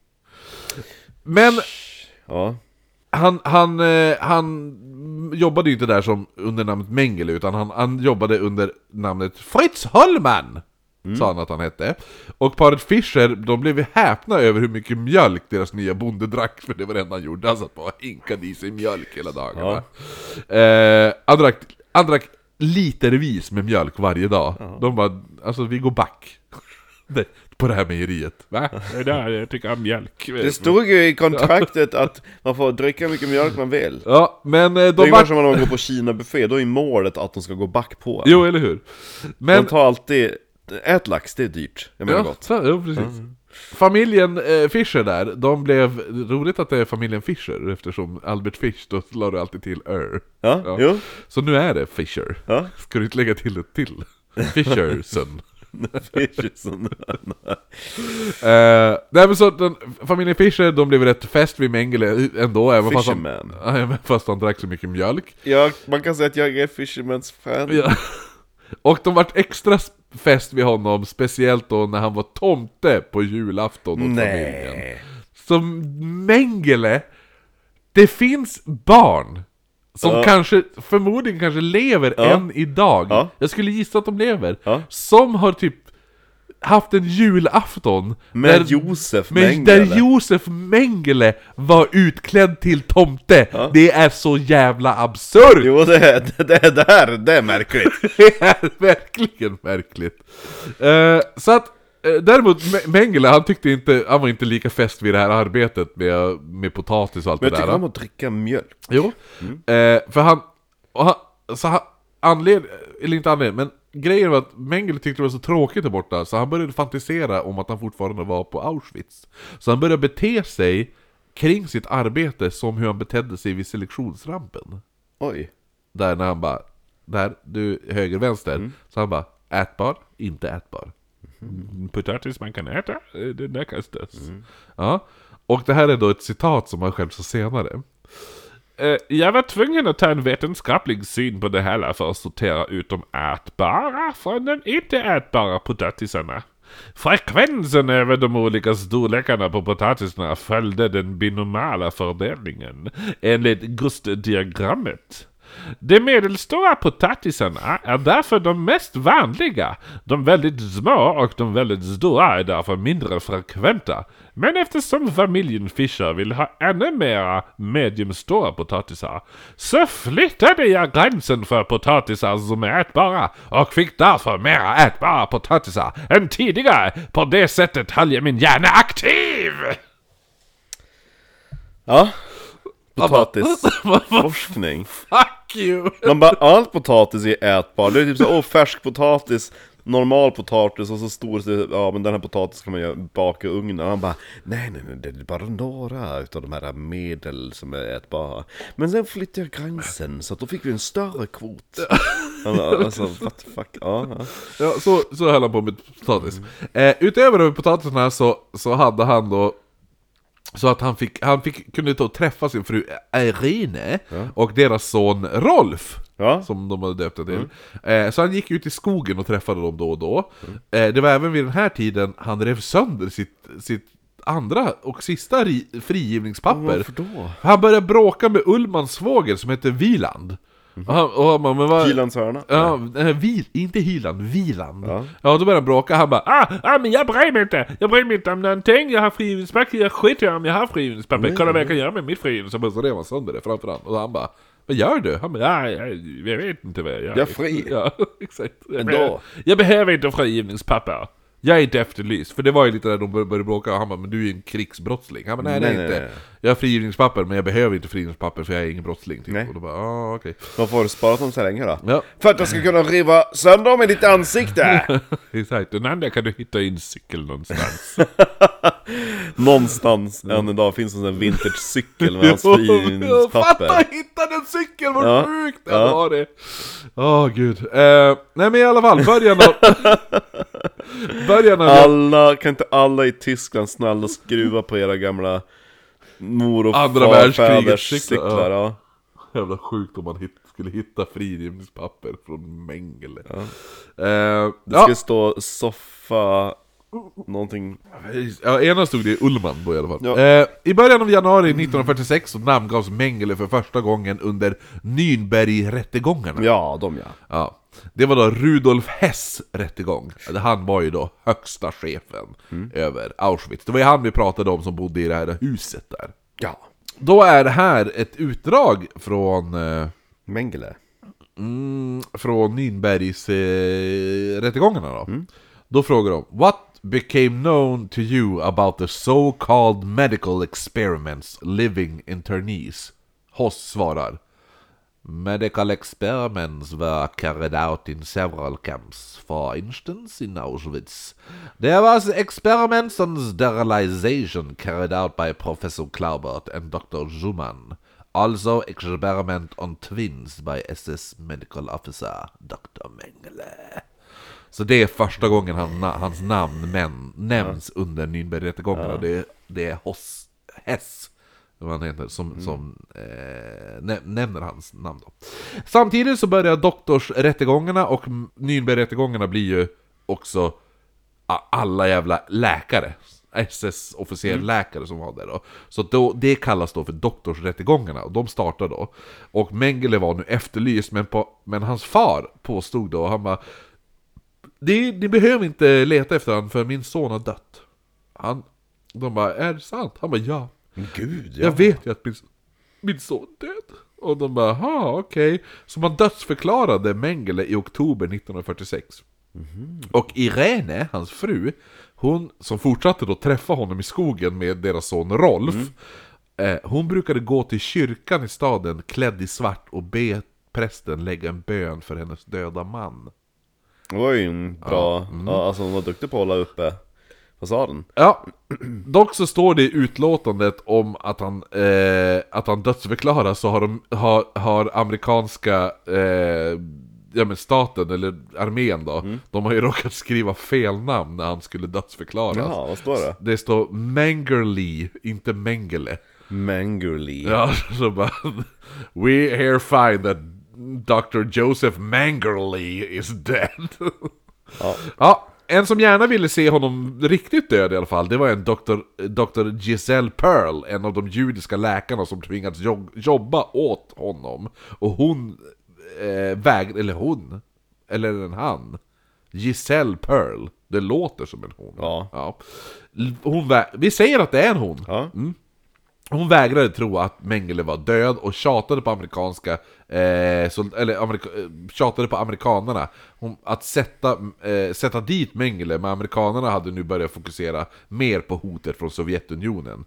Speaker 3: Men
Speaker 2: Ja,
Speaker 3: han, han, eh, han jobbade ju inte där som under namnet Mengele, utan han, han jobbade under namnet Fritz Hollman!
Speaker 2: Mm.
Speaker 3: Sa han att han hette. Och paret Fischer, de blev ju häpna över hur mycket mjölk deras nya bonde drack, för det var det enda han gjorde. Han satt bara och hinkade i sig mjölk hela dagarna. Eh, han, drack, han drack litervis med mjölk varje dag. De bara, alltså vi går back. Nej, På det här mejeriet. Va?
Speaker 1: Det där jag tycker jag om mjölk.
Speaker 2: det stod ju i kontraktet att man får dricka hur mycket mjölk man vill
Speaker 3: Ja, men eh,
Speaker 2: Det är
Speaker 3: de
Speaker 2: ungefär
Speaker 3: back...
Speaker 2: som när man går på Kina-buffé, då är målet att de ska gå back på en.
Speaker 3: Jo, eller hur? Men
Speaker 2: De tar alltid, ät lax, det är dyrt. Jag menar
Speaker 3: Ja,
Speaker 2: gott. Mm.
Speaker 3: så- ja precis. Familjen eh, Fischer där, de blev... Roligt att det är familjen Fischer eftersom Albert Fish, då la du alltid till er.
Speaker 2: Ja,
Speaker 3: Ja.
Speaker 2: jo.
Speaker 3: Så nu är det Fischer.
Speaker 2: Ja.
Speaker 3: Ska du inte lägga till ett till? Fischerson.
Speaker 2: Fischerson.
Speaker 3: Eh, nej men så den, familjen Fischer, de blev rätt fäst vid Mengele ändå, även fast han,
Speaker 2: Fisherman.
Speaker 3: Ja, även fast han drack så mycket mjölk.
Speaker 2: Jag, man kan säga att jag är Fishermans fan.
Speaker 3: Ja. Och de vart extra s- fäst vid honom, speciellt då när han var tomte på julafton åt familjen.
Speaker 2: Nej.
Speaker 3: som Mengele, det finns barn som
Speaker 2: Ja.
Speaker 3: kanske, förmodligen kanske lever
Speaker 2: Ja.
Speaker 3: än idag.
Speaker 2: Ja.
Speaker 3: Jag skulle gissa att de lever.
Speaker 2: Ja.
Speaker 3: Som har typ haft en julafton
Speaker 2: Med
Speaker 3: där-
Speaker 2: Josef
Speaker 3: men
Speaker 2: Mengele.
Speaker 3: där Josef Mengele var utklädd till tomte. Det är så jävla absurt!
Speaker 2: Jo, det är det, är- det här, det är märkligt.
Speaker 3: Det är verkligen märkligt. Eh, så att, eh, däremot Me- Mengele, han tyckte inte, han var inte lika fäst vid det här arbetet med, med potatis och allt
Speaker 2: Men jag
Speaker 3: det där.
Speaker 2: tycker om att dricka mjölk.
Speaker 3: Jo, eh, för han, och han, så han, anled, eller inte anledning, men grejen var att Mengele tyckte det var så tråkigt där borta, så han började fantisera om att han fortfarande var på Auschwitz. Så han började bete sig kring sitt arbete som hur han betedde sig vid selektionsrampen.
Speaker 2: Oj.
Speaker 3: Där när han bara, där, du höger, vänster. Så han bara, ätbar, inte ätbar.
Speaker 1: Potatis man kan äta, eh, den där kastas.
Speaker 3: Ja. Och det här är då ett citat som han själv sa senare.
Speaker 1: Eh, jag var tvungen att ta en vetenskaplig syn på det hela för att sortera ut de ätbara från de inte ätbara potatisarna. Frekvensen över de olika storlekarna på potatisarna följde den binomala fördelningen enligt GUST-diagrammet. De medelstora potatisarna är därför de mest vanliga. De väldigt små och de väldigt stora är därför mindre frekventa. Men eftersom familjen Fischer vill ha ännu mera mediumstora potatisar så flyttade jag gränsen för potatisar som är ätbara och fick därför mera ätbara potatisar än tidigare. På det sättet höll jag min hjärna aktiv!
Speaker 2: Ja. Potatisforskning.
Speaker 1: Fuck you!
Speaker 2: Man bara, all potatis är ätbar. Det är typ så, åh färsk potatis, normal potatis och så stor, så, ja men den här potatisen kan man ju baka i ugnen. Han bara, nej nej nej, det är bara några utav de här medel som är ätbara. Men sen flyttade jag gränsen, så att då fick vi en större kvot. Han bara, alltså, what the fuck, ja. ja.
Speaker 3: Ja, så, så höll han på med potatis. Eh, utöver de potatisarna så, så hade han då så att han, fick, han fick, kunde då träffa sin fru Irene och deras son Rolf,
Speaker 2: Ja.
Speaker 3: som de hade döpt det till. Eh, så han gick ut i skogen och träffade dem då och då. Eh, det var även vid den här tiden han rev sönder sitt, sitt andra och sista ri, frigivningspapper.
Speaker 2: Varför då?
Speaker 3: Han började bråka med Ullmans svåger som heter Viland. Och han, och han bara, men vad...
Speaker 2: Kilans hörna.
Speaker 3: Ja, nej, vi, inte Hyland, Viland. Ja.
Speaker 2: Ja.
Speaker 3: då började han bråka, han bara
Speaker 1: Ah, ah, men jag bryr mig inte! Jag bryr mig inte om någonting, jag har frigivningspapper, jag skiter i om jag har frigivningspapper, kolla vad jag kan göra med mitt frigivningspapper.
Speaker 3: Så bara så rev han sönder det framför honom, och han bara Vad gör du? Han
Speaker 1: Ja,
Speaker 3: bara,
Speaker 1: men jag, jag, jag vet inte vad jag gör.
Speaker 2: Jag är fri.
Speaker 1: Ja, exakt. Jag,
Speaker 2: Ändå.
Speaker 1: behöver- jag behöver inte frigivningspapper.
Speaker 3: jag är inte efterlyst, för det var ju lite där de bör- började bråka, och han bara Men du är ju en krigsbrottsling Han bara, nej, nej,
Speaker 2: Nej,
Speaker 3: inte
Speaker 2: nej, nej.
Speaker 3: Jag har frigivningspapper, men jag behöver inte frigivningspapper för jag är ingen brottsling typ.
Speaker 2: Nej.
Speaker 3: Och då bara, ah, okej
Speaker 2: Varför har du sparat dem så länge då?
Speaker 3: Ja,
Speaker 2: För att jag ska kunna riva sönder dem i ditt ansikte!
Speaker 1: Exakt. Den andra kan du hitta i en cykel någonstans.
Speaker 2: Någonstans än idag finns en sån här vintage-cykel med hans
Speaker 3: jag
Speaker 2: frigivningspapper.
Speaker 3: fattar! Hittade en cykel, vad
Speaker 2: Ja.
Speaker 3: sjukt!
Speaker 2: Ja.
Speaker 3: Ja. det Åh gud, eh, nej men i alla fall, början av... början av...
Speaker 2: Alla, kan inte alla i Tyskland snälla skruva på era gamla mor och
Speaker 3: Andra världskrigets
Speaker 2: farfäders
Speaker 3: cyklar,
Speaker 2: cyklar? Ja.
Speaker 3: Jävla sjukt om man hit, skulle hitta frigivningspapper från Mengele. Ja. Eh,
Speaker 2: Det
Speaker 3: ja,
Speaker 2: ska stå soffa, någonting.
Speaker 3: ja, ena stod det i Ullman då i alla fall.
Speaker 2: Ja.
Speaker 3: Eh, I början av januari 1946 så namngavs Mengele för första gången under Nürnbergrättegångarna.
Speaker 2: Ja, de ja.
Speaker 3: Ja. Det var då Rudolf Hess rättegång. Han var ju då högsta chefen
Speaker 2: Mm.
Speaker 3: över Auschwitz. Det var ju han vi pratade om som bodde i det här huset där.
Speaker 2: Ja.
Speaker 3: Då är det här ett utdrag från eh,
Speaker 2: Mengele.
Speaker 3: Mm, från Nürnbergs eh, rättegångarna då. Då frågar de What became known to you about the so called medical experiments living internees? Hoss svarar Medical experiments were carried out in several camps, for instance in Auschwitz. There was experiments on sterilization carried out by Professor Claubert and Dr. Schumann. Also experiment on twins by SS medical officer Dr. Mengele. Så det är första gången han, na, hans namn men, nämns under Nürnbergrättegångarna. och Det, det är Hoss, Hess, vad han heter, som, som eh, nä, nämner hans namn. Då. Samtidigt så börjar doktorsrättegångarna och M- Nürnbergrättegångarna blir ju också a- alla jävla läkare. SS-officerläkare som var där då. Så då, det kallas då för doktorsrättegångarna och de startar då. Och Mengele var nu efterlyst men, på, men hans far påstod då, han bara ni, ni behöver inte leta efter honom för min son har dött. Han, de bara, är det sant? Han bara, ja.
Speaker 2: Gud
Speaker 3: Jag vet ju att min, min son är död. Och de bara, ha okej. Så man dödsförklarade Mengele i oktober 1946. Och Irene, hans fru, hon som fortsatte då träffa honom i skogen med deras son Rolf. Eh, hon brukade gå till kyrkan i staden klädd i svart och be prästen lägga en bön för hennes döda man.
Speaker 2: Det var ju en bra, ja, alltså hon var duktig på att hålla uppe fasaden.
Speaker 3: Ja, dock så står det i utlåtandet om att han, eh, att han dödsförklaras så har, de, har, har amerikanska eh, ja, men staten, eller armén då, de har ju råkat skriva fel namn när han skulle dödsförklaras.
Speaker 2: Jaha, vad står det?
Speaker 3: Det står Mangerly, inte Mengele.
Speaker 2: Mengele.
Speaker 3: Ja, så bara... We here find that Dr. Joseph Mangerly is dead.
Speaker 2: Ja.
Speaker 3: Ja, en som gärna ville se honom riktigt död i alla fall, det var en Dr. Dr. Giselle Pearl, en av de judiska läkarna som tvingats jog- jobba åt honom. Och hon eh, vägrade, eller hon, eller en han. Giselle Pearl, det låter som en hon.
Speaker 2: Ja.
Speaker 3: L- Hon vä- Vi säger att det är en hon.
Speaker 2: Ja.
Speaker 3: Hon vägrade tro att Mengele var död och tjatade på amerikanska eh, sol- eller amerika, eh, tjatade på amerikanerna Hon, Att sätta, eh, sätta dit Mengele, men amerikanerna hade nu börjat fokusera mer på hotet från Sovjetunionen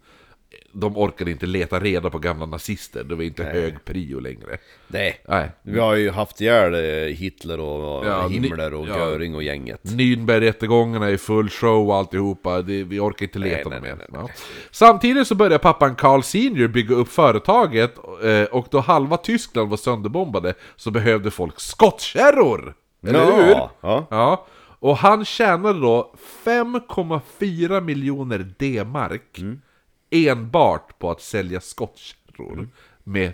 Speaker 3: De orkade inte leta reda på gamla nazister, det var inte hög prio längre
Speaker 2: Nej.
Speaker 3: Nej,
Speaker 2: Vi har ju haft ihjäl eh, Hitler och och
Speaker 3: Ja,
Speaker 2: Himmler och
Speaker 3: ni- ja.
Speaker 2: Göring och gänget.
Speaker 3: Nürnbergrättegångarna är full show och alltihopa, det, vi orkar inte leta
Speaker 2: nej,
Speaker 3: dem mer.
Speaker 2: nej,
Speaker 3: Ja. Samtidigt så började pappan Carl Senior bygga upp företaget eh, och då halva Tyskland var sönderbombade så behövde folk skottkärror! Eller hur?
Speaker 2: Ja. ja.
Speaker 3: Ja. Och han tjänade då 5,4 miljoner D-mark
Speaker 2: Mm.
Speaker 3: enbart på att sälja skottkärror
Speaker 2: Mm.
Speaker 3: med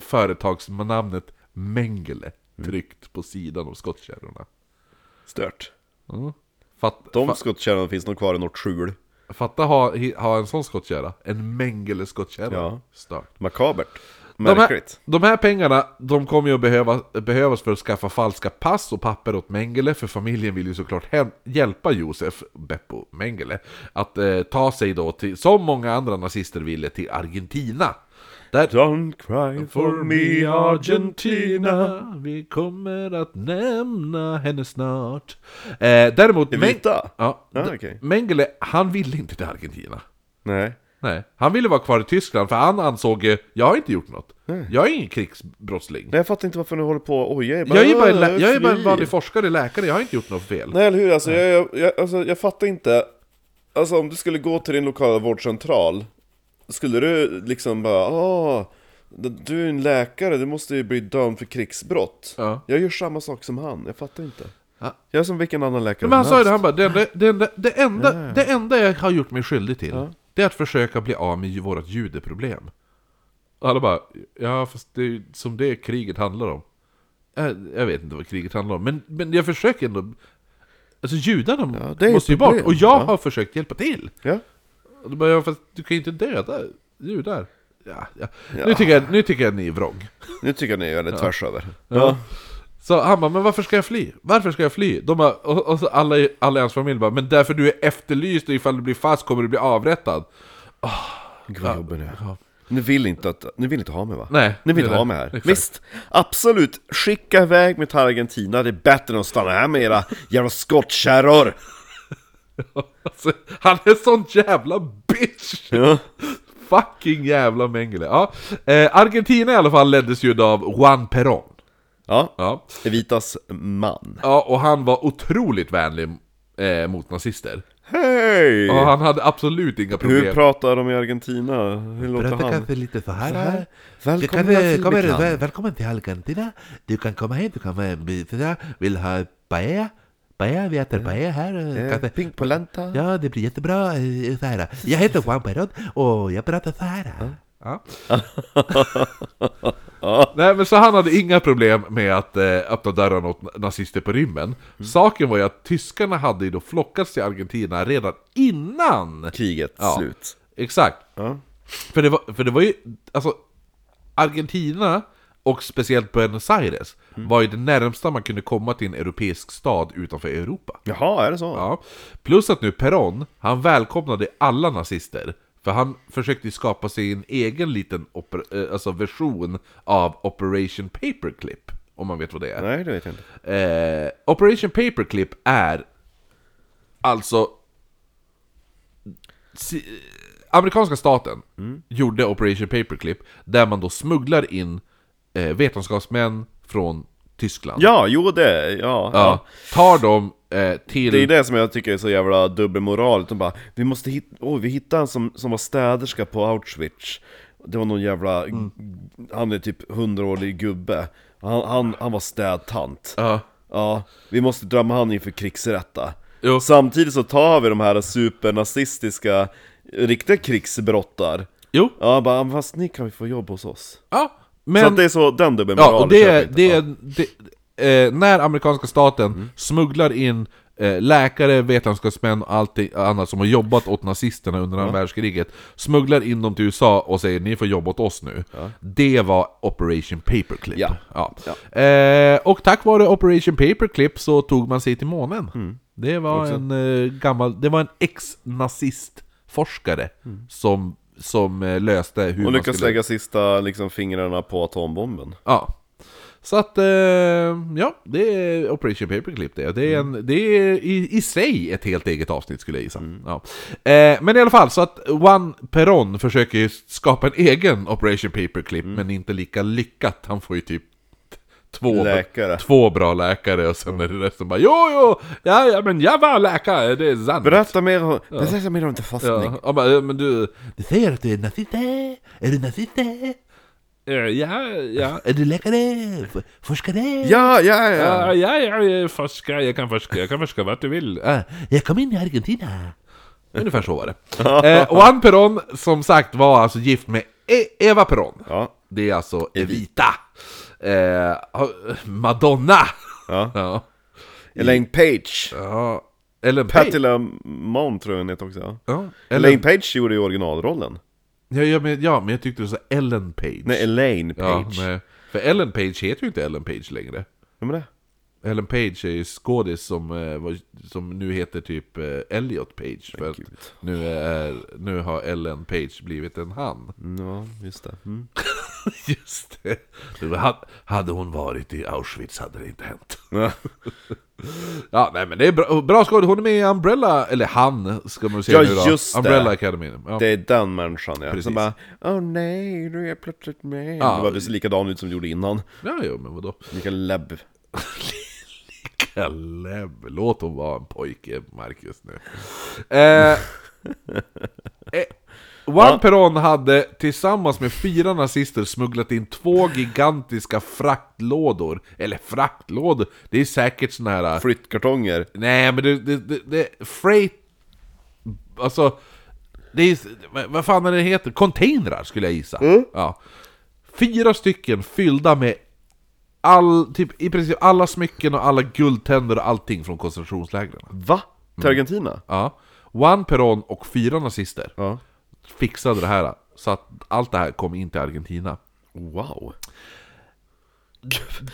Speaker 3: företagsnamnet Mengele
Speaker 2: Mm.
Speaker 3: tryckt på sidan av skottkärrorna.
Speaker 2: Stört.
Speaker 3: Fatt,
Speaker 2: De
Speaker 3: fa-
Speaker 2: skottkärrorna finns nog kvar i något skjul.
Speaker 3: Fatta ha, hi- ha en sån skottkärra, en Mengele skottkärra.
Speaker 2: Ja.
Speaker 3: Stört.
Speaker 2: Makabert.
Speaker 3: De här,
Speaker 2: Märkligt.
Speaker 3: de här pengarna, de kommer ju att behöva, behövas för att skaffa falska pass och papper åt Mengele, för familjen vill ju såklart hem, hjälpa Josef, Beppo Mengele, att eh, ta sig då till, som många andra nazister ville, till Argentina. Där,
Speaker 2: Don't cry for me Argentina.
Speaker 3: vi kommer att nämna henne snart. Eh, däremot...
Speaker 2: Det
Speaker 3: Meng-
Speaker 2: vita?
Speaker 3: Ja,
Speaker 2: Ah,
Speaker 3: d-
Speaker 2: okej.
Speaker 3: Mengele, han ville inte till Argentina.
Speaker 2: Nej.
Speaker 3: Nej, han ville vara kvar i Tyskland för han ansåg ju, jag har inte gjort något. Jag är ingen krigsbrottsling.
Speaker 2: Nej, jag fattar inte varför ni håller på och ojar er.
Speaker 3: Jag är bara, en lä-
Speaker 2: "Åh,
Speaker 3: jag är bara en
Speaker 2: fly."
Speaker 3: vanlig forskare, läkare, jag har inte gjort något fel.
Speaker 2: Nej eller hur, alltså, jag, jag, jag, alltså, jag fattar inte Alltså om du skulle gå till din lokala vårdcentral Skulle du liksom bara Åh, d- du är en läkare, du måste ju bli dömd för krigsbrott
Speaker 3: Ja.
Speaker 2: Jag gör samma sak som han, jag fattar inte
Speaker 3: Ja.
Speaker 2: Jag är som vilken annan läkare
Speaker 3: Men han
Speaker 2: som
Speaker 3: sa ju det,
Speaker 2: helst.
Speaker 3: han bara, det enda, det, enda, det, enda, det enda jag har gjort mig skyldig till, det är att försöka bli av med ju- vårat judeproblem. Och alla bara, ja fast det är ju som det kriget handlar om. Jag, jag vet inte vad kriget handlar om, men, men jag försöker ändå. Alltså judarna
Speaker 2: Ja, det är ju
Speaker 3: måste ju
Speaker 2: ett
Speaker 3: bort,
Speaker 2: problem.
Speaker 3: och jag
Speaker 2: Ja.
Speaker 3: har försökt hjälpa till.
Speaker 2: Ja,
Speaker 3: Och då bara, ja, fast du kan ju inte döda judar. Ja, ja. Nu, tycker jag, nu tycker jag ni är vrång.
Speaker 2: nu tycker jag ni gör det tvärs över
Speaker 3: Ja. Så han bara, men varför ska jag fly? Varför ska jag fly? De bara, och, och så alla, i- alla i hans familj bara, men därför du är efterlyst och ifall du blir fast kommer du bli avrättad. Ah,
Speaker 2: Gud vad jobbig ni är. Ni vill, inte att, ni vill inte ha mig va?
Speaker 3: Nej,
Speaker 2: Ni vill
Speaker 3: det
Speaker 2: inte
Speaker 3: är
Speaker 2: ha
Speaker 3: det.
Speaker 2: mig här?
Speaker 3: Exakt.
Speaker 2: Visst, absolut! Skicka iväg mig till Argentina, det är bättre än att stanna här med era jävla skottkärror!
Speaker 3: Alltså, han är sån jävla bitch!
Speaker 2: Ja.
Speaker 3: Fucking jävla Mengele. Ja. Eh, Argentina i alla fall leddes ju av Juan Perón.
Speaker 2: Ja,
Speaker 3: Ja.
Speaker 2: Evitas man.
Speaker 3: ja, och han var otroligt vänlig eh, mot nazister.
Speaker 2: Hej!
Speaker 3: Och han hade absolut inga problem.
Speaker 2: Hur pratar de i Argentina? Hur låter han?
Speaker 6: lite så här.
Speaker 2: Så
Speaker 6: här.
Speaker 2: här.
Speaker 6: Du
Speaker 2: Välkomna
Speaker 6: kan,
Speaker 2: till
Speaker 6: kommer,
Speaker 2: mitt land.
Speaker 6: väl, välkommen till Argentina. Du kan komma hit, du kan vara en bit där. Vill ha paella? Paella, vi äter paella här. eh,
Speaker 2: Eh,
Speaker 6: kaffe.
Speaker 2: Pink polenta.
Speaker 6: Ja, det blir jättebra. eh, Så här. Jag heter Juan Perón och jag pratar så här.
Speaker 3: Ja. Nej men så han hade inga problem med att eh, öppna dörrarna åt na- nazister på rymmen. Saken var ju att tyskarna hade ju då flockats till Argentina redan innan.
Speaker 2: Kriget,
Speaker 3: Ja.
Speaker 2: slut.
Speaker 3: Exakt.
Speaker 2: Ja.
Speaker 3: För, det var, för det var ju, alltså Argentina och speciellt Buenos Aires var ju det närmsta man kunde komma till en europeisk stad utanför Europa.
Speaker 2: Jaha, är det så?
Speaker 3: Ja. Plus att nu Peron, han välkomnade alla nazister. För han försökte ju skapa sig en egen liten oper- eh, alltså version av Operation Paperclip. Om man vet vad det är.
Speaker 2: Nej, det vet jag inte.
Speaker 3: Eh, Operation Paperclip är alltså... Si, amerikanska staten gjorde Operation Paperclip där man då smugglar in eh, vetenskapsmän från Tyskland.
Speaker 2: Ja, jo det, ja. ja.
Speaker 3: Ja, tar dem eh, till...
Speaker 2: Det är det som jag tycker är så jävla dubbelmoral. De bara, vi måste hitta, oj vi hittade en som, som var städerska på Auschwitz. Det var någon jävla,
Speaker 3: Mm.
Speaker 2: han är typ hundraårig gubbe. Han, han, han var städtant.
Speaker 3: Ja.
Speaker 2: Ja, vi måste döma han inför krigsrätta.
Speaker 3: Jo.
Speaker 2: Samtidigt så tar vi de här supernazistiska, riktiga krigsbrottar.
Speaker 3: Jo,
Speaker 2: Ja, bara, "Men fast ni kan ju få jobb hos oss.
Speaker 3: ja.
Speaker 2: så att
Speaker 3: Men,
Speaker 2: det är så, den dubbelmoralen
Speaker 3: ja, och det,
Speaker 2: köper
Speaker 3: är-
Speaker 2: jag inte. Ja.
Speaker 3: det,
Speaker 2: Mm.
Speaker 3: är- det eh, när amerikanska staten smugglar in eh, läkare, vetenskapsmän och allt annat som har jobbat åt nazisterna under andra världskriget smugglar in dem till USA och säger ni får jobba åt oss nu. Det var Operation Paperclip.
Speaker 2: Ja.
Speaker 3: Ja. Eh, och tack vare Operation Paperclip så tog man sig till månen.
Speaker 2: Mm.
Speaker 3: Det, var en, eh, gammal, det var en ex-nazistforskare som, som eh, löste hur
Speaker 2: Mm. Och
Speaker 3: man
Speaker 2: lyckas
Speaker 3: skulle...
Speaker 2: lägga sista liksom, fingrarna på atombomben.
Speaker 3: Ja. Så att, eh, ja, det är Operation Paperclip det. Det är, en, det är i, i sig ett helt eget avsnitt skulle jag gissa. Ja. Eh, men i alla fall, så att Juan Peron försöker ju skapa en egen Operation Paperclip, men inte lika lyckat. Han får ju typ t- två,
Speaker 2: Läkare.
Speaker 3: två bra läkare och sen är det resten bara Jo, jo, ja, ja, men jag var läkare, det är sant.
Speaker 2: Berätta mer om, berätta mer om förfastning.
Speaker 3: ja, och bara, "Ja, men du, eh?
Speaker 6: Du säger att du är nazist. Är du nazist?
Speaker 1: Eh, ja, ja.
Speaker 6: Är du läkare? F- Forskare?
Speaker 2: Ja, ja, ja!
Speaker 1: Ja, ja, jag är forskare, jag kan forska, jag kan forska vad du vill.
Speaker 6: Ah, Jag kom in i Argentina.
Speaker 3: ungefär så var det. eh, Juan Peron, som sagt, var alltså gift med E- Eva Peron.
Speaker 2: ja.
Speaker 3: Det är alltså Evita. Eh, Madonna.
Speaker 2: Ja.
Speaker 3: ja.
Speaker 2: Elaine Page.
Speaker 3: ja. Ellen
Speaker 2: Patti
Speaker 3: Page.
Speaker 2: LaMonde tror jag hon heter också.
Speaker 3: Ja.
Speaker 2: Elaine
Speaker 3: Ellen,
Speaker 2: Page gjorde ju originalrollen.
Speaker 3: ja, ja, men, ja, men jag tyckte du sa Ellen Page.
Speaker 2: Nej, Elaine
Speaker 3: ja,
Speaker 2: Page.
Speaker 3: nej. För Ellen Page heter ju inte Ellen Page längre.
Speaker 2: Vem är det?
Speaker 3: Ellen Page är ju skådis som, eh, var- som nu heter typ eh, Elliot Page. För att nu, är, nu har Ellen Page blivit en han.
Speaker 2: Ja, just det. Mm.
Speaker 3: Just det. det var, han- hade hon varit i Auschwitz hade det inte hänt.
Speaker 2: Ja.
Speaker 3: Ja, nej men det är bra, bra skådespelare. Hon är med i Umbrella, eller han ska man säga
Speaker 2: Ja,
Speaker 3: nu då.
Speaker 2: just det.
Speaker 3: Umbrella Academy. Ja.
Speaker 2: Det är den människan ja.
Speaker 3: Precis.
Speaker 2: Som bara Åh nej, du är plötsligt med.
Speaker 3: Ja.
Speaker 2: Det var precis likadan ut som du gjorde innan.
Speaker 3: ja, jo men vadå?
Speaker 2: Lika läbb.
Speaker 3: Kalle, låt hon vara en pojke, Marcus nu. Eh, eh, Juan Perón hade tillsammans med fyra nazister smugglat in två gigantiska fraktlådor. Eller fraktlådor, det är säkert såna här... eh,
Speaker 2: Flyttkartonger.
Speaker 3: Nej men det, det, det, det freight... Alltså... Det är, vad- vad fan är det heter? Containrar skulle jag gissa.
Speaker 2: Mm.
Speaker 3: Ja. Fyra stycken fyllda med all, typ, i princip alla smycken och alla guldtänder och allting från koncentrationslägren.
Speaker 2: Va? Till
Speaker 3: Mm.
Speaker 2: Argentina?
Speaker 3: Ja. Juan Perón och fyra nazister
Speaker 2: Ja.
Speaker 3: fixade det här så att allt det här kom in till Argentina.
Speaker 2: Wow.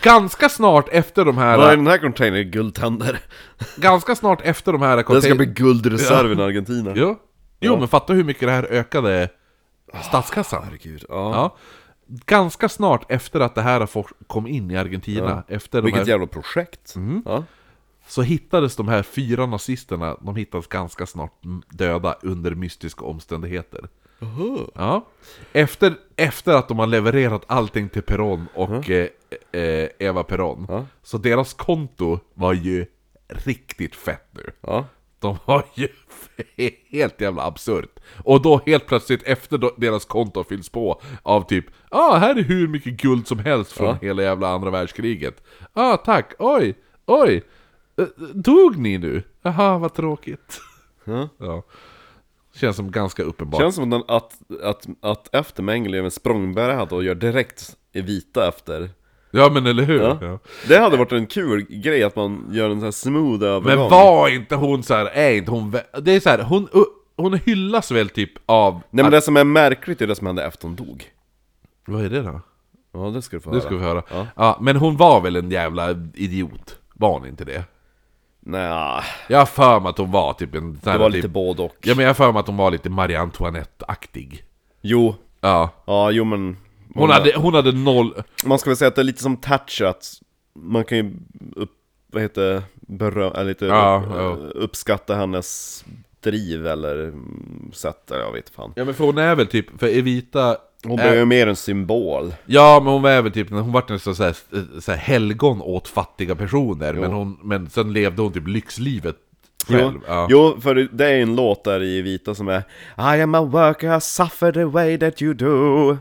Speaker 3: Ganska snart efter de här...
Speaker 2: Vad är den här containern? Guldtänder.
Speaker 3: Ganska snart efter de här...
Speaker 2: Den ska
Speaker 3: contain-
Speaker 2: bli guldreserven i Argentina.
Speaker 3: Ja. Jo, men fatta hur mycket det här ökade statskassan.
Speaker 2: Herregud. Ja.
Speaker 3: Ja. Ganska snart efter att det här for- kom in i Argentina, efter de
Speaker 2: Vilket
Speaker 3: här, Mm.
Speaker 2: jävla projekt. Ja.
Speaker 3: så hittades de här fyra nazisterna, de hittades ganska snart m- döda under mystiska omständigheter. Ja. Efter, efter att de har levererat allting till Peron och eh, eh, Eva Peron, så deras konto var ju riktigt fett nu.
Speaker 2: Ja.
Speaker 3: De var ju helt jävla absurt. Och då helt plötsligt efter då deras konto har fyllts på av typ Ja, ah, här är hur mycket guld som helst från hela jävla andra världskriget. Ja, ah, tack. Oj, oj. Eh, Dog ni nu? Jaha, vad tråkigt. Ja. Känns som ganska uppenbart.
Speaker 2: Känns som den att, att, att efter Mengele gör en språngbräda och gör direkt Evita efter.
Speaker 3: Ja, men eller hur?
Speaker 2: Ja.
Speaker 3: Ja.
Speaker 2: Det hade varit en kul grej att man gör en sån här smooth övergång.
Speaker 3: Men var inte hon så här, är inte hon... vä- Det är så här, hon, hon hyllas väl typ av...
Speaker 2: Nej men det som är märkligt är det som hände efter hon dog.
Speaker 3: Vad är det då?
Speaker 2: Ja det ska du få
Speaker 3: Det
Speaker 2: höra.
Speaker 3: ska vi få höra. Ja.
Speaker 2: Ja.
Speaker 3: men hon var väl en jävla idiot? Var hon inte det?
Speaker 2: Nja,
Speaker 3: Jag har för mig att hon var typ en... sån här
Speaker 2: det var
Speaker 3: typ,
Speaker 2: lite både och.
Speaker 3: Ja men jag har för mig att hon var lite Marie Antoinette-aktig.
Speaker 2: Jo,
Speaker 3: Ja.
Speaker 2: ja jo men...
Speaker 3: Hon hade, hon hade noll...
Speaker 2: Man ska väl säga att det är lite som Thatcher att man kan ju upp, vad heter beröm, eller lite
Speaker 3: Ja,
Speaker 2: upp,
Speaker 3: ja.
Speaker 2: uppskatta hennes driv eller mm, sätt, eller jag vet fan.
Speaker 3: Ja men för hon är väl typ, för Evita...
Speaker 2: Hon
Speaker 3: är-
Speaker 2: blev ju mer en symbol.
Speaker 3: Ja men hon var väl typ, hon vart nästan såhär, såhär helgon åt fattiga personer. Men, hon, men sen levde hon typ lyxlivet själv.
Speaker 2: Jo,
Speaker 3: Ja.
Speaker 2: jo, för det är en låt där i Vita som är I am a worker, I suffer the way that you do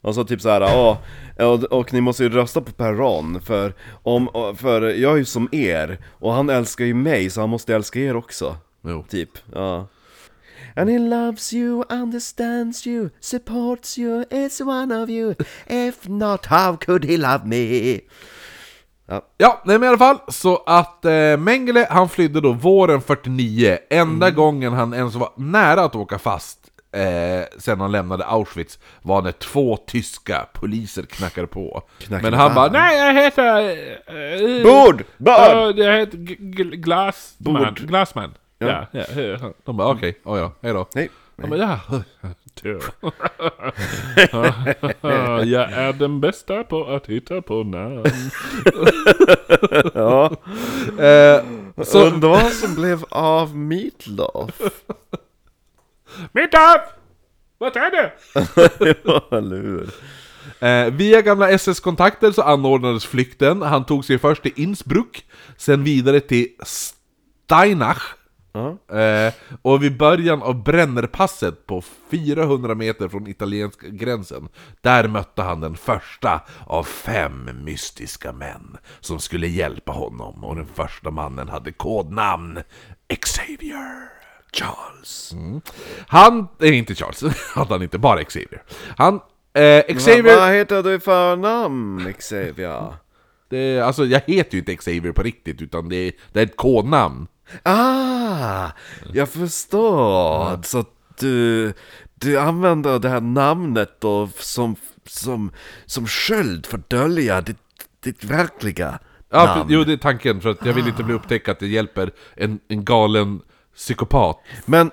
Speaker 2: Och så typ så här, ja, och, och ni måste ju rösta på Perron för, om, för jag är ju som er och han älskar ju mig så han måste älska er också
Speaker 3: Jo.
Speaker 2: Typ, ja And he loves you, understands you, supports you, is one of you If not, how could he love me? Ja.
Speaker 3: Ja, nej men i alla fall, så att eh, Mengele han flydde då våren 49, enda gången han ens var nära att åka fast eh, sen han lämnade Auschwitz var när två tyska poliser knackade på.
Speaker 2: Knackade
Speaker 3: men han
Speaker 2: på.
Speaker 3: bara nej!
Speaker 1: Nej, jag heter... eh, eh,
Speaker 2: Bord! Bör!
Speaker 1: Ja, jag heter G- G- Glassman.
Speaker 2: Bord.
Speaker 1: Glassman.
Speaker 2: Ja.
Speaker 1: Ja, ja, ja, ja.
Speaker 3: De bara okej, okay, ja, hejdå.
Speaker 2: Nej.
Speaker 1: Ja, men ja. Tur. jag är den bästa på att hitta på namn.
Speaker 2: Ja.
Speaker 3: Eh,
Speaker 2: Så... Undrar vad som blev av Meatloaf?
Speaker 1: Mitt upp! Vad är det?
Speaker 2: ja, eller hur?
Speaker 3: Eh, via gamla SS-kontakter så anordnades flykten. Han tog sig först till Innsbruck, sen vidare till Steinach. Eh, och vid början av Brennerpasset på 400 meter från italienska gränsen, där mötte han den första av fem mystiska män som skulle hjälpa honom. Och den första mannen hade kodnamn Xavier. Charles. Mm. Han, nej inte Charles, hade han inte, bara Xavier. Han, eh, Xavier...
Speaker 2: Vad heter du i förnamn, Xavier?
Speaker 3: Det, alltså jag heter ju inte Xavier på riktigt utan det, är- det är ett kodnamn.
Speaker 2: Ah, jag förstår. Så att du, du använder det här namnet då som, som, som sköld för att dölja ditt, ditt verkliga
Speaker 3: Ja,
Speaker 2: namn. Ah.
Speaker 3: för, jo det är tanken för att jag vill inte bli upptäckt att det hjälper en, en galen psykopat.
Speaker 2: Men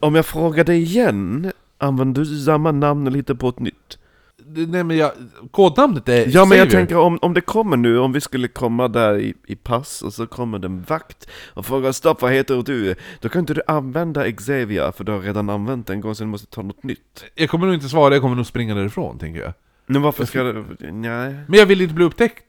Speaker 2: om jag frågar dig igen, använder du samma namn lite på ett nytt?
Speaker 3: Det- Nej men jag, kodnamnet är
Speaker 2: Ja, men jag
Speaker 3: Xavier.
Speaker 2: tänker om, om det kommer nu, om vi skulle komma där i, i pass och så kommer det en vakt och frågar stopp, vad heter du? Då kan inte du använda Xavier, för du har redan använt det en gång, så du måste ta något nytt.
Speaker 3: Jag kommer nog inte svara, jag kommer nog springa därifrån tänker jag.
Speaker 2: Men varför ska du... Nej.
Speaker 3: Men jag vill inte bli upptäckt.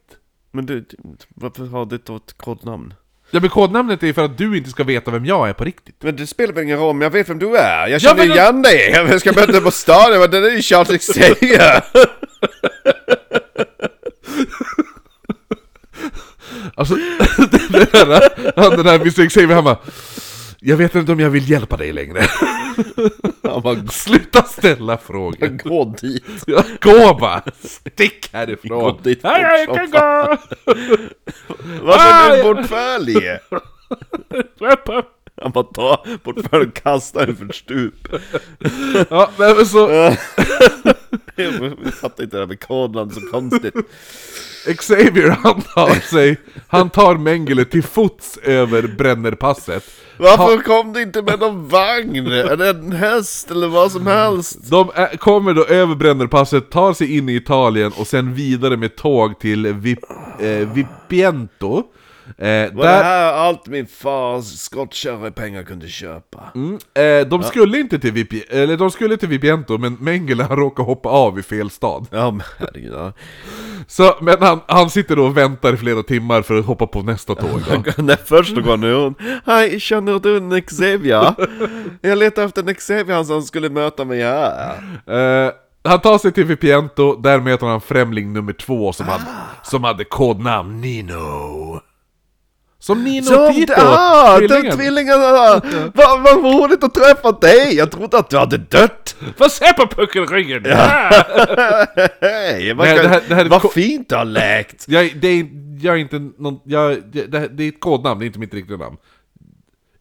Speaker 2: Men du, varför har du då ett kodnamn?
Speaker 3: Ja men kodnamnet är för att du inte ska veta vem jag är på riktigt.
Speaker 2: Men det spelar väl ingen roll, men jag vet vem du är! Jag
Speaker 3: Ja,
Speaker 2: känner
Speaker 3: men-
Speaker 2: igen dig! Jag ska möta dig på stan, jag bara, det är ju Charles Xavier!
Speaker 3: Alltså, den där, han den där Mr Xavier han bara Jag vet inte om jag vill hjälpa dig längre. Han bara, sluta ställa frågor.
Speaker 2: Gå dit!
Speaker 3: Jag går bara! Stick
Speaker 2: Gå
Speaker 3: härifrån!
Speaker 2: dit
Speaker 1: Hej, jag
Speaker 2: fort
Speaker 1: kan
Speaker 2: som fan.
Speaker 1: gå!
Speaker 2: Varför är du
Speaker 1: Ah,
Speaker 2: en portfölj?
Speaker 1: Upp, upp.
Speaker 2: Han bara tar portföljen och kastar den för ett stup.
Speaker 3: Ja, nej, men så
Speaker 2: Jag fattar inte det här med kodnamn, så konstigt.
Speaker 3: Xavier han tar sig, han tar Mengele till fots över Brännerpasset.
Speaker 2: Varför kom du inte med någon vagn? Eller en häst eller vad som helst?
Speaker 3: De är, kommer då över Brännerpasset, tar sig in i Italien och sen vidare med tåg till Vip, eh, Vipiento. Eh,
Speaker 2: Var det
Speaker 3: där,
Speaker 2: här allt min fars skottkärrepengar kunde köpa?
Speaker 3: eh, de skulle inte till Vipi, eller de skulle till Vipiento men Mengele han råkar hoppa av i fel stad.
Speaker 2: Ja men herregud. ja.
Speaker 3: Så, men han, han sitter då och väntar i flera timmar för att hoppa på nästa tåg. då.
Speaker 2: När först då går nu hon Hej, känner du en Xavier? Jag letar efter en Xavier som skulle möta mig här
Speaker 3: Eh, han tar sig till Vipiento, där möter han främling nummer två
Speaker 2: Ah.
Speaker 3: som, hade, som hade kodnamn Nino. Som Nino
Speaker 2: Som
Speaker 3: Tito,
Speaker 2: det, ah, tvillingen!
Speaker 3: tvillingen.
Speaker 2: tvillingarna! Vad vad roligt att träffa dig! Jag trodde att du hade dött!
Speaker 1: Få se på puckelryggen! Ah! Ja.
Speaker 2: Hej, vad,
Speaker 3: Nej,
Speaker 2: kan,
Speaker 3: det här- det här är ko-
Speaker 2: vad fint du har läkt!
Speaker 3: jag, det är, jag är inte någon, jag, det, det- det är ett kodnamn, det är inte mitt riktiga namn.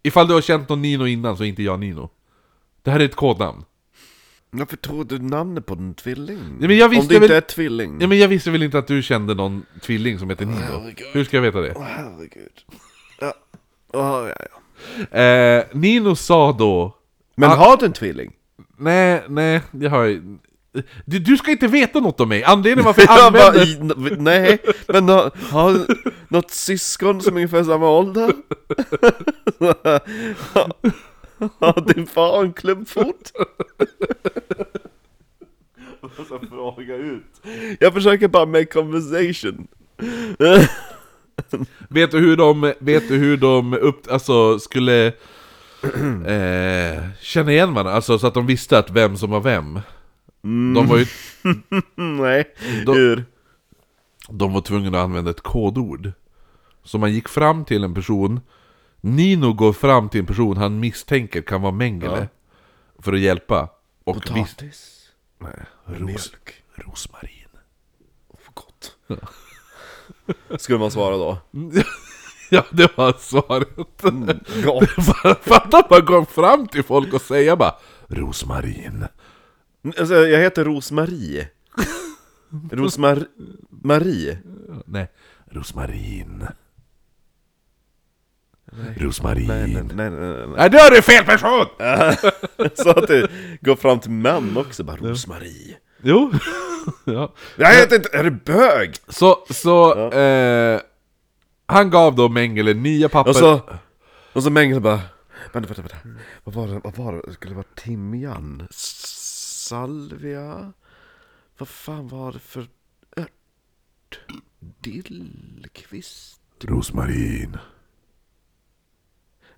Speaker 3: Ifall du har känt någon Nino innan så är inte jag Nino. Det här är ett kodnamn.
Speaker 2: Varför tror du namnet på en tvilling?
Speaker 3: Ja, men jag
Speaker 2: Om
Speaker 3: visste
Speaker 2: det inte
Speaker 3: väl-
Speaker 2: är tvilling?
Speaker 3: Ja, men jag visste väl inte att du kände någon tvilling som heter Nino?
Speaker 2: herregud.
Speaker 3: Hur ska jag veta det?
Speaker 2: Åh, herregud. Ja. Åh, ja, ja.
Speaker 3: Eh, Nino sa då...
Speaker 2: Men
Speaker 3: Ah.
Speaker 2: har du en tvilling?
Speaker 3: Nej, nej, jag har du, du ska inte veta något om mig! Anledningen varför jag
Speaker 2: Jag bara,
Speaker 3: använder...
Speaker 2: i, nej, men har, har du något syskon som är ungefär samma ålder? Har din far en klubbfot?
Speaker 4: Så fråga ut.
Speaker 2: Jag försöker bara make conversation.
Speaker 3: Vet du hur de, vet du hur de upp, alltså, skulle eh, känna igen varandra? Alltså så att de visste att vem som var vem.
Speaker 2: Mm.
Speaker 3: De, var ju,
Speaker 2: Nej,
Speaker 3: Då-
Speaker 2: hur?
Speaker 3: de var tvungna att använda ett kodord. Så man gick fram till en person, Nino går fram till en person han misstänker kan vara Mengele. För att hjälpa. Och vis-
Speaker 2: Potatis? Nej, mjölk.
Speaker 3: rosmarin.
Speaker 2: Gott. Skulle man svara då.
Speaker 3: Ja, det var svaret.
Speaker 2: Mm, gap.
Speaker 3: Fatta att man kom fram till folk och säga bara Rosmarin.
Speaker 2: Alltså, jag heter Rosmarie. Rosmar... Marie?
Speaker 3: Nej, rosmarin.
Speaker 2: Nej, nej,
Speaker 3: Rosmarin.
Speaker 2: nej, nej, nej.
Speaker 3: Nej, då är du fel person!
Speaker 2: Så att det går fram till män också, bara Rosmarie.
Speaker 3: Jo. ja.
Speaker 2: Jag heter inte... Är det bög?
Speaker 3: Så, så, eh, han gav då Mengele nya papper.
Speaker 2: Och så... Och så Mengele bara... Vänta, vänta, vänta.
Speaker 3: Mm.
Speaker 2: Vad var det? Vad var det? Skulle det vara timjan? S- Salvia? Vad fan var det för ört? Dillkvist?
Speaker 3: Rosmarin.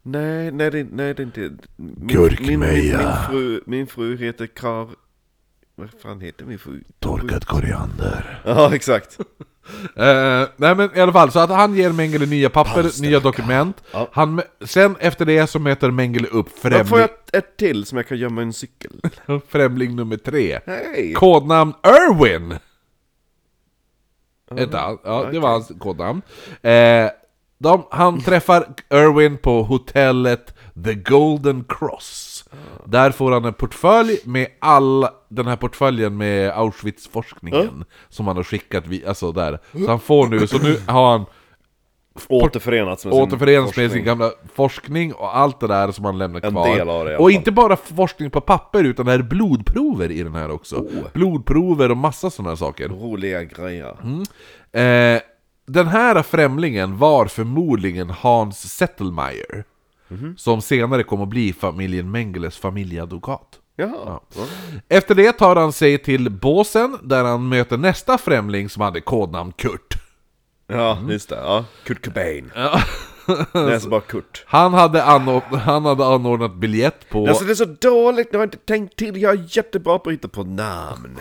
Speaker 2: Nej, nej, det, nej, det är inte... Min,
Speaker 3: Gurkmeja.
Speaker 2: Min, min, min, fru, min fru heter Kar... Vad fan heter min fru?
Speaker 3: Torkad koriander.
Speaker 2: Ja, exakt.
Speaker 3: Eh, nej men i alla fall, så att han ger Mengele nya papper, nya dokument.
Speaker 2: Ja.
Speaker 3: Han, sen efter det så möter Mengele upp
Speaker 2: Då får
Speaker 3: främling,
Speaker 2: jag ett- ett till som jag kan gömma i en cykel.
Speaker 3: främling nummer tre.
Speaker 2: Hej!
Speaker 3: Kodnamn Irwin! Ett an- ja, det var hans kodnamn. Eh, de, han träffar Irwin på hotellet The Golden Cross. Där får han en portfölj med all den här portföljen med Auschwitz-forskningen som han har skickat vid, alltså där. Så han får nu, så nu har han
Speaker 2: Återförenats med sin
Speaker 3: återförenas med sin
Speaker 2: forskning.
Speaker 3: gamla forskning och allt det där som han lämnar
Speaker 2: En
Speaker 3: kvar.
Speaker 2: del av det i alla
Speaker 3: och
Speaker 2: fall.
Speaker 3: inte bara forskning på papper utan det är blodprover i den här också.
Speaker 2: Oh.
Speaker 3: Blodprover och massa sådana saker.
Speaker 2: Roliga grejer.
Speaker 3: Mm. Eh, den här främlingen var förmodligen Hans Zettelmeier.
Speaker 2: Mhm.
Speaker 3: Som senare kom att bli familjen Mengeles familjeadvokat.
Speaker 2: Jaha. Ja.
Speaker 3: Efter det tar han sig till båsen där han möter nästa främling som hade kodnamn Kurt.
Speaker 2: Ja,
Speaker 3: Mm.
Speaker 2: just det. Ja. Kurt Cobain. Det är så bara Kurt.
Speaker 3: Han hade, anor- han hade anordnat biljett på...
Speaker 2: Alltså det är så dåligt, ni har inte tänkt till. Jag är jättebra på att hitta på namn.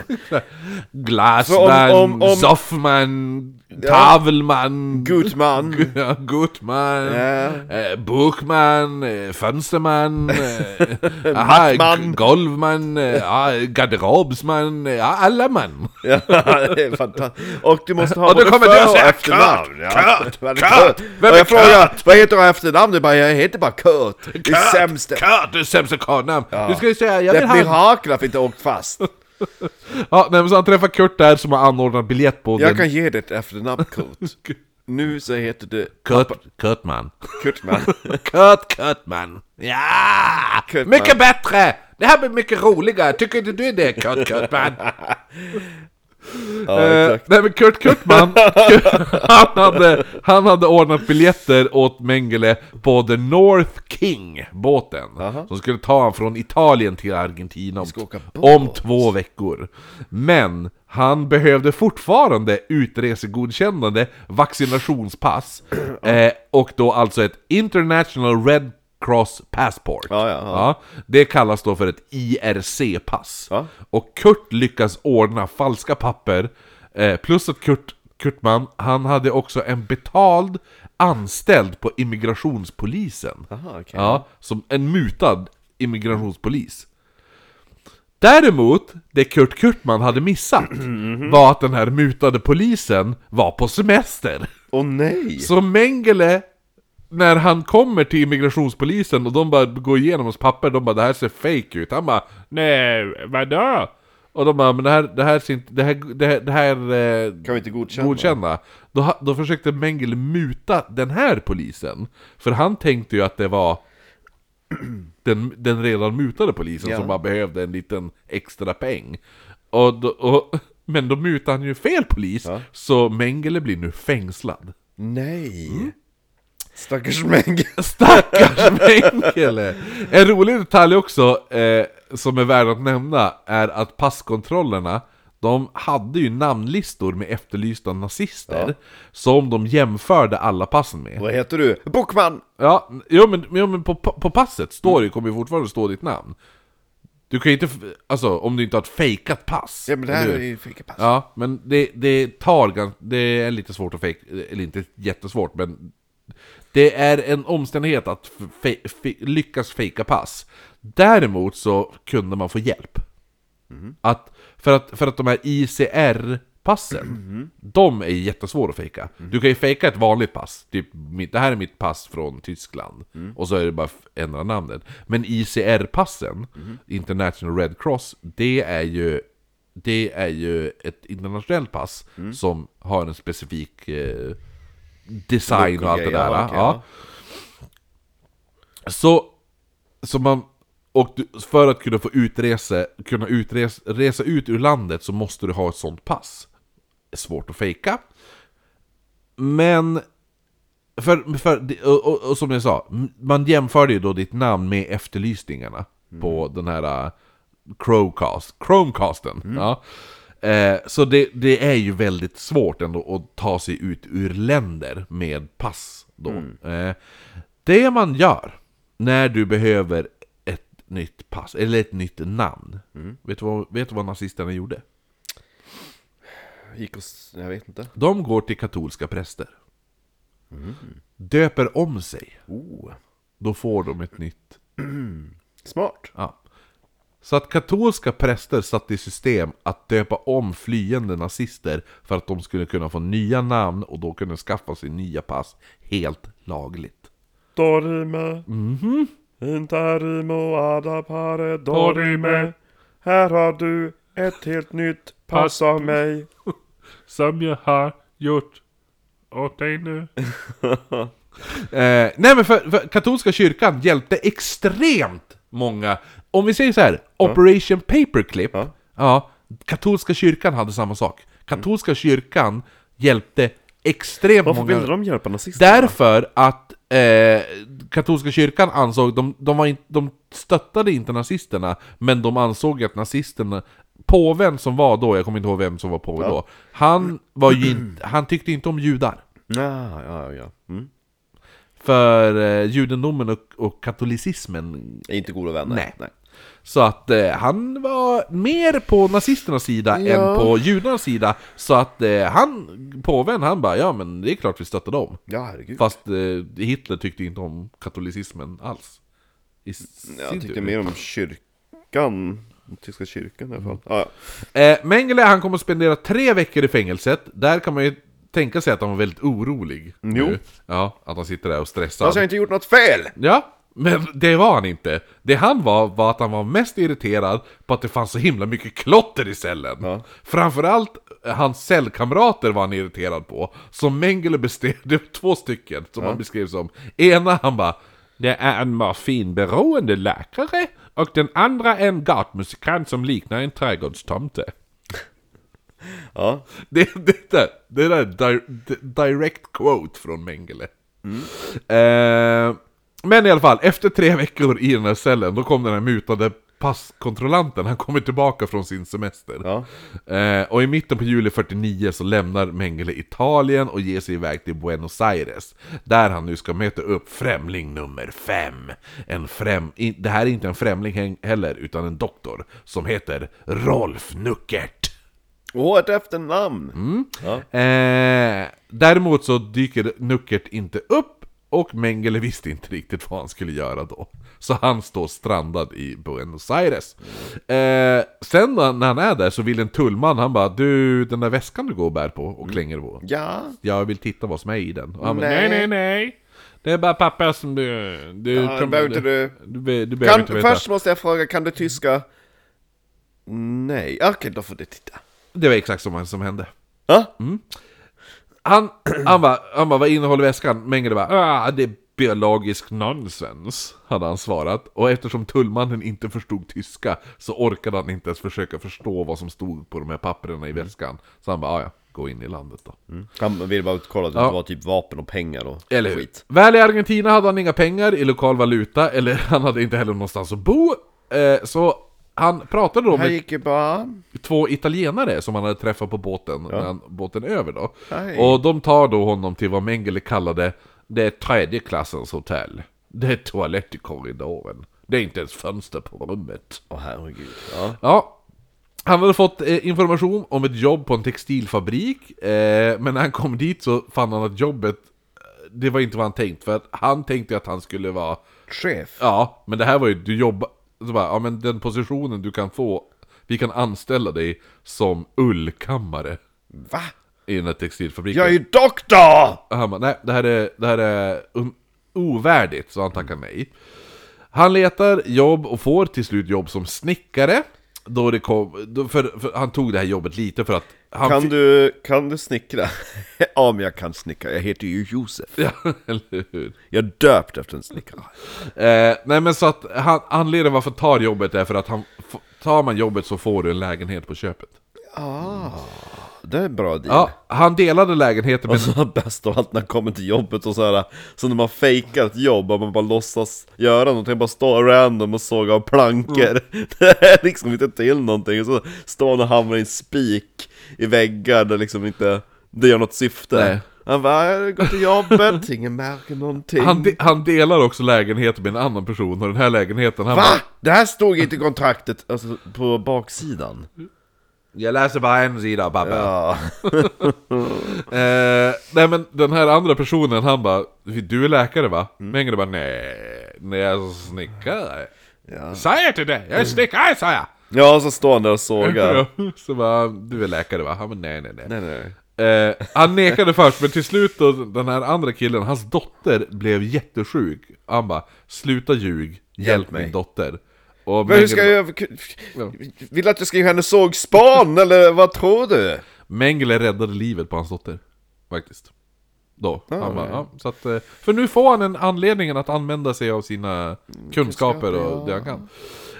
Speaker 3: Glassman,
Speaker 2: För om- om- om-
Speaker 3: Soffman, Tavelman,
Speaker 2: Gutman.
Speaker 3: ja, Gutman,
Speaker 2: Ja.
Speaker 3: eh, Burkman, eh, Fönsterman, eh, aha,
Speaker 2: Mattman.
Speaker 3: Golvman, eh, ah, Garderobsman, eh, ah, alla man.
Speaker 2: Ja, det är fantastiskt. Och du måste ha
Speaker 3: Och då
Speaker 2: både
Speaker 3: kommer du
Speaker 2: för-
Speaker 3: och säger,
Speaker 2: efternamn. Ja. Kurt! Kurt!
Speaker 3: Vem
Speaker 2: Och
Speaker 3: är
Speaker 2: jag frågar, vad heter du i efternamn? Du bara, jag heter bara Kurt. Det är sämst.
Speaker 3: Kurt, det sämsta karlnamn. Du ska ju säga, jag
Speaker 2: Det är
Speaker 3: vill
Speaker 2: ett
Speaker 3: ha...
Speaker 2: mirakel att vi inte åkt fast.
Speaker 3: Ja, nej, men så han träffar Kurt där som har anordnat biljett på den.
Speaker 2: Jag kan ge dig ett efternamn, Kurt. Nu så heter du
Speaker 3: Kurt, Kurtman. Eh,
Speaker 2: Kurtman.
Speaker 3: Kurt Kurtman. Ja!
Speaker 2: Kurtman.
Speaker 3: Mycket bättre! Det här blir mycket roligare. Tycker inte du det, Kurt Kurtman?
Speaker 2: Ja,
Speaker 3: Eh,
Speaker 2: exakt.
Speaker 3: nej men Kurt Kurtman, han hade, han hade ordnat biljetter åt Mengele på The North King, båten. Som skulle ta honom från Italien till Argentina om,
Speaker 2: åka
Speaker 3: om två veckor. Men han behövde fortfarande utresegodkännande, vaccinationspass eh, och då alltså ett International Red Cross Passport.
Speaker 2: Ja, ja, ja.
Speaker 3: Ja, det kallas då för ett IRC-pass.
Speaker 2: Ja.
Speaker 3: Och Kurt lyckas ordna falska papper, eh, plus att Kurt, Kurtman, han hade också en betald anställd på immigrationspolisen.
Speaker 2: Aha, okej.
Speaker 3: Ja, som en mutad immigrationspolis. Däremot, det Kurt Kurtman hade missat
Speaker 2: Mhm.
Speaker 3: var att den här mutade polisen var på semester.
Speaker 2: Åh nej!
Speaker 3: Så Mengele, när han kommer till immigrationspolisen och de bara går igenom hans papper, de bara det här ser fake ut. Han bara nej, vadå? Och de bara men det här, det här ser inte, det här, det här, det här eh,
Speaker 2: Kan vi inte godkänna?
Speaker 3: godkänna. Då, ha- då försökte Mengele muta den här polisen. För han tänkte ju att det var den, den redan mutade polisen
Speaker 2: Ja.
Speaker 3: som bara behövde en liten extra peng. Och då, och, men då mutade han ju fel polis, så Mengele blir nu fängslad.
Speaker 2: Nej! Stackars Mengele.
Speaker 3: Stackars Mengele! En rolig detalj också, eh, som är värd att nämna, är att passkontrollerna de hade ju namnlistor med efterlysta nazister som de jämförde alla passen med.
Speaker 2: Vad heter du? Bokman!
Speaker 3: Ja, jo men, jo, men på, på passet står det, kommer ju fortfarande stå ditt namn. Du kan ju inte, f- alltså om du inte har ett fejkat pass.
Speaker 2: Ja men det här
Speaker 3: eller
Speaker 2: är
Speaker 3: hur?
Speaker 2: ju fikapass.
Speaker 3: Ja, men det, det tar ganska... Det är lite svårt att fejka, eller inte jättesvårt, men... Det är en omständighet att fe, fe, lyckas fejka pass. Däremot så kunde man få hjälp. Att, för, att, för att de här ICR passen,
Speaker 2: Mhm.
Speaker 3: de är jättesvåra att fejka.
Speaker 2: Mm.
Speaker 3: Du kan ju fejka ett vanligt pass, typ mitt- det här är mitt pass från Tyskland,
Speaker 2: Mm.
Speaker 3: och så är det bara f- ändra namnet. Men ICR-passen,
Speaker 2: Mhm.
Speaker 3: International Red Cross, det är ju det är ju ett internationellt pass
Speaker 2: Mm.
Speaker 3: som har en specifik eh, design
Speaker 2: Look
Speaker 3: och
Speaker 2: och
Speaker 3: allt det
Speaker 2: grejer,
Speaker 3: där.
Speaker 2: ja, okej,
Speaker 3: ja. Så, så man, och du, för att kunna få utrese, kunna utres, resa ut ur landet så måste du ha ett sånt pass. Det är svårt att fejka. Men, för, för, och, och, och som jag sa, m- man jämförde ju då ditt namn med efterlysningarna på den här äh, Chromecast, Chromecasten. Ja. Eh, så det, det är ju väldigt svårt ändå att ta sig ut ur länder med pass då. Eh, det man gör när du behöver ett nytt pass, eller ett nytt namn. Vet, du vad, vet du vad nazisterna gjorde?
Speaker 2: Gick och... s- Jag vet inte.
Speaker 3: De går till katolska präster. Döper om sig.
Speaker 2: Oh.
Speaker 3: Då får de ett nytt
Speaker 2: Smart.
Speaker 3: Ja. Så att katolska präster satte i system att döpa om flyende nazister för att de skulle kunna få nya namn och då kunna skaffa sig nya pass helt lagligt.
Speaker 2: Dorime Mhm. Interimo adapare Dorime Här har du ett helt nytt pass av mig
Speaker 1: Som jag har gjort åt dig nu.
Speaker 3: Eh, nej men för, för katolska kyrkan hjälpte extremt många. Om vi säger så här, Operation Paperclip. Ja. katolska kyrkan hade samma sak. Katolska kyrkan hjälpte extremt
Speaker 2: Varför
Speaker 3: många...
Speaker 2: ville de hjälpa nazisterna?
Speaker 3: Därför att eh, katolska kyrkan ansåg, de, de, var in, de stöttade inte nazisterna, men de ansåg att nazisterna, påven som var då, jag kommer inte ihåg vem som var påve då, han, var ju inte, han tyckte inte om judar.
Speaker 2: Ja, ja, ja mm.
Speaker 3: För eh, judendomen och, och katolicismen
Speaker 2: Är inte goda vänner
Speaker 3: Nej. Så att eh, han var mer på nazisternas sida än på judarnas sida Så att eh, han, påven, han bara ja men det är klart vi stöttar dem
Speaker 2: Ja, herregud
Speaker 3: Fast eh, Hitler tyckte inte om katolicismen alls. I sin
Speaker 2: Jag tyckte
Speaker 3: tur.
Speaker 2: mer om kyrkan den Tyska kyrkan i alla fall ja, ja.
Speaker 3: Eh, Mengele han kommer att spendera tre veckor i fängelset. Där kan man ju tänka sig att han var väldigt orolig. Eh,
Speaker 2: Jo. Alltså,
Speaker 3: Ja, att han sitter där och stressar.
Speaker 2: Fast jag har inte gjort något fel!
Speaker 3: Ja, men det var han inte. Det han var, var att han var mest irriterad på att det fanns så himla mycket klotter i cellen.
Speaker 2: Ja.
Speaker 3: Framförallt eh, hans cellkamrater var han irriterad på. Som Mengele beskrev, det var två stycken som han beskrev som. Ena han bara
Speaker 1: Det är en morfinberoende läkare och den andra är en gatmusikant som liknar en trädgårdstomte.
Speaker 2: Ja,
Speaker 3: Det, det, där, det där är di- di- direct quote från Mengele. Eh, men i alla fall, efter tre veckor i den här cellen, då kom den här mutade passkontrollanten, han kommer tillbaka från sin semester.
Speaker 2: ja.
Speaker 3: Eh, och i mitten på juli 49 så lämnar Mengele Italien och ger sig iväg till Buenos Aires. Där han nu ska möta upp främling nummer 5. En främ... i- Det här är inte en främling he- heller, utan en doktor som heter Rolf Nuckert.
Speaker 2: Åh, ett efternamn! Ja.
Speaker 3: Eh, däremot så dyker Nuckert inte upp och Mengele visste inte riktigt vad han skulle göra då. Så han står strandad i Buenos Aires. Eh, sen då, när han är där så vill en tullman, han bara Du, den där väskan du går och bär på och klänger på.
Speaker 2: Ja,
Speaker 3: Jag vill titta vad som är i den. Och han bara,
Speaker 2: Mm.
Speaker 1: Nej,
Speaker 2: Nej.
Speaker 1: nej, nej. Det är bara papper som du... Du,
Speaker 2: Ja, det behöver inte du.
Speaker 1: Du, be- du behöver
Speaker 2: Kan,
Speaker 1: inte veta.
Speaker 2: först måste jag fråga, kan du tyska? Nej, okej då får du titta
Speaker 3: Det var exakt som, som hände.
Speaker 2: Ja,
Speaker 3: Han, han bara, han bara, vad innehåller väskan? Mengele bara, ah, det är biologisk nonsens, hade han svarat. Och eftersom tullmannen inte förstod tyska så orkade han inte ens försöka förstå vad som stod på de här papperna
Speaker 2: Mm.
Speaker 3: i väskan. Så han bara, ah, ja, gå in i landet då.
Speaker 2: Han ville bara kolla att det
Speaker 3: Ja.
Speaker 2: var typ vapen och pengar och
Speaker 3: Eller hur?
Speaker 2: skit
Speaker 3: Väl i Argentina hade han inga pengar i lokal valuta, eller han hade inte heller någonstans att bo. Eh, så han pratade då
Speaker 2: Här
Speaker 3: med
Speaker 2: gick ju bara...
Speaker 3: två italienare som han hade träffat på båten, när han, båten över då.
Speaker 2: Hej.
Speaker 3: Och de tar då honom till vad Mengele kallade det tredje klassens hotell. Det är toalett i korridoren. Det är inte ens fönster på rummet.
Speaker 2: Åh herregud, ja.
Speaker 3: Ja. Han hade fått eh, information om ett jobb på en textilfabrik, eh, men när han kom dit så fann han att jobbet, eh, det var inte vad han tänkt, för att han tänkte att han skulle vara
Speaker 2: Chef.
Speaker 3: Ja, men det här var ju, du jobbar, så bara, ja men den positionen du kan få, vi kan anställa dig som ullkammare.
Speaker 2: Va?
Speaker 3: i den här textilfabriken.
Speaker 2: Jag är ju doktor!
Speaker 3: Och han bara, nej det här är, det här är un- ovärdigt, så han tackar nej. Han letar jobb och får till slut jobb som snickare. Då det kom, då, för, för han tog det här jobbet lite för att han
Speaker 2: Kan
Speaker 3: fick-
Speaker 2: du, kan du snickra? ja, men jag kan snickra. Jag heter ju Josef.
Speaker 3: Ja, eller hur?
Speaker 2: Jag är döpt efter en snickare.
Speaker 3: Eh, nej men så att han, anledningen varför han tar jobbet är för att han, f- tar man jobbet så får du en lägenhet på köpet.
Speaker 2: Det är en bra deal.
Speaker 3: Ja, han delade lägenheten med...
Speaker 2: Och så bäst av allt när han kommer till jobbet och så här, så när man fejkar ett jobb och man bara låtsas göra någonting, bara stå random och såga av plankor. Det är liksom inte till någonting. Och så står han och hamrar i en spik i väggar där liksom inte, det gör något syfte.
Speaker 3: Nej.
Speaker 2: Han bara, "Jag går till jobbet, ingen märker någonting.
Speaker 3: Han, de, han delar också lägenheten med en annan person och den här lägenheten han
Speaker 2: Va?
Speaker 3: bara,
Speaker 2: Det här stod inte i kontraktet, alltså på baksidan.
Speaker 3: Jag läser bara en sida pappa.
Speaker 2: Ja.
Speaker 3: Eh, nej men den här andra personen han bara Du är läkare va? Mm. Mengele bara nej, nej jag är snickare
Speaker 2: Ja.
Speaker 3: Säger jag till dig, jag är snickare sa jag!
Speaker 2: Ja, och så står han där och sågar.
Speaker 3: Så bara, du är läkare va? Han bara nej nej nej,
Speaker 2: Nej, nej.
Speaker 3: Eh, han nekade först, men till slut då, den här andra killen, hans dotter blev jättesjuk. Han bara, sluta ljug, hjälp,
Speaker 2: Hjälp mig."
Speaker 3: min dotter. Och
Speaker 2: Men hur ska
Speaker 3: Mengele-
Speaker 2: jag... Vill du att jag ska ge henne sågspan, eller vad tror du?
Speaker 3: Mengele räddade livet på hans dotter. Faktiskt. Då. han bara, Ah, ja, så att, eh, för nu får han en anledningen att använda sig av sina Mm, kunskaper och det han kan.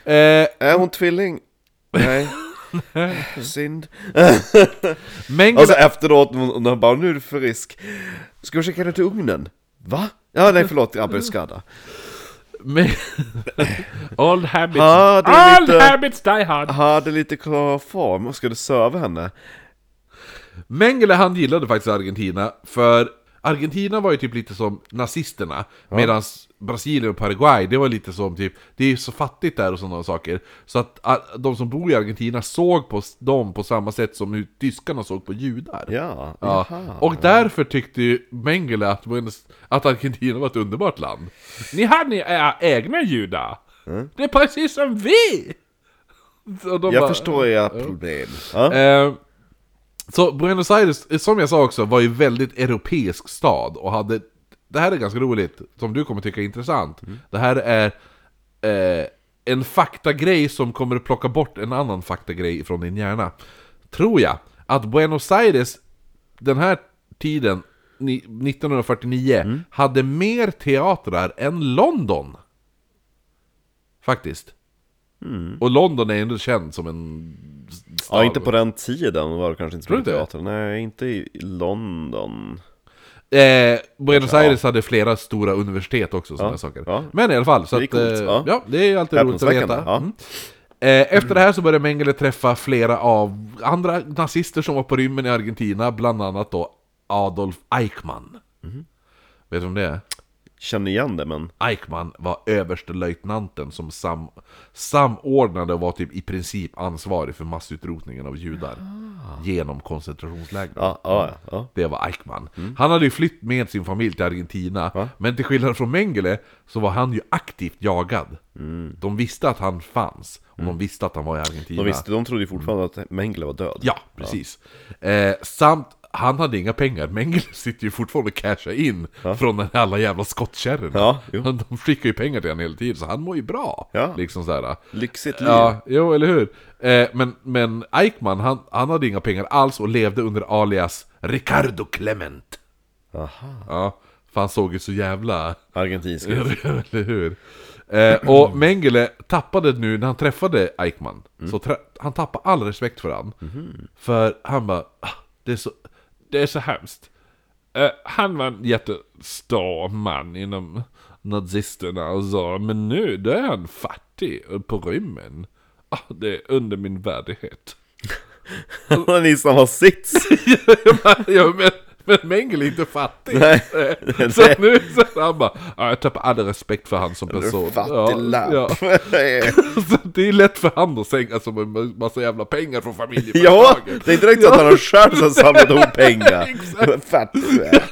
Speaker 3: Eh,
Speaker 2: Är hon tvilling? Nej. Synd.
Speaker 3: Mengele,
Speaker 2: Och
Speaker 3: Alltså-
Speaker 2: så efteråt, när han bara, nu är du för risk. Ska vi skicka henne till ugnen? Va? Ja, nej förlåt, jag blev skadad.
Speaker 3: Me-
Speaker 1: All habits,
Speaker 2: Ja, det är
Speaker 1: all
Speaker 2: lite-
Speaker 1: habits die hard.
Speaker 2: Hade lite kloroform, och ska du söva henne?
Speaker 3: Mengele han gillade faktiskt Argentina, för Argentina var ju typ lite som nazisterna, medan Brasilien och Paraguay, det var lite som typ, det är ju så fattigt där och sådana saker, så att ah, de som bor i Argentina såg på s- dem på samma sätt som hur tyskarna såg på judar.
Speaker 2: Ja,
Speaker 3: Ja. Och därför tyckte ju Mengele att, Buenos- att Argentina var ett underbart land.
Speaker 1: Ni har ni era egna judar. Det är precis som vi!
Speaker 3: Och de
Speaker 2: jag
Speaker 3: bara-
Speaker 2: förstår era problem. Ja.
Speaker 3: Eh, så Buenos Aires, eh, som jag sa också, var ju väldigt europeisk stad och hade... Det här är ganska roligt, som du kommer tycka är intressant. Det här är eh, en faktagrej som kommer att plocka bort en annan faktagrej från din hjärna. Tror jag att Buenos Aires den här tiden, ni- 1949, hade mer teatrar än London. Faktiskt. Och London är ändå känd som en stad.
Speaker 2: ja, inte på den tiden var det kanske inte så
Speaker 3: Tror du
Speaker 2: mycket
Speaker 3: inte?
Speaker 2: teater. Nej, inte i London.
Speaker 3: Eh, Buenos Aires hade flera stora universitet också, sådana
Speaker 2: Ja,
Speaker 3: saker.
Speaker 2: ja.
Speaker 3: Men i alla fall, så
Speaker 2: Det är
Speaker 3: att, eh,
Speaker 2: coolt,
Speaker 3: ja.
Speaker 2: ja.
Speaker 3: det är ju alltid roligt att
Speaker 2: Häpnadsväckande,
Speaker 3: veta.
Speaker 2: ja.
Speaker 3: Mm. Eh, efter det här så började Mengele träffa flera av andra nazister som var på rymmen i Argentina, bland annat då Adolf Eichmann.
Speaker 2: Mhm.
Speaker 3: Vet du vem det är?
Speaker 2: Känner igen det, men...
Speaker 3: Eichmann var överstelöjtnanten som sam, samordnade och var typ i princip ansvarig för massutrotningen av judar
Speaker 2: Ah.
Speaker 3: genom koncentrationslägren.
Speaker 2: Ja, ja, ja.
Speaker 3: Det var Eichmann.
Speaker 2: Mm.
Speaker 3: Han hade ju flytt med sin familj till Argentina, men till skillnad från Mengele så var han ju aktivt jagad. De visste att han fanns, och de visste att han var i Argentina.
Speaker 2: Mm. De, visste, de trodde ju fortfarande att Mengele var död.
Speaker 3: Ja, precis. Eh, samt, han hade inga pengar. Mengele sitter ju fortfarande och cashar in från den alla jävla skottkärrorna.
Speaker 2: Ja, jo.
Speaker 3: de skickar ju pengar till honom hela tiden, så han mår ju bra.
Speaker 2: Ja.
Speaker 3: Liksom sådär.
Speaker 2: Lyxigt liv.
Speaker 3: Ja, jo, eller hur? Eh, men, men Eichmann, han, han hade inga pengar alls och levde under alias Ricardo Clement.
Speaker 2: Aha.
Speaker 3: Ja, för han såg ju så jävla...
Speaker 2: Argentinska.
Speaker 3: Eller hur? Eh,
Speaker 2: Mm.
Speaker 3: och Mengele tappade nu, när han träffade Eichmann, så trä- han tappade all respekt för han.
Speaker 2: Mm-hmm.
Speaker 3: För han bara, ah, det är så...
Speaker 1: Det är så hemskt. Eh, han var en jättestor man inom nazisterna och sa men nu då är han fattig och på rymmen. Ah, det är under min värdighet.
Speaker 2: Han är i samma sits.
Speaker 3: ja, men, men Mengele är inte fattig.
Speaker 2: Nej.
Speaker 3: Så att nu så han bara, ah, jag tappar all respekt för han som person.
Speaker 2: Fattig lapp.
Speaker 3: ja. Så det är lätt för han att sänka som en massa jävla pengar från
Speaker 2: ja,
Speaker 3: familjeföretaget.
Speaker 2: det är inte direkt att han har själv som samlat ihop pengar. Vad
Speaker 3: Alltså,
Speaker 2: Fattig du är.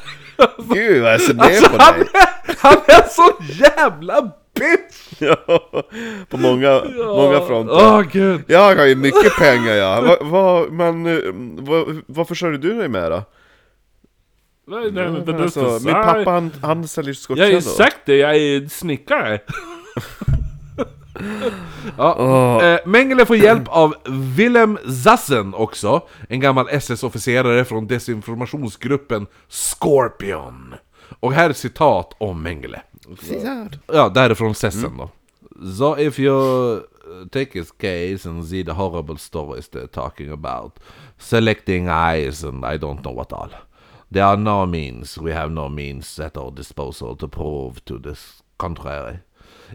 Speaker 2: Gud vad jag ser ner på dig.
Speaker 3: Han är så jävla bitch!
Speaker 2: Ja, på många, många fronter.
Speaker 5: Åh gud!
Speaker 2: Jag har ju mycket pengar jag. Va, va, men eh, vad- vad försörjer du dig med då?
Speaker 1: Nej, nej, men det är
Speaker 2: Alltså,
Speaker 1: för
Speaker 2: min pappa han, han säljer
Speaker 1: Jag har ju
Speaker 2: skottkärror.
Speaker 1: sagt det, jag är en snickare.
Speaker 3: Ja. Eh, Mengele får hjälp av Willem Zassen också, en gammal SS-officerare från desinformationsgruppen Scorpion. Och här är citat om Mengele. Ja, därifrån Sessen då. So if you uh, take his case and see the horrible stories they're talking about, selecting eyes and I don't know what all. There are no means, we have no means at our disposal to prove to the contrary.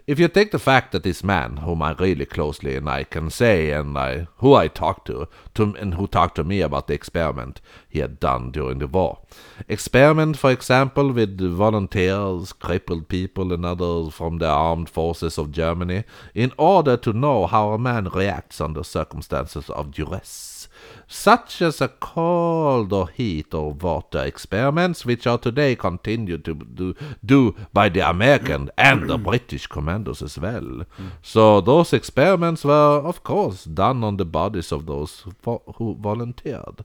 Speaker 3: If you take the fact that this man, whom I really closely and I can say and I who I talked to, to and who talked to me about the experiment he had done during the war, experiment, for example, with volunteers, crippled people, and others from the armed forces of Germany, in order to know how a man reacts under circumstances of duress such as a cold or heat or water experiments which are today continued to do, do by the American and the British commandos as well. So those experiments were of course done on the bodies of those vo- who volunteered.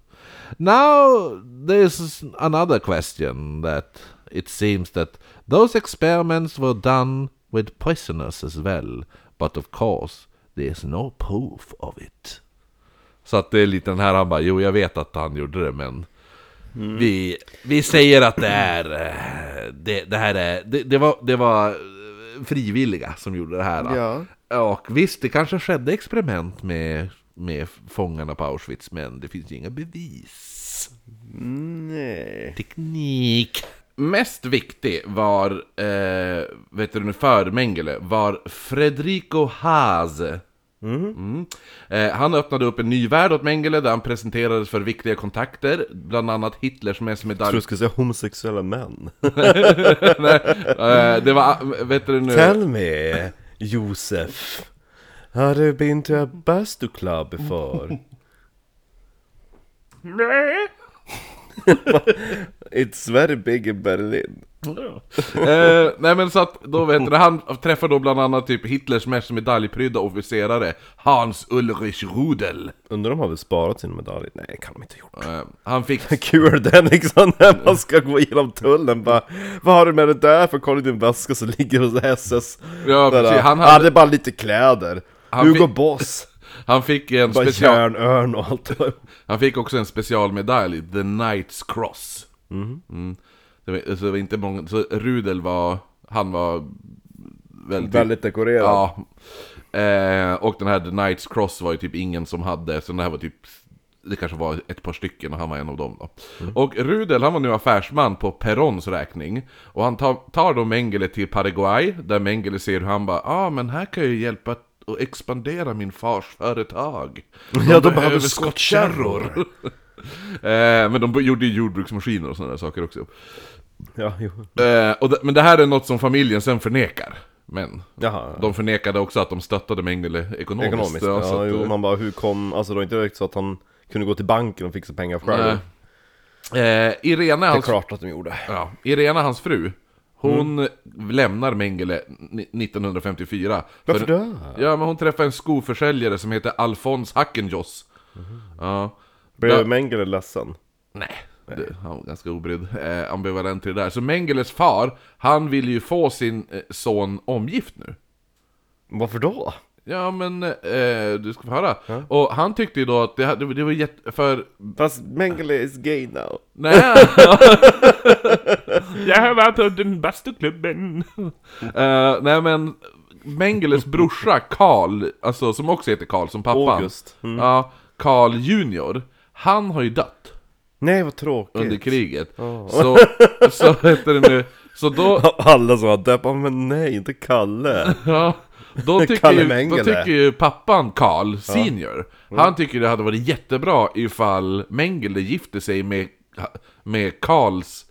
Speaker 3: Now there's another question that it seems that those experiments were done with prisoners as well, but of course there's no proof of it. Så att det är lite den här, han bara jo jag vet att han gjorde det men vi, vi säger att det är, eh, det, det här är, det, det, var, det var eh, frivilliga som gjorde det här. då. Och visst, det kanske skedde experiment med, med fångarna på Auschwitz men det finns ju inga bevis
Speaker 2: Nej.
Speaker 3: teknik. Mest viktig var, eh, vet du nu, för Mengele, var Fredrico Haase. Mm. Eh, han öppnade upp en ny värld åt Mengele där han presenterades för viktiga kontakter, bland annat Hitlers mest
Speaker 2: Jag tror
Speaker 3: medalj...
Speaker 2: du skulle säga homosexuella män.
Speaker 3: Eh, det var, vet du nu...
Speaker 2: Tell me, Josef. Har du been to a bastu club before?
Speaker 1: Nej.
Speaker 2: It's very big in Berlin.
Speaker 3: Eh, nej men så att, då vet du, han träffar då bland annat typ Hitlers mest medaljprydda officerare, Hans Ulrich Rudel.
Speaker 2: Undrar om de har väl sparat sina medaljer? Nej, kan de inte ha gjort. Mm.
Speaker 3: Eh, han fick...
Speaker 2: Kul Henriksson liksom, när man ska gå igenom tullen bara Vad har du med det där för? Kolla i din väska så ligger det hos SS
Speaker 3: Ja,
Speaker 2: Där,
Speaker 3: precis, han
Speaker 2: han
Speaker 3: hade-
Speaker 2: hade bara lite kläder
Speaker 3: Han
Speaker 2: Hugo
Speaker 3: fick-
Speaker 2: Boss
Speaker 3: Han fick en
Speaker 2: Bara
Speaker 3: special...
Speaker 2: järnörn och allt det där.
Speaker 3: Han fick också en specialmedalj, The Knight's Cross. Mm. Det var, så det var inte många, så Rudel var, han var väldigt...
Speaker 2: Väldigt dekorerad
Speaker 3: Ja. Eh, och den här The Knight's Cross var ju typ ingen som hade, så den här var typ, det kanske var ett par stycken och han var en av dem då. Och Rudel, han var nu affärsman på Perons räkning. Och han tar, tar då Mengele till Paraguay, där Mengele ser hur han bara, ja ah, men här kan jag ju hjälpa och expandera min fars företag. De
Speaker 2: Ja, de behöver skottkärror.
Speaker 3: Eh, men de bo- gjorde ju jordbruksmaskiner och sådana där saker också.
Speaker 2: ja jo.
Speaker 3: Eh, och det- men det här är något som familjen sen förnekar. Men
Speaker 2: Jaha
Speaker 3: de förnekade också att de stöttade Mengele ekonomiskt.
Speaker 2: Ekonomiskt,
Speaker 3: Ja, så
Speaker 2: ja,
Speaker 3: att,
Speaker 2: jo,
Speaker 3: eh,
Speaker 2: man bara hur kom, alltså det var inte direkt så att han kunde gå till banken och fixa pengar själv
Speaker 3: Nej. eh,
Speaker 2: Det
Speaker 3: Irena,
Speaker 2: är
Speaker 3: hans,
Speaker 2: klart att de gjorde
Speaker 3: ja, Irena, hans fru, hon lämnar Mengele ni- 1954.
Speaker 2: Mm. Varför
Speaker 3: För-
Speaker 2: då?
Speaker 3: Ja, men hon träffar en skoförsäljare som heter Alfons Hackenjoss.
Speaker 2: Mhm.
Speaker 3: Ja.
Speaker 2: Blev
Speaker 3: Ja.
Speaker 2: Mengele ledsen?
Speaker 3: Nej. Det, han var ganska obrydd, eh, ambivalent till det där. Så Mengeles far, han vill ju få sin eh, son omgift nu.
Speaker 2: Varför då?
Speaker 3: Ja men, eh, du ska få höra. Och han tyckte ju då att det, det var jätte... För...
Speaker 2: Fast Mengele is gay now
Speaker 3: Nej!
Speaker 1: Jag har varit på den bastuklubben.
Speaker 3: Eh, nej men Mengeles brorsa Karl, alltså som också heter Karl som pappan.
Speaker 2: August.
Speaker 3: Ja, Karl Junior. Han har ju dött
Speaker 2: Nej vad tråkigt
Speaker 3: under kriget. Så, så heter det nu. Så då,
Speaker 2: Alla som var där bara, men nej inte Kalle
Speaker 3: ja, då, tycker
Speaker 2: Kalle
Speaker 3: ju, då
Speaker 2: Mengele. Mm.
Speaker 3: tycker ju pappan Karl Senior. Han tycker det hade varit jättebra ifall Mengele gifte sig med, med Karls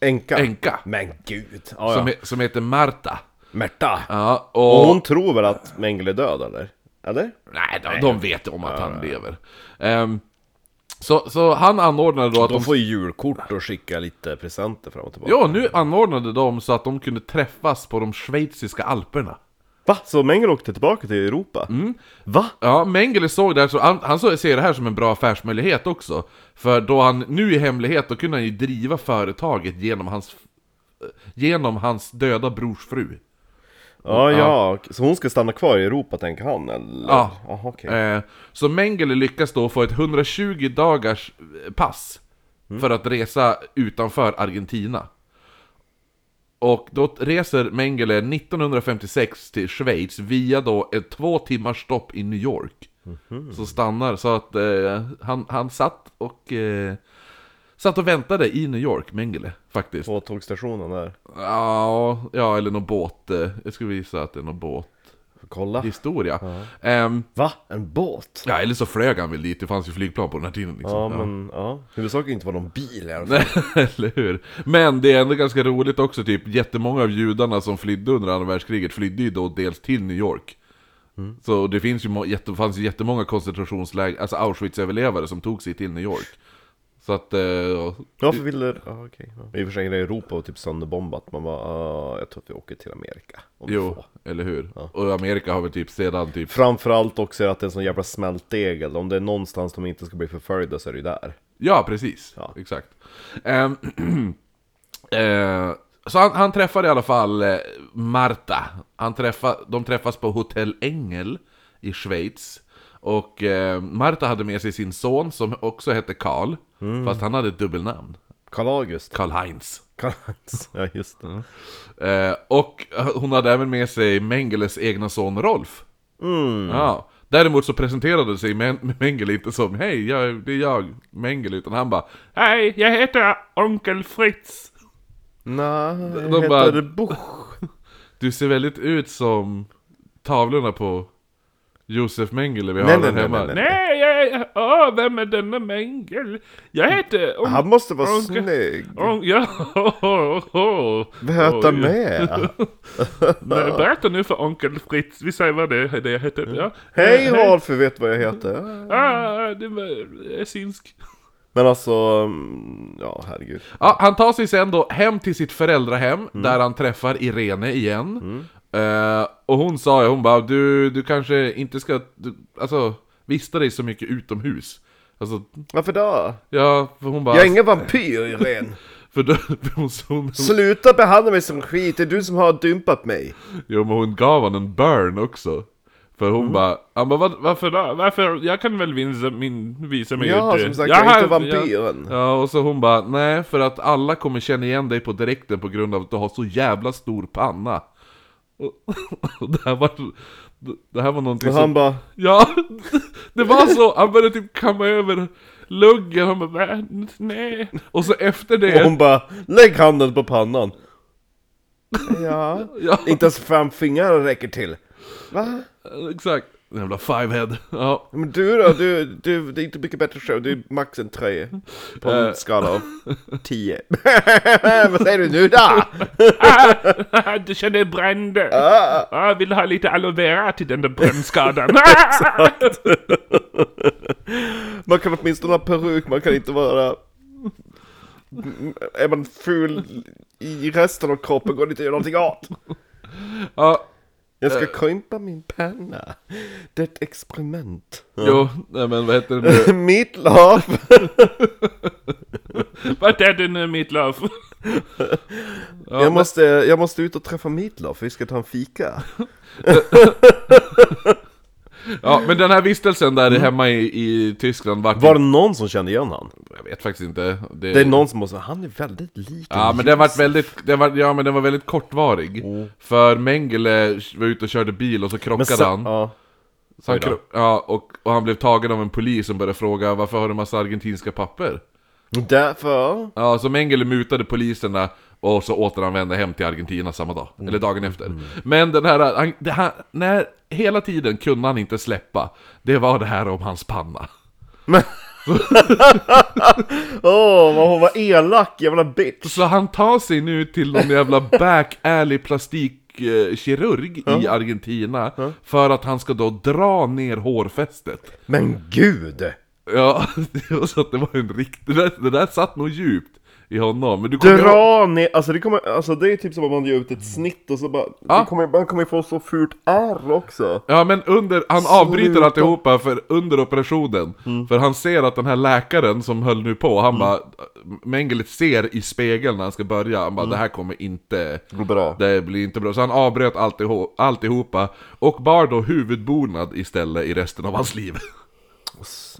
Speaker 2: Enka.
Speaker 3: Änka.
Speaker 2: Men gud. Ja,
Speaker 3: som,
Speaker 2: ja.
Speaker 3: he, som heter Marta.
Speaker 2: Märta.
Speaker 3: Ja,
Speaker 2: Och
Speaker 3: och,
Speaker 2: hon tror väl att Mengele är död eller? Eller?
Speaker 3: Nej, de, de vet om att han lever. Ehm, Så, så han anordnade då att de...
Speaker 2: De får ju julkort och skicka lite presenter fram och tillbaka.
Speaker 3: Ja, nu anordnade de så att de kunde träffas på de schweiziska alperna.
Speaker 2: Va? Så Mengel åkte tillbaka till Europa?
Speaker 3: Mm.
Speaker 2: Va?
Speaker 3: Ja, Mengele såg det här, så han, han så- ser det här som en bra affärsmöjlighet också. För då han nu i hemlighet, då kunde han ju driva företaget genom hans, eh, genom hans döda brors fru.
Speaker 2: Ja, ja. Så hon ska stanna kvar i Europa tänker han eller?
Speaker 3: Ja.
Speaker 2: Jaha, ah, okej.
Speaker 3: Eh, så Mengele lyckas då få ett 120 dagars eh, pass för att resa utanför Argentina. Och då t- reser Mengele 1956 till Schweiz via då ett två timmars stopp i New York. Så stannar, så att eh, han, han satt och... Eh, satt och väntade i New York, Mengele, faktiskt.
Speaker 2: På tågstationen där.
Speaker 3: Ja, ja eller någon båt. eh, Jag skulle visa att det är någon båthistoria.
Speaker 2: Kolla.
Speaker 3: Ehm,
Speaker 2: Va? En båt?
Speaker 3: Ja, eller så flög han väl dit, det fanns ju flygplan på den här tiden liksom.
Speaker 2: Ja, men ja. Huvudsaken inte var någon bil i alla fall.
Speaker 3: Nej, eller hur? Men det är ändå ganska roligt också, typ jättemånga av judarna som flydde under andra världskriget flydde ju då dels till New York.
Speaker 2: Mm.
Speaker 3: Så det finns ju, må- jätte, fanns ju jättemånga koncentrationsläger, alltså Auschwitz-överlevare som tog sig till New York. Så att, eh, ja.
Speaker 2: Varför ville... Ja, okej. Ja. I och för sig, hela Europa var typ sönderbombat. Man bara, ah, jag tror att vi åker till Amerika. Om vi
Speaker 3: jo,
Speaker 2: får.
Speaker 3: eller hur? Och Amerika har väl typ sedan typ...
Speaker 2: Framförallt också att det är en sån jävla smältdegel. Om det är någonstans de inte ska bli förföljda så är det ju där.
Speaker 3: Ja, precis.
Speaker 2: Ja.
Speaker 3: Exakt. Ehm, eh, så han, han träffar i alla fall eh, Marta. Han träffar, de träffas på Hotell Engel i Schweiz. Och eh, Marta hade med sig sin son som också hette Karl. Fast han hade ett dubbelnamn.
Speaker 2: Karl August.
Speaker 3: Karl Heinz.
Speaker 2: Karl August. Ja, just det.
Speaker 3: Eh, och hon hade även med sig Mengeles egna son Rolf. Ja. Däremot så presenterade sig Men- Mengele inte som Hej, jag, det är jag, Mengele, utan han bara
Speaker 1: Hej, jag heter Onkel Fritz.
Speaker 2: Nej,
Speaker 3: De
Speaker 2: heter
Speaker 3: bara-
Speaker 2: det Buch?
Speaker 3: Du ser väldigt ut som tavlorna på Josef Mengele vi har
Speaker 2: Nej,
Speaker 3: där
Speaker 2: nej,
Speaker 3: hemma.
Speaker 2: nej, nej,
Speaker 1: Nej, jag... Åh, vem är denna Mengel? Jag heter... On-
Speaker 2: Han måste vara
Speaker 1: Onkel-
Speaker 2: snygg.
Speaker 1: on- ja,
Speaker 2: Böta
Speaker 1: Oj.
Speaker 2: med.
Speaker 1: Nej, Berätta nu för Onkel Fritz. Vi säger vad det, det jag heter. Ja.
Speaker 2: Hej Rolf, vi vet vad jag heter.
Speaker 1: Ah, det var... Jag är synsk.
Speaker 2: Men alltså, mm, ja herregud.
Speaker 3: Ja, han tar sig sen då hem till sitt föräldrahem
Speaker 2: Mm.
Speaker 3: där han träffar Irene igen. Eh, och hon sa ju, hon bara du, du kanske inte ska du, alltså, vista dig så mycket utomhus. Alltså,
Speaker 2: Varför då?
Speaker 3: ja, för hon bara...
Speaker 2: Jag är ingen vampyr, Irene.
Speaker 3: För då, för hon, hon,
Speaker 2: Sluta behandla mig som skit, det är du som har dumpat mig.
Speaker 3: jo, men hon gav han en burn också. För
Speaker 2: Mm.
Speaker 3: hon bara, han bara, "Vad- varför
Speaker 1: Varför då? Varför? Jag kan väl visa, min, visa mig
Speaker 2: Ja,
Speaker 1: ut, eh,
Speaker 2: som sagt, jag är inte
Speaker 1: har-
Speaker 2: vampyren.
Speaker 3: Ja, och så hon bara nej för att alla kommer känna igen dig på direkten på grund av att du har så jävla stor panna. Och, och det här var... Det här var någonting
Speaker 2: Och han
Speaker 3: som...
Speaker 2: bara,
Speaker 3: Ja! Det var så! Han började typ kamma över luggen, han bara
Speaker 1: Va? Nej.
Speaker 3: Och så efter
Speaker 2: och
Speaker 3: det...
Speaker 2: hon bara, lägg handen på pannan. Ja,
Speaker 3: Ja,
Speaker 2: inte ens fem fingrar räcker till. Va?
Speaker 3: exakt. Jävla fivehead. Ja.
Speaker 2: Men du då? Du, du, det är inte mycket bättre själv, du är max en tre. På
Speaker 3: Eh.
Speaker 2: en skala av tio. Vad säger du nu då?
Speaker 1: Ah, du känner bränder. Ah. vill du ha lite aloe vera till den där brännskadan? Ah,
Speaker 2: Man kan åtminstone ha peruk, man kan inte vara... Mm, Är man ful i resten av kroppen går det inte att göra någonting åt.
Speaker 3: ja.
Speaker 2: Jag ska krympa min penna. Det är ett experiment.
Speaker 3: Jo, nej men vad heter det nu?
Speaker 2: Mitt lav!
Speaker 1: Vad är det nu, mitt love?
Speaker 2: Jag måste, jag måste ut och träffa Meatloaf, vi ska ta en fika.
Speaker 3: Ja, men den här vistelsen där hemma i, i Tyskland var...
Speaker 2: Mm. Var det någon som kände igen han?
Speaker 3: Jag vet faktiskt inte.
Speaker 2: Det är någon som måste, han är väldigt lik
Speaker 3: Ja
Speaker 2: en
Speaker 3: men den var
Speaker 2: Josef.
Speaker 3: väldigt, den var, ja men den var väldigt kortvarig För Mengele var ute och körde bil och så
Speaker 2: Mm. Men
Speaker 3: krockade
Speaker 2: sen-
Speaker 3: han,
Speaker 2: Ja.
Speaker 3: så han
Speaker 2: Oj då.
Speaker 3: kro- ja, och, och han blev tagen av en polis som började fråga Varför har du massa argentinska papper?
Speaker 2: Därför...
Speaker 3: Ja, så Mengele mutade poliserna och så återanvände hem till Argentina samma dag,
Speaker 2: Mm.
Speaker 3: eller dagen efter Men den här, han, det här när, hela tiden kunde han inte släppa Det var det här om hans panna
Speaker 2: Åh, vad hon var elak, jävla bitch!
Speaker 3: Så han tar sig nu till någon jävla back alley plastikkirurg i Argentina För att han ska då dra ner hårfästet
Speaker 2: Men gud!
Speaker 3: Ja, det var så att det var en riktig... Det där, det där satt nog djupt i honom. Men du kommer ihåg-
Speaker 2: Dra ner, alltså det kommer, alltså det är typ som om man gör ut ett snitt och så bara,
Speaker 3: Ja.
Speaker 2: det kommer, man kommer få så fult ärr också.
Speaker 3: Ja men under, han avbryter
Speaker 2: Sluta. Mm.
Speaker 3: alltihopa för under operationen. För han ser att den här läkaren som höll nu på, han bara... Mengele ser i spegeln när han ska börja, han bara det här kommer inte...
Speaker 2: Går Mm. bra.
Speaker 3: Det blir inte bra. Så han avbröt alltiho- alltihopa och bar då huvudbonad istället i resten av hans liv.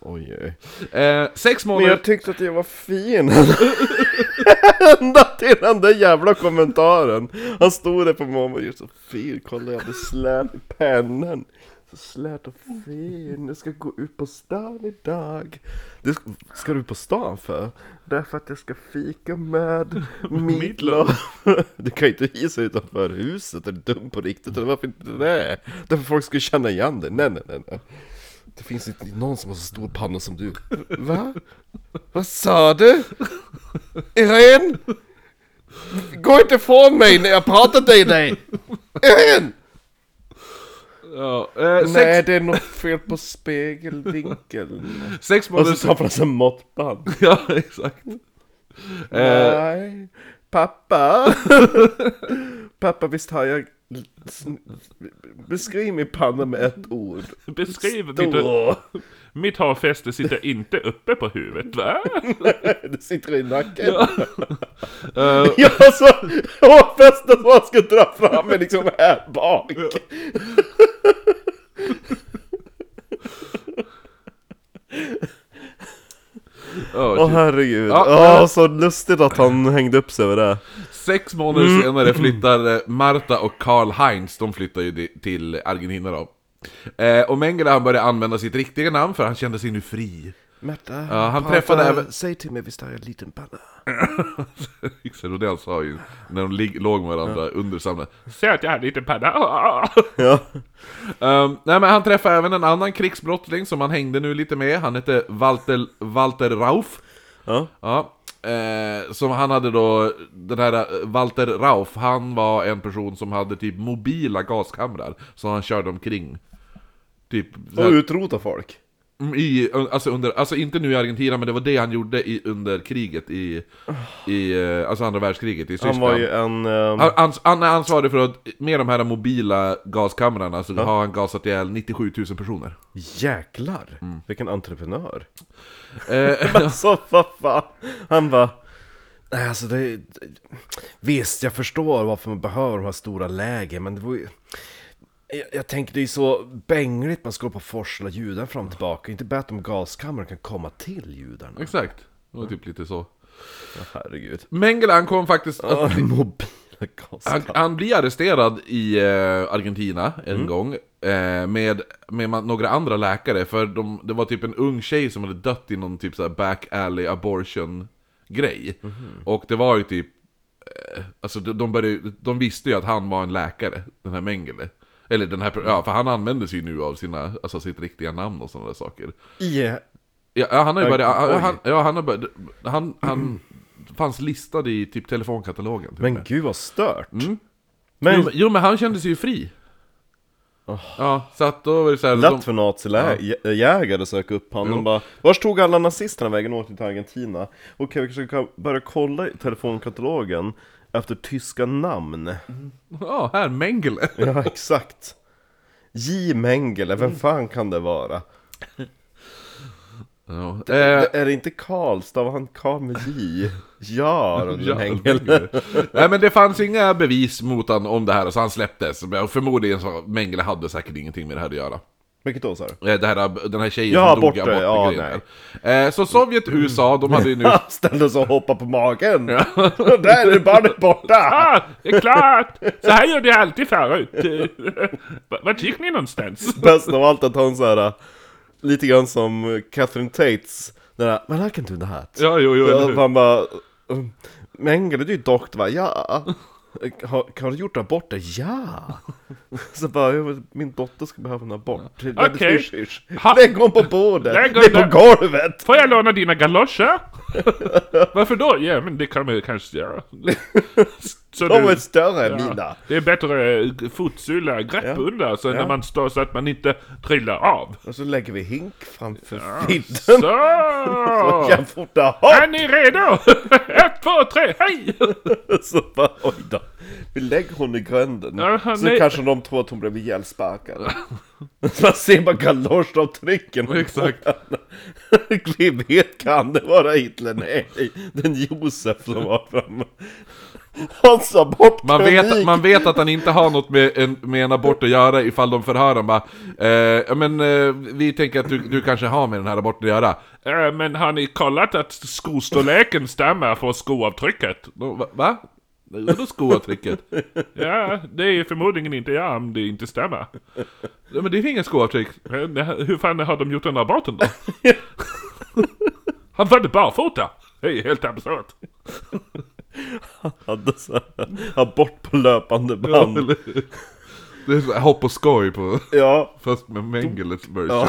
Speaker 2: Oj, oj.
Speaker 3: Eh, sex
Speaker 2: Men
Speaker 3: månader...
Speaker 2: jag tyckte att jag var fin. Ända till den där jävla kommentaren. Han stod där på morgonen och gjorde så fin, kolla jag hade slät i pennan. Så slät och fin, jag ska gå ut på stan idag. Det ska, ska du ut på stan för? Därför att jag ska fika med Meatloaf. du kan ju inte visa utanför huset, är du dum på riktigt? Eller varför inte det? Därför folk ska känna igen dig. Nej, nej, nej, nej. Det finns inte någon som har så stor panna som du. Va? Vad sa du? Irene? Gå inte ifrån mig när jag pratar till dig! Irene!
Speaker 3: Ja, eh,
Speaker 2: Nej,
Speaker 3: sex,
Speaker 2: det är något fel på spegelvinkeln.
Speaker 3: sex
Speaker 2: Och
Speaker 3: månader...
Speaker 2: så tar man sig måttband.
Speaker 3: Ja, exakt. Eh,
Speaker 2: Nej. Pappa! Pappa, visst har jag... Beskriv min panna med ett ord.
Speaker 1: Beskriv mitt,
Speaker 2: Då.
Speaker 1: mitt hårfäste sitter inte uppe på huvudet va?
Speaker 2: Det sitter i nacken. Ja, så hårfästet man ska dra fram är liksom här bak.
Speaker 3: ja,
Speaker 2: Åh herregud.
Speaker 3: Ja,
Speaker 2: Ja, så lustigt att han hängde upp sig över det.
Speaker 3: Sex månader senare flyttar eh, Marta och Karl Heinz, de flyttar ju di- till Argentina då. Eh, och Mengele han började använda sitt riktiga namn för han kände sig nu fri.
Speaker 2: Märta,
Speaker 3: Ja, han träffade även-
Speaker 2: Säg till mig, visst har jag en liten panna?
Speaker 3: Yxel och det han sa ju när de lig- låg med varandra under samma...
Speaker 1: Så att jag hade lite panna. Ah.
Speaker 2: Ja.
Speaker 3: Ehm, nej men han träffade även en annan krigsbrottsling som han hängde nu lite med, han hette Walter, Walter Rauf.
Speaker 2: Ja.
Speaker 3: Ja. Eh, som han hade då, den här eh, Walter Rauf, han var en person som hade typ mobila gaskamrar som han körde omkring. Typ så
Speaker 2: Och
Speaker 3: här-
Speaker 2: utrota folk.
Speaker 3: Mm, I, alltså, under, alltså inte nu i Argentina, men det var det han gjorde i, under kriget i, i eh, alltså andra världskriget i Tyskland.
Speaker 2: Han var ju en... ehm,
Speaker 3: Han- ans- han är ansvarig för att med de här mobila gaskamrarna så har han gasat ihjäl 97 000 personer.
Speaker 2: Jäklar!
Speaker 3: Mm.
Speaker 2: Vilken entreprenör.
Speaker 3: Eh,
Speaker 2: Alltså vad fan. Han bara... Nej alltså det... är- Visst, jag förstår varför man behöver de här stora lägen, men det var ju... Jag, jag tänker det är ju så bängligt man ska gå på forsla judarna fram och tillbaka. Inte bättre om gaskammaren kan komma till judarna.
Speaker 3: exakt, det var typ lite så.
Speaker 2: Herregud.
Speaker 3: Mengele han kom faktiskt...
Speaker 2: Ja, Mobila
Speaker 3: Öh. Han,
Speaker 2: gaskammare.
Speaker 3: han blir arresterad i eh, Argentina en gång eh, med, med man, några andra läkare för de, det var typ en ung tjej som hade dött i någon typ så här back alley abortion grej. Och det var ju typ, eh, alltså de, de, började, de visste ju att han var en läkare, den här Mengele. Eller den här, ja för han använder sig ju nu av sina, alltså sitt riktiga namn och sådana där saker.
Speaker 2: I...
Speaker 3: Ja, ja, han har ju
Speaker 2: Oj.
Speaker 3: börjat, han, han, ja, han har börjat, han, han fanns listad i typ telefonkatalogen. Typ
Speaker 2: Men gud vad stört.
Speaker 3: Mm. Jo,
Speaker 2: Men
Speaker 3: men- Jo men han kände sig ju fri. Ja, så att då var det så här,
Speaker 2: lätt
Speaker 3: de,
Speaker 2: för nazijägare att söka upp honom bara Vars tog alla nazisterna vägen och åkte till Argentina? Okej, vi kanske kan börja kolla i telefonkatalogen efter tyska namn
Speaker 3: ja här, Mengele.
Speaker 2: Ja, exakt J. Mengele,
Speaker 3: Mm.
Speaker 2: vem fan kan det vara?
Speaker 3: Ja, eh,
Speaker 2: Det- Är det inte Karl? Stavar han Karl med J? Ja, den
Speaker 3: ja,
Speaker 2: Mengele
Speaker 3: Mengele. Nej men det fanns inga bevis mot han om det här, så han släpptes. Men Förmodligen så, Mengele hade säkert ingenting med det här att göra.
Speaker 2: Vilket då sa du?
Speaker 3: Eh, Det här, den här tjejen
Speaker 2: Ja,
Speaker 3: som dog
Speaker 2: bort
Speaker 3: i
Speaker 2: det, ja,
Speaker 3: abortgrejen där. eh, Så Sovjet, USA, de hade ju nu...
Speaker 2: Han ställde sig och hoppade på magen! Där är barnet borta!
Speaker 1: Ah, det är klart! Så här gjorde jag alltid förut. Va- Vart gick ni någonstans?
Speaker 2: Bäst av allt att hon såhär, lite grann som Catherine Tates, den där ”Men här kan du det här”.
Speaker 3: Ja, jo, jo, eller
Speaker 2: Ja,
Speaker 3: hur?
Speaker 2: han bara, "Mm, Mengele du är ju doktor va? Ja. Har, har du gjort abort? Ja! Så bara, "Ja, min dotter ska behöva en abort.
Speaker 1: Okej.
Speaker 2: Hysch, hysch.
Speaker 1: Ha-
Speaker 2: Lägg hon på bordet!
Speaker 1: Lägg
Speaker 2: Lägg
Speaker 1: hon
Speaker 2: på golvet!
Speaker 1: Får jag låna dina galoscher? Varför då? Ja, men det kan man ju kanske göra. Så
Speaker 2: De
Speaker 1: du-
Speaker 2: är större än
Speaker 1: ja,
Speaker 2: mina!
Speaker 1: Det är bättre eh, fotsular, grepp
Speaker 2: Ja.
Speaker 1: under så
Speaker 2: Ja.
Speaker 1: när man står så att man inte trillar av.
Speaker 2: Och så lägger vi hink framför filten.
Speaker 1: Så!
Speaker 2: Så jag fortare ha!
Speaker 1: Är ni redo? Ett, två, tre, hej!
Speaker 2: Så bara, oj då. Vi lägger hon i gränden.
Speaker 1: Jaha,
Speaker 2: så
Speaker 1: nej.
Speaker 2: kanske de tror att hon blev ihjälsparkad. Man ser bara galoshavtrycken.
Speaker 3: Exakt.
Speaker 2: Vi vet, kan det vara Hitler? Nej, den Josef som var framme. Han sa bort
Speaker 3: Man vet,
Speaker 2: kronik.
Speaker 3: man vet att han inte har något med en, med en abort att göra ifall de förhör honom bara eh, ja, men eh, vi tänker att du, du kanske har med den här aborten att göra.
Speaker 1: Eh, Men har ni kollat att skostorleken stämmer för skoavtrycket?
Speaker 3: Då, va? va? Vadå skoavtrycket?
Speaker 1: Ja, det är förmodligen inte jag om det inte stämmer.
Speaker 3: Ja, men det är inget skoavtryck.
Speaker 1: Eh, det här- Hur fan har de gjort den aborten då? Han födde barfota! Det är helt absurt.
Speaker 2: hade så här, abort på löpande band.
Speaker 3: Eller- Det är så här hopp och skoj på,
Speaker 2: Ja,
Speaker 3: fast med Mengeles version.
Speaker 2: ja.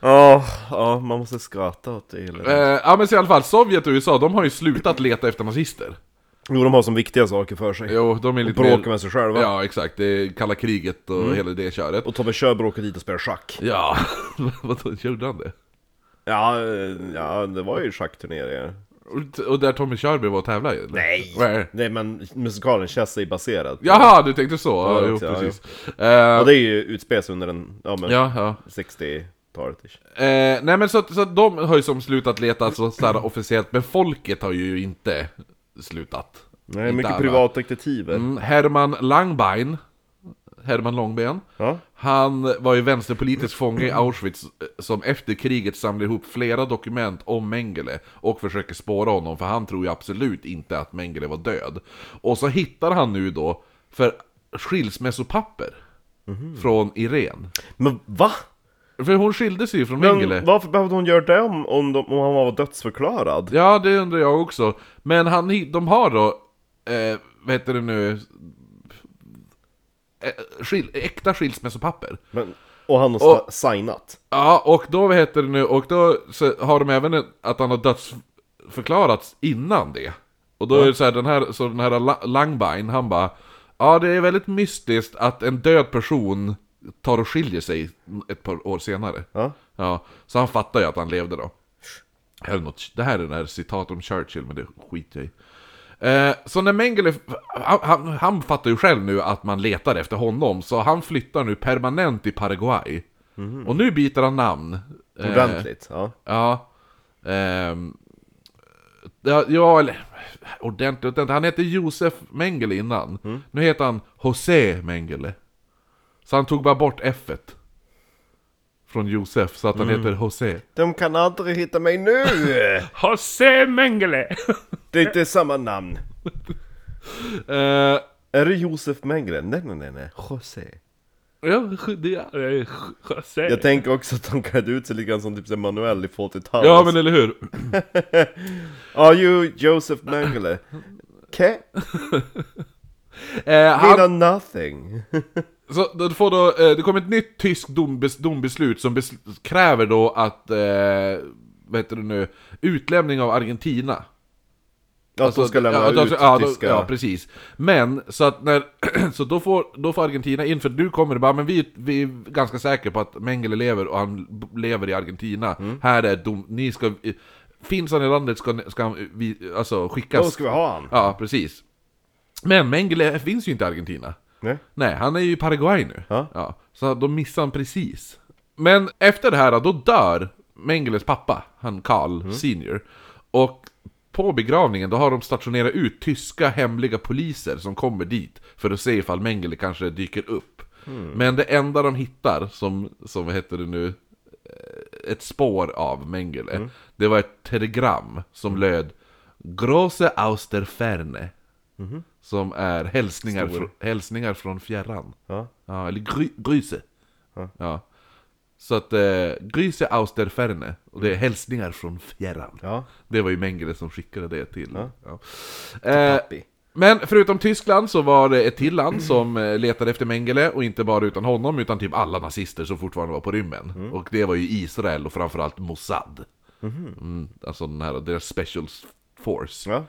Speaker 2: Ja, ja, man måste skratta åt det. Eller?
Speaker 3: Eh, ja men så i alla fall, Sovjet och USA de har ju slutat leta efter nazister.
Speaker 2: Jo, de har som viktiga saker för sig.
Speaker 3: Jo, de är lite
Speaker 2: Bråka med sig själva. Mm.
Speaker 3: Ja exakt, det är kalla kriget och hela det köret.
Speaker 2: Och Tobbe Körberg åker dit och spelar schack.
Speaker 3: Ja, vadå, gjorde han det?
Speaker 2: Ja, eh, ja det var ju schackturneringar.
Speaker 3: Och- Och där Tommy Körberg var och tävlade ju? eller?
Speaker 2: Nej.
Speaker 3: Nej.
Speaker 2: Nej, men musikalen Chess är baserad. på-
Speaker 3: Jaha, du tänkte så? Ja,
Speaker 2: det
Speaker 3: jo,
Speaker 2: också, ja,
Speaker 3: precis.
Speaker 2: Och
Speaker 3: Eh,
Speaker 2: det är ju utspelas under den, ja men,
Speaker 3: ja, ja.
Speaker 2: 60-talet ish.
Speaker 3: Eh, nej men så, att- så att de har ju som slutat leta alltså, så här, officiellt, men folket har ju inte slutat.
Speaker 2: Nej,
Speaker 3: Inte
Speaker 2: mycket
Speaker 3: alla.
Speaker 2: privatdetektiver.
Speaker 3: Mm, Herman Langbein, Herman Långben,
Speaker 2: Ja.
Speaker 3: han var ju vänsterpolitisk fånge i Auschwitz eh, som efter kriget samlade ihop flera dokument om Mengele och försöker spåra honom för han tror ju absolut inte att Mengele var död. Och så hittar han nu då för skilsmässopapper
Speaker 2: Mhm.
Speaker 3: från Irene.
Speaker 2: Men va?
Speaker 3: För hon skilde sig ju från Mengele.
Speaker 2: Men varför behövde hon göra det om, om, de, om han var dödsförklarad?
Speaker 3: Ja, det undrar jag också. Men han, hi- de har då, eh, vad heter det nu, eh, skil, äkta skilsmässopapper.
Speaker 2: Men, och han har
Speaker 3: Och-
Speaker 2: signat.
Speaker 3: Ja, och då, vad heter det nu, och då så har de även en- att han har dödsförklarats innan det. Och då är det så här, den här, så den här La- Langbein, han bara Ja, det är väldigt mystiskt att en död person tar och skiljer sig ett par år senare.
Speaker 2: Ja.
Speaker 3: Ja, så han fattar ju att han levde då. Det här är, något, det här är den här citat om Churchill, men det skiter jag i. Eh, så när Mengele, han, han, han fattar ju själv nu att man letar efter honom, så han flyttar nu permanent till Paraguay. Och nu byter han namn. Eh,
Speaker 2: Ordentligt. Ja.
Speaker 3: Ja. Ehm, ja, ja, eller ordentligt, ordentligt. Han hette Josef Mengele innan. Nu heter han José Mengele. Så han tog bara bort f Från Josef, så att han heter José.
Speaker 2: De kan aldrig hitta mig nu!
Speaker 1: José Mengele!
Speaker 2: Det är inte samma namn.
Speaker 3: Eh,
Speaker 2: Är det Josef Mengele? Nej, nej, nej, nej. José.
Speaker 3: ja, det är...
Speaker 1: Eh, José.
Speaker 2: Jag tänker också att de klädde ut sig lite grann som typ så här Manuel i Fawlty Towers.
Speaker 3: Ja men eller hur?
Speaker 2: Are you Josef Mengele? Okay.
Speaker 3: Eh,
Speaker 2: We
Speaker 3: han,
Speaker 2: know nothing.
Speaker 3: Så då får då, eh, det kommer ett nytt tyskt dombes, dombeslut som bes, kräver då att, eh, vad heter det nu, utlämning av Argentina. Alltså,
Speaker 2: Att de ska lämna
Speaker 3: ja,
Speaker 2: ut
Speaker 3: de ska- ja, de-
Speaker 2: tyska...
Speaker 3: Ja, precis. Men, så att när, så då får, då får Argentina in, för du kommer det bara, men vi, vi är ganska säkra på att Mengele lever och han b- lever i Argentina.
Speaker 2: Mm.
Speaker 3: Här är dom, ni ska, finns han i landet ska, ni- ska han vi, alltså skickas.
Speaker 2: Då ska vi ha han.
Speaker 3: Ja, precis. Men Mengele finns ju inte i Argentina.
Speaker 2: Nej.
Speaker 3: Nej, han är ju i Paraguay nu.
Speaker 2: Ja.
Speaker 3: så då missar han precis. Men efter det här, då dör Mengeles pappa, han Karl senior. Och på begravningen, då har de stationerat ut tyska hemliga poliser som kommer dit för att se ifall Mengele kanske dyker upp. Men det enda de hittar, som, som vad heter det nu, eh, ett spår av Mengele, det var ett telegram som löd Große aus der Ferne. Mhm. Som är hälsningar, fr- hälsningar från fjärran.
Speaker 2: Ja.
Speaker 3: Ja, eller gry, Gryse. Ja. Så att eh, Gryse aus der Ferne, och det är hälsningar från fjärran.
Speaker 2: Ja.
Speaker 3: Det var ju Mengele som skickade det till. Ja. Eh,
Speaker 2: Pappi.
Speaker 3: men förutom Tyskland så var det ett till land som eh, letade efter Mengele och inte bara utan Mm. honom utan typ alla nazister som fortfarande var på rymmen. Och det var ju Israel och framförallt Mossad. Mm, alltså den här, deras special force.
Speaker 2: Ja.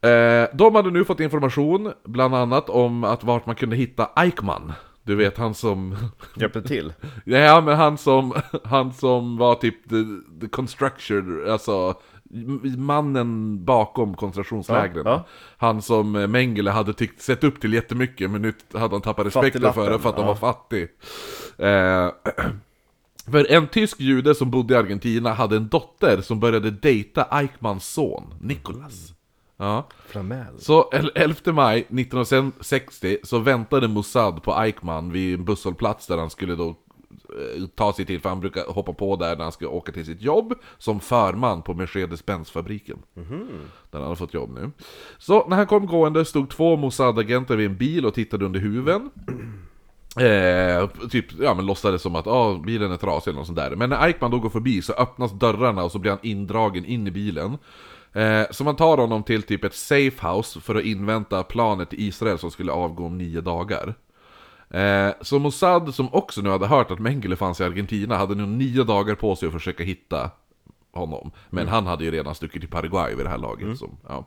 Speaker 3: Eh, de hade nu fått information, bland annat om att vart man kunde hitta Eichmann. Du vet han som...
Speaker 2: Hjälpte till.
Speaker 3: Ja men han som, han som var typ the, the constructor, alltså m- mannen bakom koncentrationslägren.
Speaker 2: Ja, ja.
Speaker 3: Han som eh, Mengele hade tyckt, sett upp till jättemycket men nu hade han tappat respekten för det för att han
Speaker 2: Fattiglappen,
Speaker 3: var fattig. Eh, för en tysk jude som bodde i Argentina hade en dotter som började dejta Eichmanns son, Nicolas. Ja.
Speaker 2: Flamel.
Speaker 3: Så el- 11 maj 1960 så väntade Mossad på Eichmann vid en busshållplats där han skulle då eh, ta sig till, för han brukar hoppa på där när han ska åka till sitt jobb som förman på Mercedes-Benz-fabriken. Där han har fått jobb nu. Så när han kom gående stod två Mossad-agenter vid en bil och tittade under huven. Eh, typ, ja men låtsades som att ah, bilen är trasig eller något sånt där. Men när Eichmann då går förbi så öppnas dörrarna och så blir han indragen in i bilen. Eh, så man tar honom till typ ett safehouse för att invänta planet i Israel som skulle avgå om nio dagar. Eh, så Mossad, som också nu hade hört att Mengele fanns i Argentina, hade nu nio dagar på sig att försöka hitta honom. Men han hade ju redan stuckit till Paraguay vid det här laget. Som, ja.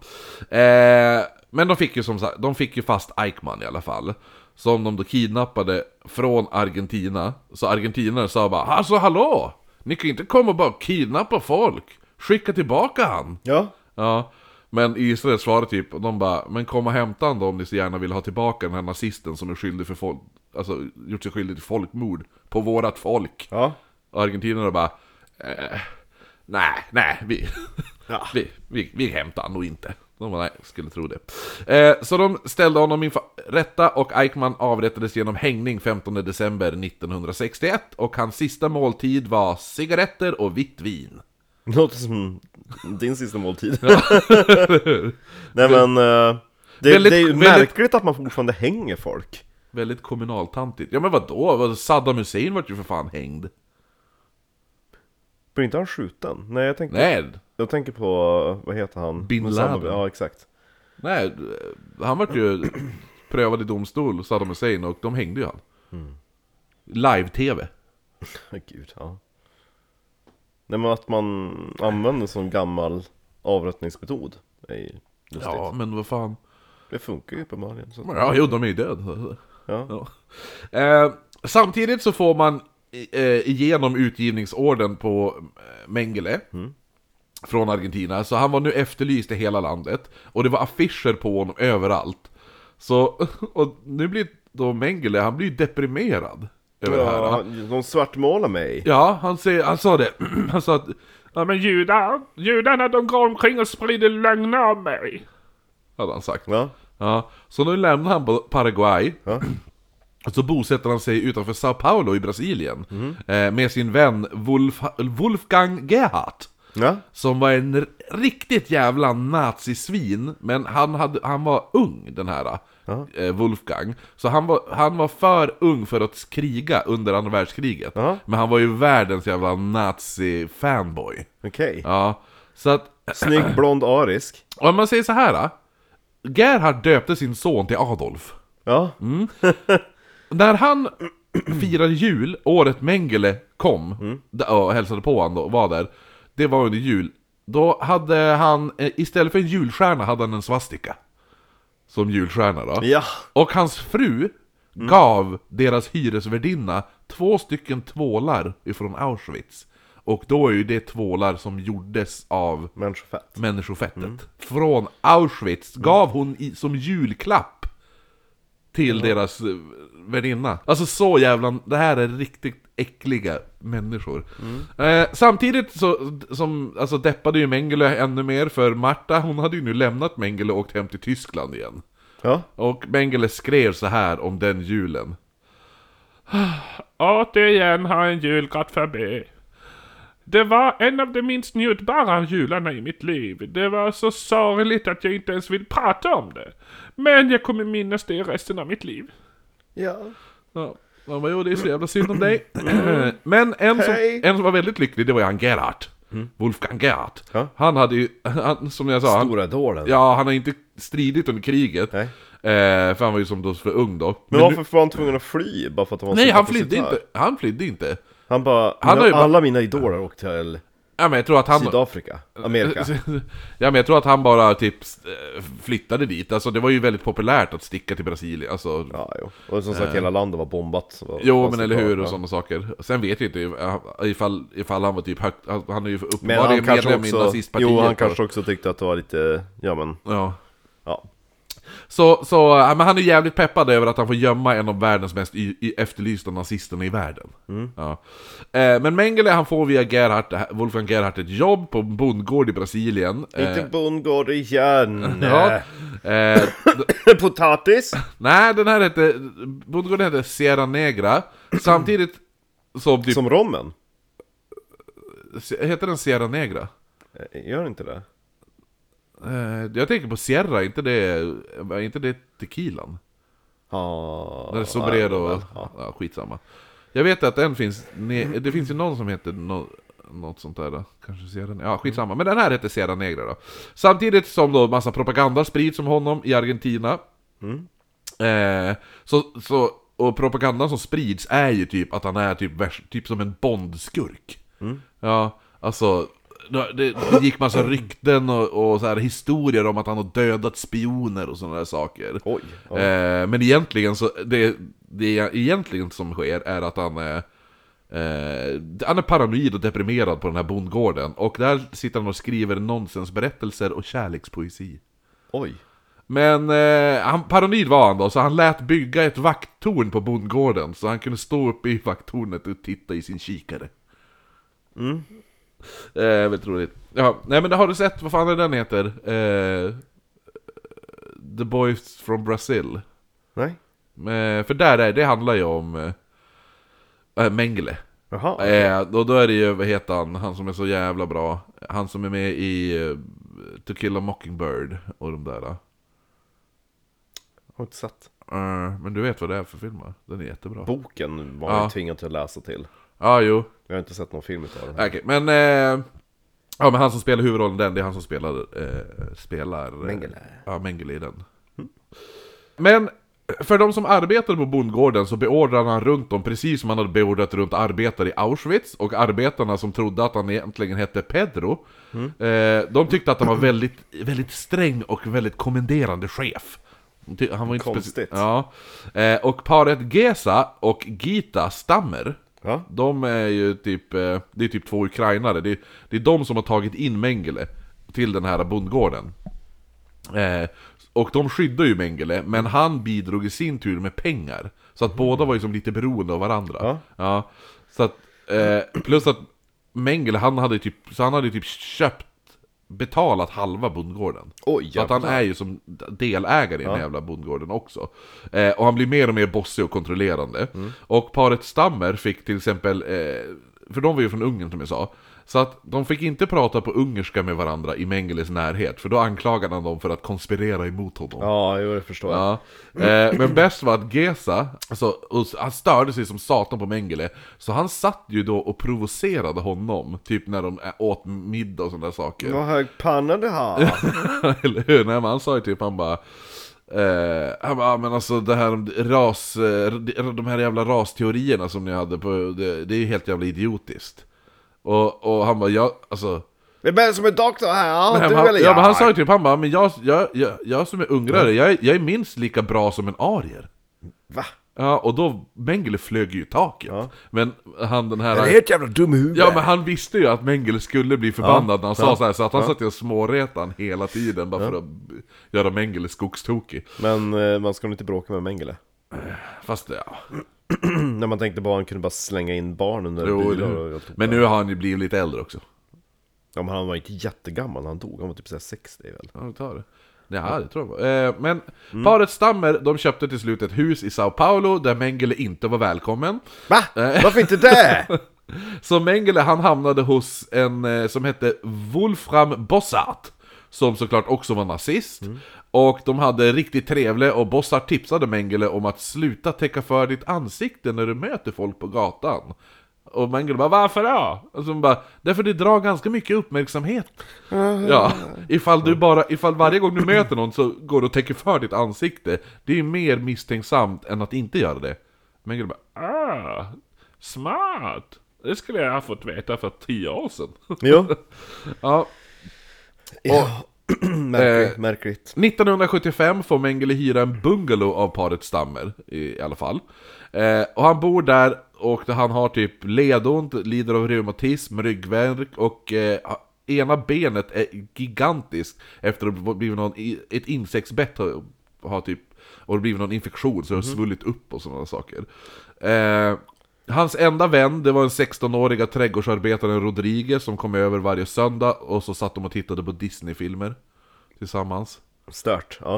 Speaker 3: eh, men de fick, ju som sagt, de fick ju fast Eichmann i alla fall. Som de då kidnappade från Argentina. Så argentinare sa bara ”Alltså hallå! Ni kan ju inte komma och bara kidnappa folk! Skicka tillbaka han!”
Speaker 2: Ja.
Speaker 3: Ja, men Israel svarade typ, och de bara Men kom och hämta han då om ni så gärna vill ha tillbaka den här nazisten som är skyldig för folk Alltså gjort sig skyldig till folkmord på vårat folk
Speaker 2: Ja.
Speaker 3: Och argentinarna bara eh, Nej, nej, vi,
Speaker 2: Ja.
Speaker 3: vi, vi, vi hämtar han nog inte de bara, nej, skulle tro det. Eh, så de ställde honom inför rätta och Eichmann avrättades genom hängning 15 december 1961 och hans sista måltid var cigaretter och vitt vin.
Speaker 2: Det låter som din sista måltid. Nej men, eh, det,
Speaker 3: Väldigt-
Speaker 2: det är ju
Speaker 3: väldigt-
Speaker 2: märkligt att man fortfarande hänger folk.
Speaker 3: Väldigt kommunaltantigt. Ja men vadå? Vad- Saddam Hussein vart ju för fan hängd.
Speaker 2: Blir inte han skjuten? Nej jag tänker,
Speaker 3: Nej,
Speaker 2: jag tänker på, vad heter han?
Speaker 3: Bin
Speaker 2: Osama-
Speaker 3: Laden.
Speaker 2: Ja exakt.
Speaker 3: nej. Han vart ju prövad i domstol, Saddam Hussein, och de hängde ju han. Live-tv.
Speaker 2: Gud, ja. Nej men att man använder sån gammal avrättningsmetod är ju lustigt.
Speaker 3: Ja, men vad fan.
Speaker 2: Det funkar ju uppenbarligen. Så.
Speaker 3: Ja, jo, de är ju döda.
Speaker 2: Ja.
Speaker 3: Eh, samtidigt så får man i- eh, igenom utgivningsorden på eh, Mengele. Från Argentina, så han var nu efterlyst i hela landet. Och det var affischer på honom överallt. Så, och nu blir då Mengele, han blir ju deprimerad. Över det här.
Speaker 2: Ja, de svartmålar mig.
Speaker 3: Ja, han, säger, han sa det. han sa att
Speaker 1: Ja men judar, judarna de går omkring och sprider lögner om mig.
Speaker 3: hade han sagt.
Speaker 2: Ja.
Speaker 3: Ja, så nu lämnar han Pa- Paraguay.
Speaker 2: Ja.
Speaker 3: Och så bosätter han sig utanför Sao Paulo i Brasilien. Eh, med sin vän Wolf, Wolfgang Gerhardt.
Speaker 2: Ja.
Speaker 3: Som var en r- riktigt jävla nazisvin, men han, hade, han var ung den här eh, Wolfgang. Så han var, han var för ung för att kriga under andra världskriget.
Speaker 2: Ja.
Speaker 3: Men han var ju världens jävla nazi-fanboy.
Speaker 2: Okej.
Speaker 3: Ja, så att
Speaker 2: Snygg blond arisk.
Speaker 3: om man säger så här. då. Gerhard döpte sin son till Adolf.
Speaker 2: Ja.
Speaker 3: Mm. När han firade jul, året Mengele kom d- och hälsade på honom då, och var där. Det var under jul. Då hade han, eh, istället för en julstjärna hade han en svastika. Som julstjärna då.
Speaker 2: Ja.
Speaker 3: Och hans fru gav deras hyresvärdinna två stycken tvålar ifrån Auschwitz. Och då är ju det tvålar som gjordes av
Speaker 2: Människofett.
Speaker 3: människofettet Mm. från Auschwitz gav hon i, som julklapp till deras eh, väninna. Alltså så jävla, det här är riktigt äckliga människor. Eh, samtidigt så som, alltså deppade ju Mengele ännu mer för Marta, hon hade ju nu lämnat Mengele och åkt hem till Tyskland igen.
Speaker 2: Ja.
Speaker 3: Och Mengele skrev så här om den julen.
Speaker 1: Återigen har en jul gått förbi. Det var en av de minst njutbara jularna i mitt liv. Det var så sorgligt att jag inte ens vill prata om det. Men jag kommer minnas det resten av mitt liv.
Speaker 2: Ja.
Speaker 3: Ja, man bara, jo det är så jävla synd om dig. Men en som,
Speaker 2: Hej.
Speaker 3: en som var väldigt lycklig, det var ju han Gerhardt. Wolfgang Gerhardt.
Speaker 2: Ja.
Speaker 3: Han hade ju, han, som jag sa, han,
Speaker 2: Stora dåren.
Speaker 3: ja, han har inte stridit under kriget.
Speaker 2: Nej.
Speaker 3: Eh, för han var ju som då för ung då.
Speaker 2: Men,
Speaker 3: nu-
Speaker 2: varför var han tvungen att fly? Bara för att han var
Speaker 3: nej,
Speaker 2: så
Speaker 3: han
Speaker 2: kapacitär?
Speaker 3: flydde inte. Han flydde inte.
Speaker 2: Han bara,
Speaker 3: Han har ju
Speaker 2: alla mina idoler åkte till
Speaker 3: Ja, men jag tror att han...
Speaker 2: Sydafrika, Amerika.
Speaker 3: Ja men jag tror att han bara typ eh, flyttade dit, alltså det var ju väldigt populärt att sticka till Brasilien, alltså
Speaker 2: Ja, jo. Och som sagt, hela landet var bombat. så var-
Speaker 3: Jo
Speaker 2: fanns
Speaker 3: men
Speaker 2: det
Speaker 3: eller hur
Speaker 2: bara-
Speaker 3: och sådana saker. Sen vet jag inte if- ifall, ifall han var typ högt, han han är ju
Speaker 2: Men han
Speaker 3: uppenbarligen
Speaker 2: kanske
Speaker 3: medlem i
Speaker 2: också,
Speaker 3: nazistpartiet.
Speaker 2: jo, han
Speaker 3: och-
Speaker 2: kanske också tyckte att det var lite, ja men,
Speaker 3: Ja.
Speaker 2: ja.
Speaker 3: Så, så ja, men han är jävligt peppad över att han får gömma en av världens mest y- y- efterlysta nazisterna i världen.
Speaker 2: Mm.
Speaker 3: Ja. Eh, men Mengele han får via Gerhardt, det här- Wolfgang Gerhardt ett jobb på en bondgård i Brasilien. Eh,
Speaker 2: Inte bondgård igen!
Speaker 3: ja. Eh, d-
Speaker 2: Potatis!
Speaker 3: nej, den här hette, bondgården hette Sierra Negra. Samtidigt som typ,
Speaker 2: Som rommen?
Speaker 3: heter den Sierra Negra?
Speaker 2: Eh, Gör inte det?
Speaker 3: Eh, Jag tänker på Sierra, inte det, var inte det tequilan?
Speaker 2: Ja...
Speaker 3: När det är Sobrero, ja, ja, skitsamma. Jag vet att den finns, ne- det finns ju någon som heter no, något sånt där, kanske Sierra Negra, ja skitsamma. Men den här heter Sierra Negra då. Samtidigt som då massa propaganda sprids om honom i Argentina. Eh, så, så, och propagandan som sprids är ju typ att han är typ, värst- typ som en Bondskurk.
Speaker 2: Mm.
Speaker 3: Ja, alltså... Det det gick massa rykten och, och så här historier om att han har dödat spioner och sådana där saker.
Speaker 2: Oj, oj.
Speaker 3: Eh, men egentligen så, det, det egentligen som sker är att han är, eh, han är paranoid och deprimerad på den här bondgården. Och där sitter han och skriver nonsensberättelser och kärlekspoesi.
Speaker 2: Oj.
Speaker 3: Men eh, han, paranoid var han då, så han lät bygga ett vakttorn på bondgården så han kunde stå uppe i vakttornet och titta i sin kikare. Mm. Eh, väldigt roligt. Ja, nej men har du sett, vad fan är den heter? Eh, The Boys from Brazil.
Speaker 2: Nej?
Speaker 3: Eh, för där är, det handlar ju om eh, Mengele.
Speaker 2: Jaha.
Speaker 3: Eh, och då är det ju, vad heter han, han som är så jävla bra. Han som är med i eh, To Kill a Mockingbird och de där. eh.
Speaker 2: Har inte sett.
Speaker 3: Eh, men du vet vad det är för film va? Den är jättebra. Ja,
Speaker 2: Boken var
Speaker 3: Ja.
Speaker 2: jag tvingad till att läsa till.
Speaker 3: ah, jo.
Speaker 2: Jag har inte sett någon film utav den.
Speaker 3: Okej, men... Eh, ja, men han som spelar huvudrollen i den, det är han som spelar... Eh, spelar eh,
Speaker 2: Mengele.
Speaker 3: Ja, Mengele i den. Men för de som arbetade på bondgården så beordrade han runt dem precis som han hade beordrat runt arbetare i Auschwitz och arbetarna som trodde att han egentligen hette Pedro eh, De tyckte att han var väldigt, väldigt sträng och väldigt kommenderande chef De ty- han var inte speci-
Speaker 2: Konstigt.
Speaker 3: Ja. Eh, och paret Gesa och Gita Stammer
Speaker 2: Ja.
Speaker 3: De är ju typ, eh, det är typ två ukrainare det är, det är de som har tagit in Mengele till den här bondgården Eh, och de skyddar ju Mengele, men han bidrog i sin tur med pengar. Så att båda var ju som lite beroende av varandra.
Speaker 2: Ja.
Speaker 3: så att, eh, plus att Mengele, han hade ju typ, så han hade ju typ köpt, betalat halva bondgården.
Speaker 2: Oj,
Speaker 3: så att han är ju som delägare i den jävla bondgården också. Eh, och han blir mer och mer bossig och kontrollerande. Och paret Stammer fick till exempel, eh, för de var ju från Ungern som jag sa, så att de fick inte prata på ungerska med varandra i Mengeles närhet, för då anklagade han dem för att konspirera emot honom.
Speaker 2: Ja, jo, det förstår jag.
Speaker 3: Ja. Eh, men bäst var att Gesa, alltså, och han störde sig som satan på Mengele, så han satt ju då och provocerade honom, typ när de ä- åt middag och sådana där saker.
Speaker 2: Vad hög panna du har!
Speaker 3: Eller hur? Nej, men han sa ju typ, han bara... Eh, han bara, "Ah, men alltså det här om ras, eh, de här jävla rasteorierna som ni hade på, det, det är ju helt jävla idiotiskt. Och, och han bara, ja, alltså...
Speaker 2: Vem är det som är doktor här?
Speaker 3: Nej,
Speaker 2: du
Speaker 3: men han,
Speaker 2: eller
Speaker 3: ja,
Speaker 2: jag?
Speaker 3: men han sa ju typ, han bara, men jag, jag, jag, jag som är ungrare, jag, är- jag är minst lika bra som en arier.
Speaker 2: Va?
Speaker 3: Ja, och då, Mengele flög ju i taket. Men han den här...
Speaker 2: helt jävla dum i huvudet!
Speaker 3: Ja men han visste ju att Mengele skulle bli förbannad när han sa så här, så att han satt ju och småretade han hela tiden bara för att b- göra Mengele skogstokig.
Speaker 2: Men eh, man ska nog inte bråka med Mengele.
Speaker 3: Fast ja,
Speaker 2: När man tänkte bara han kunde bara slänga in barn under
Speaker 3: jo,
Speaker 2: bilar och
Speaker 3: det,
Speaker 2: allt.
Speaker 3: Men nu har han ju blivit lite äldre också.
Speaker 2: Ja, men han var inte jättegammal när han dog, han var typ såhär 60 väl?
Speaker 3: Ja, vi tar det. Ja, det tror jag var. Eh, Men paret Stammer, de köpte till slut ett hus i Sao Paulo där Mengele inte var välkommen.
Speaker 2: Va? Varför inte det?
Speaker 3: Så Mengele han hamnade hos en eh, som hette Wolfram Bossart Som såklart också var nazist Och de hade riktigt trevligt och Bossart tipsade Mengele om att sluta täcka för ditt ansikte när du möter folk på gatan Och Mengele bara 'Varför då?' Och så hon bara 'Därför det drar ganska mycket uppmärksamhet' Ja, ifall du bara, ifall varje gång du möter någon så går du och täcker för ditt ansikte Det är ju mer misstänksamt än att inte göra det Mengele bara
Speaker 1: Ah, smart! Det skulle jag ha fått veta för tio år sedan.
Speaker 2: Jo.
Speaker 3: Ja,
Speaker 2: Ja.
Speaker 3: Eh.
Speaker 2: Märkligt, märkligt.
Speaker 3: 1975 får Mengele hyra en bungalow av paret Stammer i, i alla fall. Eh, och han bor där och han har typ ledont, lider av reumatism, ryggvärk och eh, ena benet är gigantiskt efter att det blivit någon, i- ett insektsbett har, har typ, och det blivit någon infektion så det har svullit upp och sådana saker. Eh, Hans enda vän, det var den 16-åriga trädgårdsarbetaren Rodriguez som kom över varje söndag och så satt de och tittade på Disney-filmer tillsammans.
Speaker 2: Stört, ja.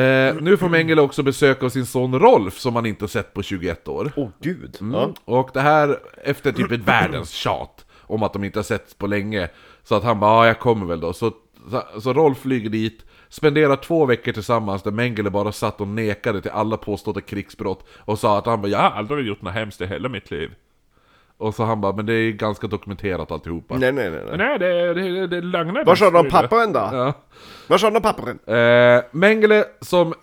Speaker 3: Eh, nu får Mengele också besök av sin son Rolf som han inte sett på 21 år.
Speaker 2: Åh oh, gud.
Speaker 3: Mm.
Speaker 2: Ja.
Speaker 3: Och det här efter typ ett världens tjat om att de inte har sett på länge. Så att han bara, ja jag kommer väl då. Så, så, så Rolf flyger dit, spenderar två veckor tillsammans där Mengele bara satt och nekade till alla påstådda krigsbrott och sa att han bara,
Speaker 1: Jag
Speaker 3: ja.
Speaker 1: har aldrig gjort något hemskt i hela mitt liv.
Speaker 3: Och så han bara, men det är ganska dokumenterat alltihopa.
Speaker 2: Nej, nej, nej. nej.
Speaker 1: Nej, det, det, det, det lögnar.
Speaker 2: Var sa de papperen då?
Speaker 3: Ja.
Speaker 2: Var sa de papperen?
Speaker 3: Eh, Mengele som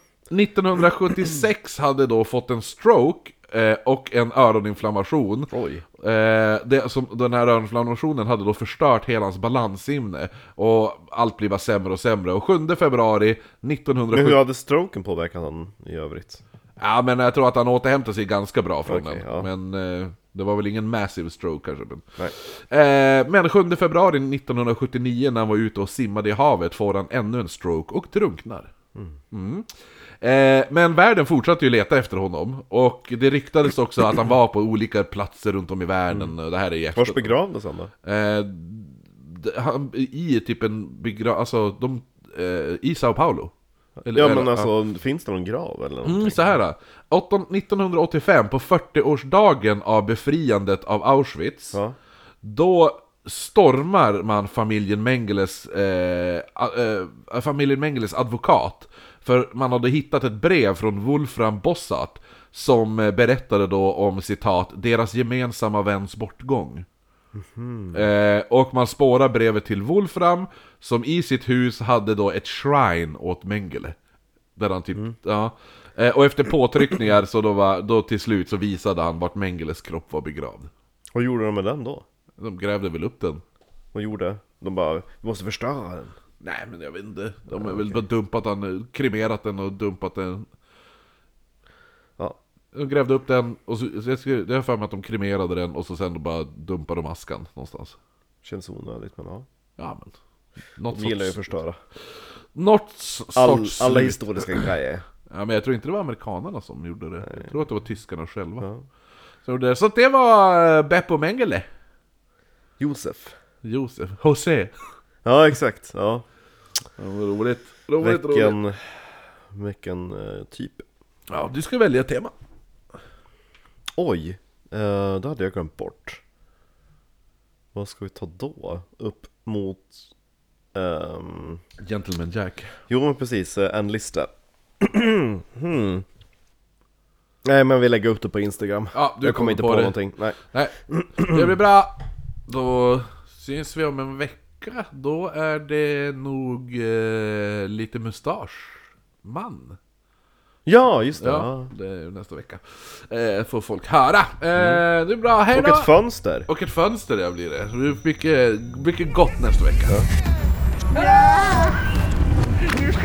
Speaker 3: 1976 hade då fått en stroke eh, och en öroninflammation.
Speaker 2: Oj.
Speaker 3: Eh, det, som, den här öroninflammationen hade då förstört hela hans balanssinne. Och allt blir bara sämre och sämre. Och 7 februari
Speaker 2: Men
Speaker 3: 1970...
Speaker 2: hur hade stroken påverkat honom i övrigt?
Speaker 3: Ja men jag tror att han återhämtade sig ganska bra från
Speaker 2: Okej,
Speaker 3: den.
Speaker 2: ja.
Speaker 3: Men eh, det var väl ingen massive stroke kanske. Men...
Speaker 2: Nej.
Speaker 3: Eh, men 7 februari 1979 när han var ute och simmade i havet får han ännu en stroke och drunknar. Mm. Eh, men världen fortsatte ju leta efter honom och det ryktades också att han var på olika platser runt om i världen.
Speaker 2: Mm.
Speaker 3: Och det här är ju efter-
Speaker 2: Vars begravdes han då?
Speaker 3: Eh, d- han, I typ en begra... Alltså de... Eh, I Sao Paulo. Eller-
Speaker 2: Ja
Speaker 3: eller-
Speaker 2: men alltså, finns det någon grav eller någonting?
Speaker 3: Mm, så här. 18 1985, på 40-årsdagen av befriandet av Auschwitz,
Speaker 2: Ja.
Speaker 3: då stormar man familjen Mengeles, eh, a- eh, familjen Mengeles advokat. För man hade hittat ett brev från Wolfram Bossat som eh, berättade då om citat ”deras gemensamma väns bortgång”. Eh, och man spårar brevet till Wolfram som i sitt hus hade då ett shrine åt Mengele. Där han typ, ja. Eh, och efter påtryckningar så då, var, då till slut så visade han vart Mengeles kropp var begravd.
Speaker 2: Vad gjorde de med den då?
Speaker 3: De grävde väl upp den?
Speaker 2: Vad gjorde? De bara, vi måste förstöra den.
Speaker 3: Nej men jag vet inte. De har väl bara dumpat den, kremerat den och dumpat den.
Speaker 2: Ja.
Speaker 3: De grävde upp den och så, så jag skrev- det har jag för mig att de kremerade den och så sen bara dumpade de askan någonstans.
Speaker 2: Känns onödigt men ja.
Speaker 3: Ja men. Något
Speaker 2: De gillar ju att
Speaker 3: sorts...
Speaker 2: förstöra.
Speaker 3: Något sorts...
Speaker 2: All, alla
Speaker 3: slut.
Speaker 2: historiska grejer.
Speaker 3: Ja, men jag tror inte det var amerikanerna som gjorde det. Jag tror att det var tyskarna själva. Så, gjorde det. så att det var eh, Beppo Mengele.
Speaker 2: Josef.
Speaker 3: Josef. José.
Speaker 2: Ja exakt, ja.
Speaker 3: Ja, vad roligt. Roligt, roligt.
Speaker 2: Vilken, vilken eh, typ.
Speaker 3: Ja, du ska välja tema.
Speaker 2: Oj, eh, då hade jag glömt bort. Vad ska vi ta då? Upp mot... ehm,
Speaker 3: Gentleman Jack.
Speaker 2: jo men precis, eh, en lista. hmm. Nej men vi lägger upp det på Instagram.
Speaker 3: Ja, du
Speaker 2: jag kommer
Speaker 3: kommer
Speaker 2: inte
Speaker 3: på
Speaker 2: på,
Speaker 3: det.
Speaker 2: någonting. Nej.
Speaker 3: Nej, det blir bra. Då syns vi om en vecka. Då är det nog eh, lite mustasch. Man.
Speaker 2: Ja, just det.
Speaker 3: Ja,
Speaker 2: Ja.
Speaker 3: det är ju nästa vecka. Eh, får folk höra. Eh, det är bra, hej
Speaker 2: Mm. Och
Speaker 3: då!
Speaker 2: ett fönster.
Speaker 3: Och ett fönster där blir det. Så det är mycket, mycket gott nästa vecka.
Speaker 7: Nu